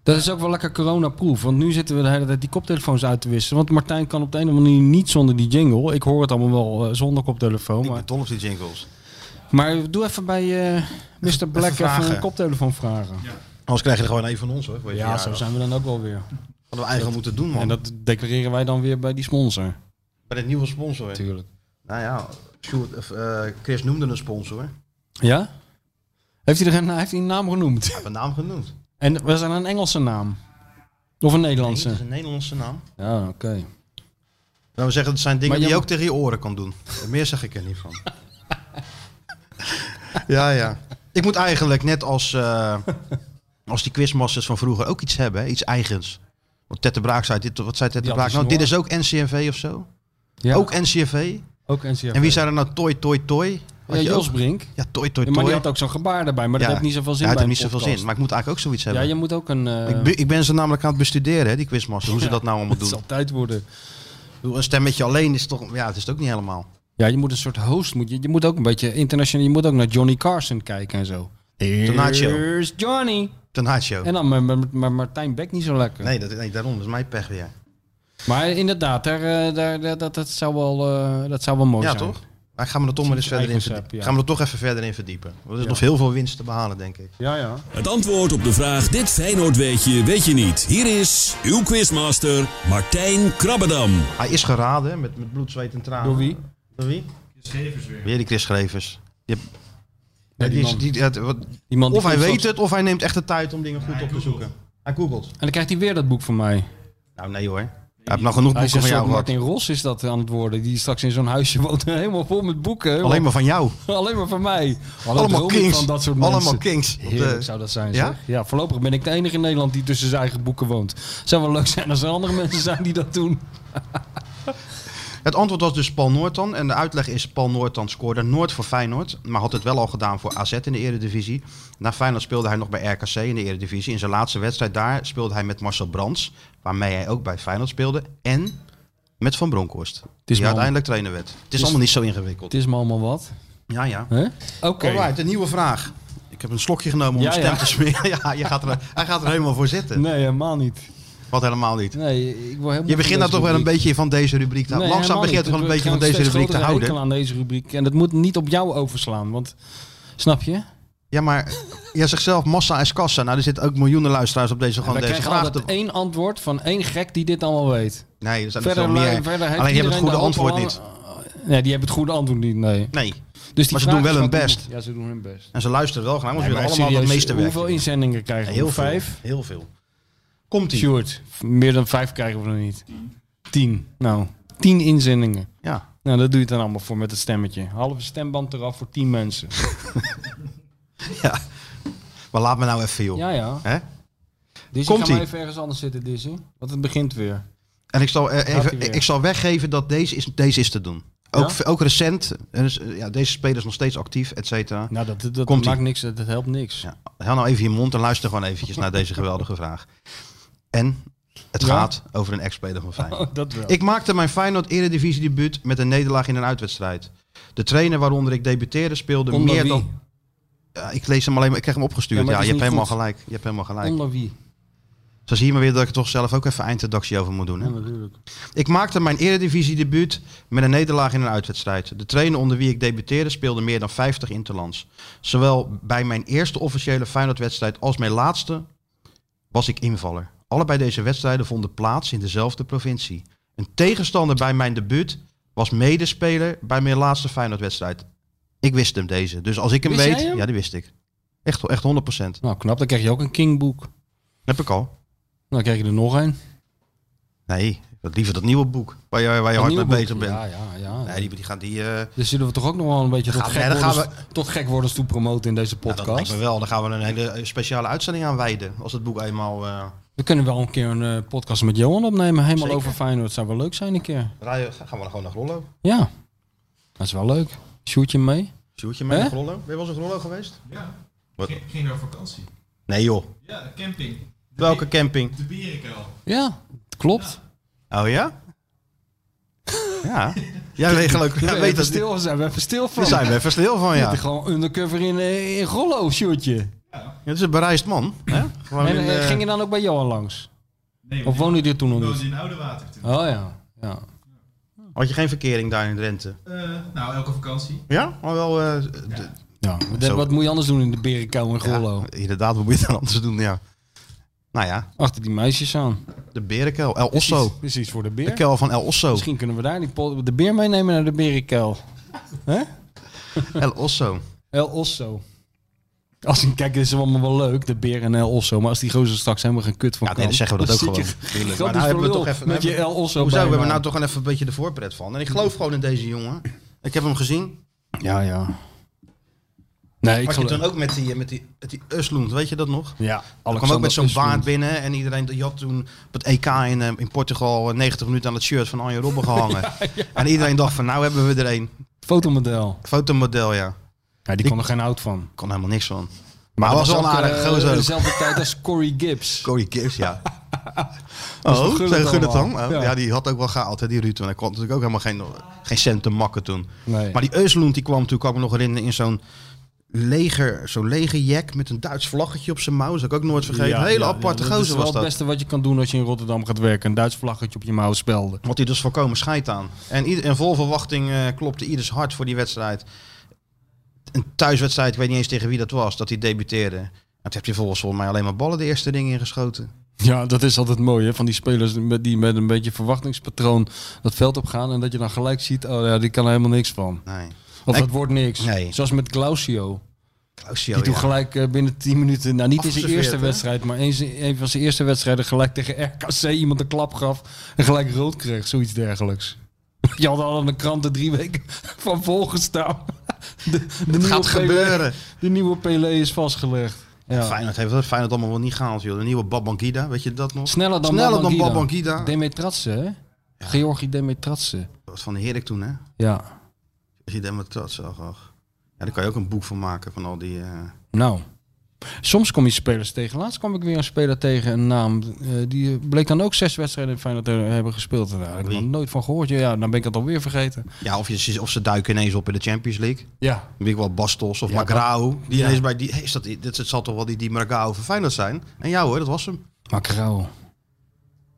[SPEAKER 3] Dat is ook wel lekker coronaproof, want nu zitten we de hele tijd die koptelefoons uit te wisselen. Want Martijn kan op de een of andere manier niet zonder die jingle. Ik hoor het allemaal wel eh, zonder koptelefoon.
[SPEAKER 2] Ik
[SPEAKER 3] Maar,
[SPEAKER 2] ben dol op die jingles.
[SPEAKER 3] maar doe even bij eh Mr. Black even,
[SPEAKER 2] vragen.
[SPEAKER 3] een koptelefoon vragen. Ja,
[SPEAKER 2] Anders krijg je er gewoon een van ons hoor. voor je verjaardag.
[SPEAKER 3] zo zijn we dan ook wel weer.
[SPEAKER 2] Hadden we eigenlijk moeten doen man.
[SPEAKER 3] En dat declareren wij dan weer bij die sponsor.
[SPEAKER 2] Bij het nieuwe sponsor.
[SPEAKER 3] Natuurlijk.
[SPEAKER 2] Nou ja, Sjoerd, of, eh, Chris noemde een sponsor.
[SPEAKER 3] Ja? Heeft hij, er een, heeft hij een naam genoemd? <laughs>
[SPEAKER 2] Mijn naam genoemd.
[SPEAKER 3] En was dat een Engelse naam? Of een
[SPEAKER 2] Nee, dat
[SPEAKER 3] Nederlandse?
[SPEAKER 2] is een Nederlandse naam.
[SPEAKER 3] Ja, Ah, oké.
[SPEAKER 2] Laten we zeggen, dat zijn dingen
[SPEAKER 3] Maar
[SPEAKER 2] die je
[SPEAKER 3] jij
[SPEAKER 2] ook tegen je oren kan doen. En meer zeg ik er niet van. ja, ja. Ik moet eigenlijk net als, eh, als die quizmasters van vroeger ook iets hebben. hè, Iets eigens. Want Tette Braak zei dit. Wat zei Tette
[SPEAKER 3] Die had
[SPEAKER 2] Braak?
[SPEAKER 3] die
[SPEAKER 2] Nou, dit
[SPEAKER 3] snor.
[SPEAKER 2] is ook NCRV of zo.
[SPEAKER 3] Ja,
[SPEAKER 2] Ook NCRV.
[SPEAKER 3] ook NCRV.
[SPEAKER 2] En wie zei er nou Toy Toy Toy? Had
[SPEAKER 3] Ja,
[SPEAKER 2] je
[SPEAKER 3] Jos
[SPEAKER 2] ook?
[SPEAKER 3] Brink.
[SPEAKER 2] Ja, Toy Toy
[SPEAKER 3] Ja, maar
[SPEAKER 2] Toy.
[SPEAKER 3] die had ook zo'n gebaar erbij, maar
[SPEAKER 2] Ja.
[SPEAKER 3] dat heeft niet zoveel zin
[SPEAKER 2] Ja, het
[SPEAKER 3] bij
[SPEAKER 2] heeft niet
[SPEAKER 3] een
[SPEAKER 2] zoveel
[SPEAKER 3] podcast.
[SPEAKER 2] zin. Maar ik moet eigenlijk ook zoiets
[SPEAKER 3] Ja,
[SPEAKER 2] hebben.
[SPEAKER 3] je moet ook een... eh,
[SPEAKER 2] ik, be- ik ben ze namelijk aan het bestuderen, hè, die quizmaster. Hoe ze dat nou
[SPEAKER 3] <laughs>
[SPEAKER 2] allemaal
[SPEAKER 3] het
[SPEAKER 2] doen.
[SPEAKER 3] zal tijd worden.
[SPEAKER 2] Ik bedoel, Een stemmetje alleen is toch... Ja, het is het ook niet helemaal.
[SPEAKER 3] Ja, je moet een soort host. Moet je, je moet ook een beetje internationaal... Je moet ook naar Johnny Carson kijken en zo.
[SPEAKER 2] Tonight Show.
[SPEAKER 3] Here's Johnny.
[SPEAKER 2] Tonight Show.
[SPEAKER 3] En dan maar- maar maar Martijn Beck niet zo lekker.
[SPEAKER 2] Nee, dat, nee, daarom. Dat is mijn pech weer.
[SPEAKER 3] Maar inderdaad, daar, eh, daar, daar- dat, dat, zou wel, eh, dat zou wel mooi
[SPEAKER 2] ja,
[SPEAKER 3] zijn.
[SPEAKER 2] toch? Maar gaan we er toch maar eens verder in
[SPEAKER 3] eigen
[SPEAKER 2] verdiepen.
[SPEAKER 3] sap, ja.
[SPEAKER 2] Gaan we er toch even verder in verdiepen. Want er is nog heel veel winst te behalen, denk ik.
[SPEAKER 3] Ja, ja.
[SPEAKER 7] Het antwoord op de vraag Dit Feyenoord weet je, weet je niet. Hier is uw quizmaster Martijn Krabbedam.
[SPEAKER 2] Hij is geraden hè, met, met bloed, zweet en tranen.
[SPEAKER 3] Door wie?
[SPEAKER 2] Door wie? weer. Weer die Chris Schrevers. Die heb- Ja,
[SPEAKER 3] die
[SPEAKER 2] die is-
[SPEAKER 3] man.
[SPEAKER 2] die- het- wat-
[SPEAKER 3] Die man die
[SPEAKER 2] of hij
[SPEAKER 3] komt
[SPEAKER 2] weet
[SPEAKER 3] straks-
[SPEAKER 2] het, of hij neemt echt de tijd om dingen goed op te zoeken. Hij googelt.
[SPEAKER 3] En dan krijgt hij weer dat boek van mij.
[SPEAKER 2] Nou, nee hoor. Hij heeft nog genoeg
[SPEAKER 3] Hij is
[SPEAKER 2] boeken
[SPEAKER 3] een
[SPEAKER 2] van jou
[SPEAKER 3] soort
[SPEAKER 2] gehad.
[SPEAKER 3] Martin Ros is dat aan het worden. Die straks in zo'n huisje <laughs> woont. Helemaal vol met boeken. Helemaal-
[SPEAKER 2] Alleen maar van jou.
[SPEAKER 3] alleen maar van mij. Alle
[SPEAKER 2] Allemaal
[SPEAKER 3] dromen
[SPEAKER 2] kings.
[SPEAKER 3] Van dat soort
[SPEAKER 2] Allemaal
[SPEAKER 3] mensen.
[SPEAKER 2] kings. Op de-
[SPEAKER 3] Heerlijk zou dat zijn.
[SPEAKER 2] Ja?
[SPEAKER 3] Ja? ja, voorlopig ben ik de enige in Nederland die tussen zijn eigen boeken woont. Zou wel leuk zijn als er andere <laughs> mensen zijn die dat doen.
[SPEAKER 2] Het antwoord was dus Paul Noortan. En de uitleg is Paul Noortan scoorde nooit voor Feyenoord. Maar had het wel al gedaan voor AZ in de Eredivisie. Na Feyenoord speelde hij nog bij RKC in de Eredivisie. In zijn laatste wedstrijd daar speelde hij met Marcel Brands. Waarmee hij ook bij Feyenoord speelde. En met Van Bronckhorst. Die
[SPEAKER 3] maar-
[SPEAKER 2] uiteindelijk trainer werd. Het is, allemaal niet zo ingewikkeld.
[SPEAKER 3] Het is me allemaal wat.
[SPEAKER 2] Ja, ja.
[SPEAKER 3] hè? Oké.
[SPEAKER 2] Alright, een nieuwe vraag. Ik heb een slokje genomen om
[SPEAKER 3] Ja,
[SPEAKER 2] mijn stem
[SPEAKER 3] ja.
[SPEAKER 2] te <laughs> smeren. Ja, je gaat er, hij gaat er helemaal voor zitten.
[SPEAKER 3] Nee, helemaal niet.
[SPEAKER 2] Wat helemaal niet.
[SPEAKER 3] Nee, ik wil helemaal
[SPEAKER 2] Je begint
[SPEAKER 3] daar
[SPEAKER 2] nou toch wel een beetje van deze rubriek te houden. Langzaam begint het
[SPEAKER 3] het
[SPEAKER 2] gewoon een beetje van deze rubriek te houden.
[SPEAKER 3] aan deze rubriek. En dat moet niet op jou overslaan. Want, snap je?
[SPEAKER 2] Ja, maar jij zegt zelf massa is kassa. Nou, er zitten ook miljoenen luisteraars op
[SPEAKER 3] We
[SPEAKER 2] deze, gewoon deze
[SPEAKER 3] krijgen
[SPEAKER 2] vraag.
[SPEAKER 3] altijd
[SPEAKER 2] Te...
[SPEAKER 3] één antwoord van één gek die dit allemaal weet.
[SPEAKER 2] Nee, er zijn er
[SPEAKER 3] Verder,
[SPEAKER 2] veel meer.
[SPEAKER 3] lui- verder heeft
[SPEAKER 2] Alleen je hebt het
[SPEAKER 3] iedereen
[SPEAKER 2] goede
[SPEAKER 3] daar ook
[SPEAKER 2] antwoord
[SPEAKER 3] wel
[SPEAKER 2] niet.
[SPEAKER 3] aan- Nee, die hebben het goede antwoord niet, nee.
[SPEAKER 2] Nee,
[SPEAKER 3] Dus die
[SPEAKER 2] Maar ze
[SPEAKER 3] vraag
[SPEAKER 2] doen wel
[SPEAKER 3] is
[SPEAKER 2] hun
[SPEAKER 3] wat
[SPEAKER 2] best.
[SPEAKER 3] iemand- Ja, ze doen hun best.
[SPEAKER 2] en ze luisteren wel graag, want ze
[SPEAKER 3] Maar
[SPEAKER 2] willen allemaal
[SPEAKER 3] serieus,
[SPEAKER 2] dat meeste werk.
[SPEAKER 3] Hoeveel inzendingen krijgen we?
[SPEAKER 2] Heel veel.
[SPEAKER 3] vijf?
[SPEAKER 2] Heel veel. Komt ie.
[SPEAKER 3] Sjoerd, meer dan vijf krijgen we er niet. Tien. Nou, tien inzendingen.
[SPEAKER 2] Ja.
[SPEAKER 3] Nou, dat doe je dan allemaal voor met het stemmetje. Halve stemband eraf voor tien mensen.
[SPEAKER 2] ja. Maar laat me nou even, joh.
[SPEAKER 3] Ja, ja.
[SPEAKER 2] Hè?
[SPEAKER 3] Dizzy, ga
[SPEAKER 2] Komt-ie.
[SPEAKER 3] maar even ergens anders zitten, Dizzy. Want het begint weer.
[SPEAKER 2] En ik zal, eh, even,
[SPEAKER 3] hij weer.
[SPEAKER 2] ik zal weggeven dat deze is, deze is te doen. Ook,
[SPEAKER 3] Ja?
[SPEAKER 2] ook recent. Er is, eh, ja, deze speler is nog steeds actief, et cetera.
[SPEAKER 3] Nou, dat, dat,
[SPEAKER 2] Komt-ie.
[SPEAKER 3] maakt niks, dat, dat helpt niks.
[SPEAKER 2] Ja, hou nou even je mond en luister gewoon eventjes naar deze geweldige vraag. En het
[SPEAKER 3] Ja?
[SPEAKER 2] gaat over een ex-speler van Feyenoord.
[SPEAKER 3] <laughs> Oh, dat wel.
[SPEAKER 2] Ik maakte mijn Feyenoord Eredivisie debuut met een nederlaag in een uitwedstrijd. De trainer waaronder ik debuteerde speelde
[SPEAKER 3] Onder
[SPEAKER 2] meer
[SPEAKER 3] wie?
[SPEAKER 2] dan... Ja, ik lees hem alleen maar, ik krijg hem opgestuurd.
[SPEAKER 3] Ja,
[SPEAKER 2] Ja,
[SPEAKER 3] maar
[SPEAKER 2] je
[SPEAKER 3] het
[SPEAKER 2] hebt
[SPEAKER 3] is niet
[SPEAKER 2] helemaal
[SPEAKER 3] goed.
[SPEAKER 2] gelijk. Je hebt helemaal gelijk.
[SPEAKER 3] Onder wie?
[SPEAKER 2] Zo zie je maar weer dat ik er toch zelf ook even eindredactie over moet doen. Hè?
[SPEAKER 3] Ja, natuurlijk.
[SPEAKER 2] Ik maakte mijn eredivisie debuut met een nederlaag in een uitwedstrijd. De trainer onder wie ik debuteerde speelde meer dan 50 interlands. Zowel bij mijn eerste officiële Feyenoord-wedstrijd als mijn laatste was ik invaller. Allebei deze wedstrijden vonden plaats in dezelfde provincie. Een tegenstander bij mijn debuut was medespeler bij mijn laatste Feyenoord-wedstrijd. Ik wist hem deze. Dus als ik hem
[SPEAKER 3] Wist
[SPEAKER 2] weet,
[SPEAKER 3] jij hem?
[SPEAKER 2] ja, die wist ik. Echt, echt 100%.
[SPEAKER 3] Nou, knap. Dan krijg je ook een Kingboek. Nou,
[SPEAKER 2] Heb ik al.
[SPEAKER 3] Dan krijg je er nog een.
[SPEAKER 2] Nee, dat liever dat nieuwe boek waar je, waar je
[SPEAKER 3] Een
[SPEAKER 2] hard mee
[SPEAKER 3] nieuw
[SPEAKER 2] bezig
[SPEAKER 3] boek.
[SPEAKER 2] bent.
[SPEAKER 3] Ja, ja, ja.
[SPEAKER 2] Nee, die, die gaan die. eh,
[SPEAKER 3] Dus zullen we toch ook nog wel een beetje tot,
[SPEAKER 2] Gaan we-
[SPEAKER 3] gek
[SPEAKER 2] dan gaan
[SPEAKER 3] worden, tot gekwordens toe promoten in deze
[SPEAKER 2] ja, dat lijkt
[SPEAKER 3] podcast.
[SPEAKER 2] me wel. Dan gaan we een hele eh, speciale uitzending aan wijden. Als het boek eenmaal. eh,
[SPEAKER 3] we kunnen wel een keer een eh, podcast met Johan opnemen. Helemaal
[SPEAKER 2] Zeker.
[SPEAKER 3] over Feyenoord. Zou wel leuk zijn een keer.
[SPEAKER 2] rijden, gaan we dan gewoon naar Grollo.
[SPEAKER 3] Ja. Dat is wel leuk. Shoot je hem mee?
[SPEAKER 2] Sjoerd, je mee naar
[SPEAKER 3] Hè?
[SPEAKER 2] Grollo? Ben je wel eens in Grollo geweest?
[SPEAKER 8] Ja.
[SPEAKER 2] Wat?
[SPEAKER 8] Ging, ging naar vakantie.
[SPEAKER 2] Nee, joh.
[SPEAKER 8] Ja, camping. De
[SPEAKER 2] Welke
[SPEAKER 8] Be-
[SPEAKER 2] camping?
[SPEAKER 8] De Bierenkuil.
[SPEAKER 3] Ja, klopt.
[SPEAKER 8] <laughs>
[SPEAKER 2] Oh ja? ja. Jij weet gelukkig.
[SPEAKER 3] Ja,
[SPEAKER 2] Jij weet dat
[SPEAKER 3] stil, zijn we even stil van.
[SPEAKER 2] Daar zijn we even stil van,
[SPEAKER 3] ja.
[SPEAKER 2] ja.
[SPEAKER 3] gewoon undercover in, eh, in Rollo, shootje.
[SPEAKER 2] Het is een bereisd man. Hè? Gewoon
[SPEAKER 3] En
[SPEAKER 2] in,
[SPEAKER 3] eh,
[SPEAKER 2] eh,
[SPEAKER 3] ging je dan ook bij Johan langs?
[SPEAKER 8] Nee,
[SPEAKER 3] Of
[SPEAKER 8] we
[SPEAKER 3] woonde je toen nog
[SPEAKER 8] woonden
[SPEAKER 3] niet?
[SPEAKER 8] in Oudewater toen.
[SPEAKER 3] Oh ja. ja.
[SPEAKER 2] Had je geen verkering daar in Drenthe?
[SPEAKER 8] Eh, nou, elke vakantie.
[SPEAKER 2] Ja? Maar wel... eh, d-
[SPEAKER 3] ja. Wat,
[SPEAKER 2] Zo.
[SPEAKER 3] wat moet je anders doen in de Berenkou en
[SPEAKER 2] ja,
[SPEAKER 3] Rollo?
[SPEAKER 2] inderdaad, wat moet je dan anders doen? Ja. Nou ja,
[SPEAKER 3] Achter die meisjes aan.
[SPEAKER 2] de berenkel. El
[SPEAKER 3] Is
[SPEAKER 2] Osso.
[SPEAKER 3] iets- Is iets voor de
[SPEAKER 2] De
[SPEAKER 3] beer.
[SPEAKER 2] kel van El Osso.
[SPEAKER 3] Misschien kunnen we daar die pod- de beer meenemen naar de Berenkuil.
[SPEAKER 2] El
[SPEAKER 3] <laughs>
[SPEAKER 2] Osso.
[SPEAKER 3] El Osso. Als ik kijk, dit is allemaal wel leuk, de beer en El Osso. Maar als die gozer straks helemaal geen kut van
[SPEAKER 2] Ja, nee,
[SPEAKER 3] kan,
[SPEAKER 2] dan zeggen we dat ook
[SPEAKER 3] zit je
[SPEAKER 2] gewoon. Tuurlijk.
[SPEAKER 3] gigantisch
[SPEAKER 2] Maar nou hebben we
[SPEAKER 3] voor
[SPEAKER 2] toch
[SPEAKER 3] lul
[SPEAKER 2] even-
[SPEAKER 3] met je El Osso
[SPEAKER 2] Hoezo? We
[SPEAKER 3] bijnaam.
[SPEAKER 2] hebben we nou toch gewoon even een beetje de voorpret van. En ik geloof gewoon in deze jongen. Ik heb hem gezien.
[SPEAKER 3] Ja, ja. Nee, ik
[SPEAKER 2] Had je
[SPEAKER 3] geloof...
[SPEAKER 2] toen ook met die, eh, met die, met die Usloend, weet je dat nog?
[SPEAKER 3] Ja,
[SPEAKER 2] Ik kwam ook met zo'n
[SPEAKER 3] Usloen.
[SPEAKER 2] baard binnen en iedereen die had toen op het EK in, eh, in Portugal eh, 90 minuten aan het shirt van Arjen
[SPEAKER 3] <laughs>
[SPEAKER 2] Robben gehangen. En iedereen dacht van nou hebben we er een.
[SPEAKER 3] Fotomodel.
[SPEAKER 2] Fotomodel ja.
[SPEAKER 3] Ja, die kon er geen oud van.
[SPEAKER 2] Kon helemaal niks van. Maar hij was wel een aardige
[SPEAKER 3] ook, eh,
[SPEAKER 2] gozer. ook.
[SPEAKER 3] Dezelfde tijd als Corey Gibbs.
[SPEAKER 2] Corey
[SPEAKER 3] <laughs>
[SPEAKER 2] Gibbs ja.
[SPEAKER 3] is
[SPEAKER 2] Oh,
[SPEAKER 3] toch Gullit
[SPEAKER 2] zei Gullit dan?
[SPEAKER 3] allemaal?
[SPEAKER 2] Oh, ja.
[SPEAKER 3] Ja.
[SPEAKER 2] die had ook wel gehaald, hè, die Ruud. Want hij kon natuurlijk ook helemaal geen, geen cent te makken toen.
[SPEAKER 3] Nee.
[SPEAKER 2] Maar die Eusloend die kwam toen, kan ik me nog herinneren, in zo'n leger, zo'n legerjack met een Duits vlaggetje op zijn mouw. Dat heb ik ook nooit vergeten.
[SPEAKER 3] Ja,
[SPEAKER 2] een hele
[SPEAKER 3] ja,
[SPEAKER 2] aparte
[SPEAKER 3] ja,
[SPEAKER 2] gozer
[SPEAKER 3] Dat is
[SPEAKER 2] was
[SPEAKER 3] wel
[SPEAKER 2] dat.
[SPEAKER 3] het beste wat je kan doen als je in Rotterdam gaat werken. Een Duits vlaggetje op je mouw spelden.
[SPEAKER 2] Want hij dus volkomen scheid aan. En, ieder, en vol verwachting eh, klopte ieders hart voor die wedstrijd. Een thuiswedstrijd, ik weet niet eens tegen wie dat was, dat hij debuteerde. En toen heeft hij volgens volgens mij alleen maar ballen de eerste ding ingeschoten.
[SPEAKER 3] Ja, dat is altijd mooi, hè? Van die spelers met- die met een beetje verwachtingspatroon dat veld op gaan. En dat je dan gelijk ziet, oh ja, die kan er helemaal niks van.
[SPEAKER 2] Nee.
[SPEAKER 3] Of
[SPEAKER 2] Nee.
[SPEAKER 3] dat wordt niks.
[SPEAKER 2] Nee.
[SPEAKER 3] Zoals met Clausio.
[SPEAKER 2] Clausio,
[SPEAKER 3] Die toen
[SPEAKER 2] ja.
[SPEAKER 3] gelijk eh, binnen 10 minuten, nou niet in zijn
[SPEAKER 2] Afgeserveerd,
[SPEAKER 3] eerste
[SPEAKER 2] hè?
[SPEAKER 3] wedstrijd, maar eens, een van zijn eerste wedstrijden gelijk tegen RKC iemand een klap gaf en gelijk rood kreeg. Zoiets dergelijks. <laughs> Je had al aan de kranten drie weken <laughs> van volgestaan. <laughs> De, de nieuwe
[SPEAKER 2] gaat
[SPEAKER 3] Pelé-
[SPEAKER 2] gebeuren.
[SPEAKER 3] De nieuwe Pelé is vastgelegd. Ja.
[SPEAKER 2] Feyenoord heeft dat Feyenoord allemaal wel niet gehaald, joh. De nieuwe Babangida, weet je dat nog?
[SPEAKER 3] Sneller dan
[SPEAKER 2] Sneller dan
[SPEAKER 3] Babangida.
[SPEAKER 2] Babangida.
[SPEAKER 3] Demetratse, hè? Georgi Demetratse.
[SPEAKER 2] Dat was van Heerlijk toen, hè?
[SPEAKER 3] Ja.
[SPEAKER 2] Als je Demetrat zag. och. Ja, daar kan je ook een boek van maken van al die... eh,
[SPEAKER 3] Nou. Soms kom je spelers tegen. Laatst kwam ik weer een speler tegen, een naam. eh, die bleek dan ook zes wedstrijden in Feyenoord te hebben gespeeld. Nou, Daar heb ik
[SPEAKER 2] Wie?
[SPEAKER 3] nog nooit van gehoord. Ja, Ja, dan ben ik het alweer vergeten.
[SPEAKER 2] Ja, of, je, of ze duiken ineens op in de Champions League.
[SPEAKER 3] Ja.
[SPEAKER 2] Weet ik wel, Bastos of
[SPEAKER 3] Ja,
[SPEAKER 2] Magrao. Die
[SPEAKER 3] ja.
[SPEAKER 2] ineens bij die... Is dat, dit, het zal toch wel die, die Magrao van Feyenoord zijn? En ja hoor, dat was hem.
[SPEAKER 3] Maar Krauw.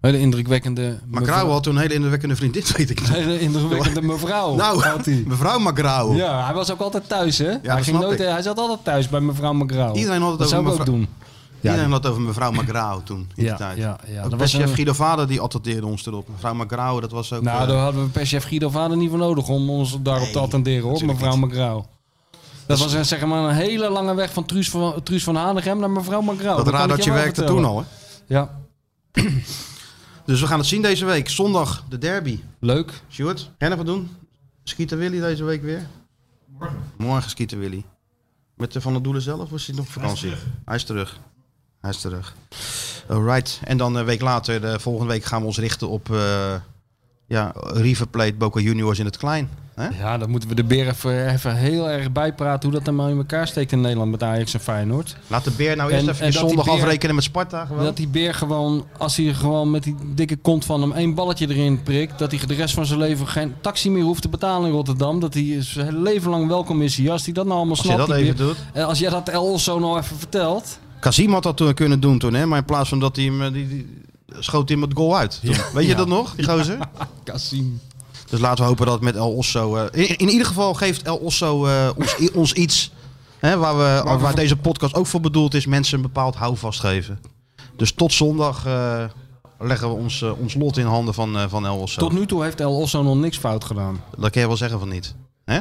[SPEAKER 3] Hele indrukwekkende...
[SPEAKER 2] Magrao had toen een hele indrukwekkende vriendin, <laughs> weet ik
[SPEAKER 3] mevrouw-
[SPEAKER 2] nog.
[SPEAKER 3] Hele
[SPEAKER 2] <laughs>
[SPEAKER 3] indrukwekkende mevrouw.
[SPEAKER 2] Nou,
[SPEAKER 3] had hij.
[SPEAKER 2] <laughs> mevrouw Magrao.
[SPEAKER 3] Ja, hij was ook altijd thuis, hè? hij,
[SPEAKER 2] dat
[SPEAKER 3] ging
[SPEAKER 2] snap
[SPEAKER 3] nooit, eh,
[SPEAKER 2] ik.
[SPEAKER 3] hij zat altijd thuis bij mevrouw McGraw.
[SPEAKER 2] Iedereen had het
[SPEAKER 3] dat
[SPEAKER 2] over
[SPEAKER 3] zou ik ook
[SPEAKER 2] mevrouw-
[SPEAKER 3] doen.
[SPEAKER 2] Iedereen had het over mevrouw Magrao toen, in
[SPEAKER 3] Ja,
[SPEAKER 2] die tijd.
[SPEAKER 3] ja, ja.
[SPEAKER 2] Ook
[SPEAKER 3] Dat
[SPEAKER 2] best
[SPEAKER 3] was
[SPEAKER 2] chef
[SPEAKER 3] een-
[SPEAKER 2] Guido Vader die attendeerde ons erop. Mevrouw Magrao, dat was ook...
[SPEAKER 3] Nou,
[SPEAKER 2] eh,
[SPEAKER 3] daar hadden we per chef Guido Vader niet voor nodig om ons daarop te attenderen, hoor,
[SPEAKER 2] natuurlijk
[SPEAKER 3] mevrouw McGraw. Dat was een, zeg maar een hele lange weg van Truus van, Truus van Hanegem naar mevrouw McGraw.
[SPEAKER 2] dat
[SPEAKER 3] Oh, kan
[SPEAKER 2] raar
[SPEAKER 3] ik
[SPEAKER 2] dat je
[SPEAKER 3] wel
[SPEAKER 2] werkte
[SPEAKER 3] vertellen.
[SPEAKER 2] toen al, hè?
[SPEAKER 3] Ja,
[SPEAKER 2] Dus we gaan het zien deze week. Zondag, de derby.
[SPEAKER 3] leuk.
[SPEAKER 2] Sjoerd, ga je nog wat doen? Skieten Willy deze week weer?
[SPEAKER 8] Morgen.
[SPEAKER 2] Morgen skieten Willy. Met de Van der Doelen zelf of is hij nog op vakantie? Hij is terug. Hij is terug. Alright. En dan een week later, eh, volgende week gaan we ons richten op eh, ja, River Plate Boca Juniors in het klein. Hè?
[SPEAKER 3] Ja, dan moeten we de beer even, even heel erg bijpraten hoe dat allemaal in elkaar steekt in Nederland met Ajax en Feyenoord.
[SPEAKER 2] Laat de Beer nou eerst
[SPEAKER 3] En-
[SPEAKER 2] even
[SPEAKER 3] en dat die
[SPEAKER 2] zondag
[SPEAKER 3] Beer-
[SPEAKER 2] afrekenen met Sparta. Gewoon.
[SPEAKER 3] Dat die beer gewoon, als hij gewoon met die dikke kont van hem één balletje erin prikt, dat hij de rest van zijn leven geen taxi meer hoeft te betalen in Rotterdam. Dat hij zijn hele leven lang welkom is hier. Als hij dat nou allemaal
[SPEAKER 2] Als je
[SPEAKER 3] snapt.
[SPEAKER 2] dat
[SPEAKER 3] die
[SPEAKER 2] even
[SPEAKER 3] beer-
[SPEAKER 2] doet.
[SPEAKER 3] En Eh, als jij dat El zo nou even vertelt.
[SPEAKER 2] Kazim had dat toen kunnen doen toen, hè? maar in plaats van dat hij hem... eh, Die, die, schoot hij hem het goal uit. toen. Weet je
[SPEAKER 3] Ja.
[SPEAKER 2] dat nog, die gozer?
[SPEAKER 3] Kasim.
[SPEAKER 2] Dus laten we hopen dat het met El Osso. eh, in, in ieder geval geeft El Osso eh, ons, i- ons iets. Hè, waar, we, waar, deze podcast ook voor bedoeld is: mensen een bepaald houvast geven. Dus tot zondag eh, leggen we ons, eh, ons lot in handen van, eh van El Osso.
[SPEAKER 3] Tot nu toe heeft El Osso nog niks fout gedaan.
[SPEAKER 2] Dat kan je wel zeggen van niet. Hè?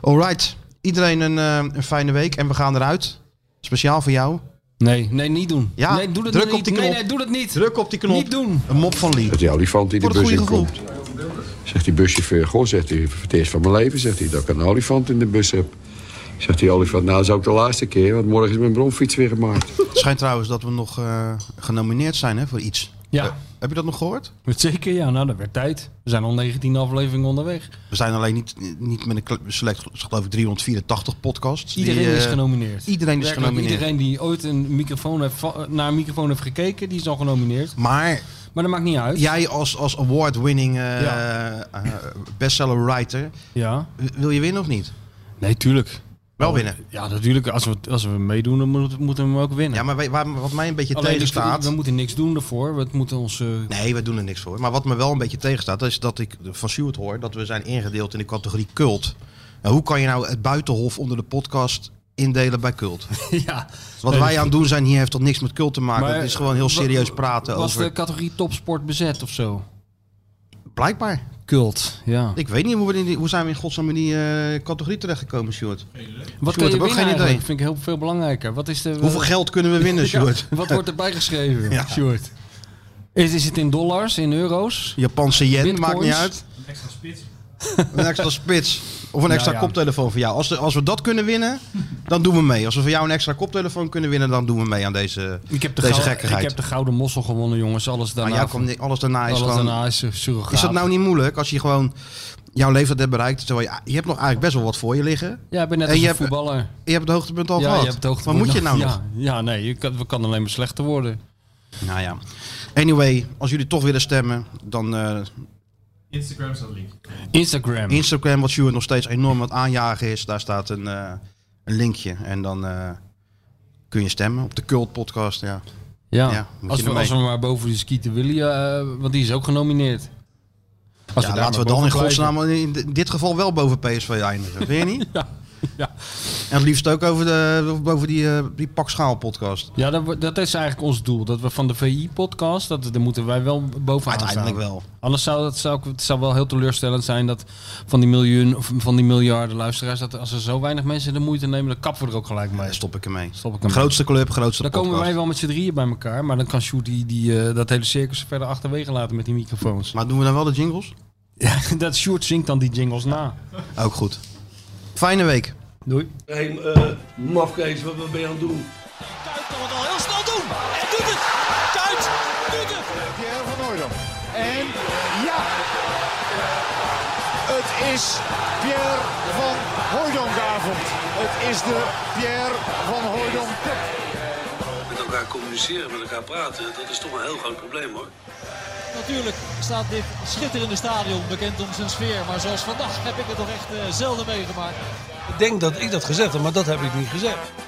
[SPEAKER 2] Alright. Iedereen een, eh, een fijne week en we gaan eruit. Speciaal voor jou.
[SPEAKER 3] Nee, nee, niet doen.
[SPEAKER 2] Ja,
[SPEAKER 3] nee, doe dat
[SPEAKER 2] druk
[SPEAKER 3] niet.
[SPEAKER 2] op die knop.
[SPEAKER 3] Nee, nee, doe dat niet.
[SPEAKER 2] Druk op die knop.
[SPEAKER 3] Niet doen.
[SPEAKER 2] Een mop van Lee.
[SPEAKER 9] Dat die olifant die de
[SPEAKER 2] Voor het
[SPEAKER 9] bus
[SPEAKER 2] goede
[SPEAKER 9] in
[SPEAKER 2] gevoel.
[SPEAKER 9] komt. Zegt die buschauffeur, goh, zegt hij, voor het eerst van mijn leven, zegt hij, dat ik een olifant in de bus heb. Zegt die olifant, nou, dat is ook de laatste keer, want morgen is mijn bromfiets weer gemaakt.
[SPEAKER 2] Het schijnt trouwens dat we nog eh, genomineerd zijn hè, voor iets.
[SPEAKER 3] Ja.
[SPEAKER 2] Eh, heb je dat nog gehoord?
[SPEAKER 3] Zeker, ja. Nou, dat werd tijd. We zijn al 19 afleveringen onderweg.
[SPEAKER 2] We zijn alleen niet, niet met een kle- select, geloof ik, 384 podcasts.
[SPEAKER 3] Iedereen
[SPEAKER 2] Die, eh,
[SPEAKER 3] is genomineerd.
[SPEAKER 2] Iedereen is
[SPEAKER 3] Werkelijk,
[SPEAKER 2] genomineerd.
[SPEAKER 3] Iedereen die ooit een microfoon heeft, va- naar een microfoon heeft gekeken, die is al genomineerd.
[SPEAKER 2] Maar
[SPEAKER 3] Maar dat maakt niet uit.
[SPEAKER 2] jij als, als award-winning eh,
[SPEAKER 3] Ja.
[SPEAKER 2] eh, bestseller writer,
[SPEAKER 3] Ja.
[SPEAKER 2] w- wil je winnen of niet?
[SPEAKER 3] Nee, tuurlijk.
[SPEAKER 2] Wel
[SPEAKER 3] Oh.
[SPEAKER 2] winnen.
[SPEAKER 3] Ja, natuurlijk. Als we, als we meedoen, dan moet- moeten we hem ook winnen.
[SPEAKER 2] Ja, maar we- waar, wat mij een beetje
[SPEAKER 3] Alleen,
[SPEAKER 2] tegenstaat...
[SPEAKER 3] we moeten niks doen daarvoor. We moeten ons... eh,
[SPEAKER 2] <laughs> Nee, we doen er niks voor. Maar wat me wel een beetje tegenstaat, is dat ik van Stuart hoor dat we zijn ingedeeld in de categorie cult. Nou, hoe kan je nou het buitenhof onder de podcast indelen bij cult?
[SPEAKER 3] ja.
[SPEAKER 2] Wat
[SPEAKER 3] Nee,
[SPEAKER 2] wij aan het doen zijn hier heeft dat niks met cult te maken.
[SPEAKER 3] Maar-
[SPEAKER 2] het is gewoon heel serieus praten
[SPEAKER 3] Was
[SPEAKER 2] over.
[SPEAKER 3] de categorie topsport bezet of zo?
[SPEAKER 2] Blijkbaar.
[SPEAKER 3] Cult, ja.
[SPEAKER 2] Ik weet niet hoe, we in die- hoe zijn we in godsnaam in die eh, categorie terechtgekomen, Stuart.
[SPEAKER 3] Wat
[SPEAKER 2] Sjoerd,
[SPEAKER 3] kan
[SPEAKER 2] heb
[SPEAKER 3] je
[SPEAKER 2] ik ook
[SPEAKER 3] winnen
[SPEAKER 2] geen idee.
[SPEAKER 3] eigenlijk? vind ik heel veel belangrijker. Wat is de, eh,
[SPEAKER 2] Hoeveel geld kunnen we
[SPEAKER 3] <laughs>
[SPEAKER 2] winnen, Stuart?
[SPEAKER 3] Wat wordt erbij geschreven,
[SPEAKER 2] <laughs> Ja.
[SPEAKER 3] Sjoerd? Is, is het in dollars, in euro's?
[SPEAKER 2] Japanse yen,
[SPEAKER 3] Bitcoins?
[SPEAKER 2] maakt niet uit.
[SPEAKER 8] Een extra spits.
[SPEAKER 2] Een
[SPEAKER 3] <laughs>
[SPEAKER 2] extra spits. Of een extra
[SPEAKER 3] ja.
[SPEAKER 2] koptelefoon voor jou. Als, de- als we dat kunnen winnen, dan doen we mee. Als we voor jou een extra koptelefoon kunnen winnen, dan doen we mee aan deze,
[SPEAKER 3] Ik heb de,
[SPEAKER 2] deze
[SPEAKER 3] gouden,
[SPEAKER 2] gekkigheid.
[SPEAKER 3] ik heb de gouden mossel gewonnen, jongens. Alles
[SPEAKER 2] Maar
[SPEAKER 3] daarna,
[SPEAKER 2] jou kwam ni- alles daarna is
[SPEAKER 3] alles
[SPEAKER 2] gewoon...
[SPEAKER 3] daarna is eh, surrogaat.
[SPEAKER 2] Is dat nou niet moeilijk als je gewoon jouw leeftijd hebt bereikt? Terwijl je, je hebt nog eigenlijk best wel wat voor je liggen.
[SPEAKER 3] Ja, ik ben net
[SPEAKER 2] En
[SPEAKER 3] als
[SPEAKER 2] je
[SPEAKER 3] een
[SPEAKER 2] hebt-
[SPEAKER 3] voetballer.
[SPEAKER 2] Je hebt het hoogtepunt al
[SPEAKER 3] ja,
[SPEAKER 2] gehad.
[SPEAKER 3] je hebt het
[SPEAKER 2] Wat
[SPEAKER 3] hoogtepunt
[SPEAKER 2] moet je nou nog?
[SPEAKER 3] ja, Ja, nee, je kan, we kan alleen maar slechter worden.
[SPEAKER 2] Nou ja. Anyway, als jullie toch willen stemmen, dan eh,
[SPEAKER 8] Instagram staat link.
[SPEAKER 3] Instagram.
[SPEAKER 2] Instagram, wat Stuart nog steeds enorm aan het aanjagen is. Daar staat een, eh, een linkje. En dan eh, kun je stemmen op de Cult podcast. Ja.
[SPEAKER 3] ja,
[SPEAKER 2] ja, moet je
[SPEAKER 3] als, we,
[SPEAKER 2] ermee.
[SPEAKER 3] als we maar boven die Skeeter Willy, eh, want die is ook genomineerd. Als
[SPEAKER 2] Ja,
[SPEAKER 3] daar
[SPEAKER 2] laten we
[SPEAKER 3] maar
[SPEAKER 2] dan in
[SPEAKER 3] boven
[SPEAKER 2] godsnaam in in dit geval wel boven PSV eindigen. Vind je niet?
[SPEAKER 3] <laughs> Ja, ja.
[SPEAKER 2] En het liefst ook over, de, boven die, eh, die Pakschaal podcast.
[SPEAKER 3] blijven. Ja, dat, wo- dat is eigenlijk ons doel. Dat we van de VI-podcast, dat, daar moeten wij wel bovenaan staan.
[SPEAKER 2] Uiteindelijk wel.
[SPEAKER 3] Anders zou het, zou, ik- het zou wel heel teleurstellend zijn dat van die, miljoen, of van die miljarden luisteraars, dat als er zo weinig mensen de moeite nemen, dan kappen we er ook gelijk mee.
[SPEAKER 2] Daar stop ik ermee.
[SPEAKER 3] Stop ik hem.
[SPEAKER 2] Grootste club, grootste
[SPEAKER 3] dan
[SPEAKER 2] podcast.
[SPEAKER 3] komen wij wel met z'n drieën bij elkaar, maar dan kan Sjoerd die, die, eh, dat hele circus verder achterwege laten met die
[SPEAKER 2] <laughs>
[SPEAKER 3] microfoons.
[SPEAKER 2] Maar doen we dan wel de jingles?
[SPEAKER 3] Ja, dat Sjoerd zingt dan die jingles na.
[SPEAKER 2] Ook goed. Fijne week.
[SPEAKER 3] Doei.
[SPEAKER 1] Hé, hey, eh, mafkees, wat, wat ben je aan het doen?
[SPEAKER 10] Kuit kan het al heel snel doen. En doet het. Kuit doet het.
[SPEAKER 11] Pierre van Hooydonk. En ja! Het is Pierre van Hooydonkavond. Het is de Pierre van Hooydonk Cup.
[SPEAKER 1] Met elkaar communiceren, met elkaar praten, dat is toch een heel groot probleem hoor.
[SPEAKER 10] Natuurlijk staat dit schitterende stadion bekend om zijn sfeer. Maar zoals vandaag heb ik het toch echt eh, zelden meegemaakt.
[SPEAKER 12] Ik denk dat ik dat gezegd heb, maar dat heb ik niet gezegd.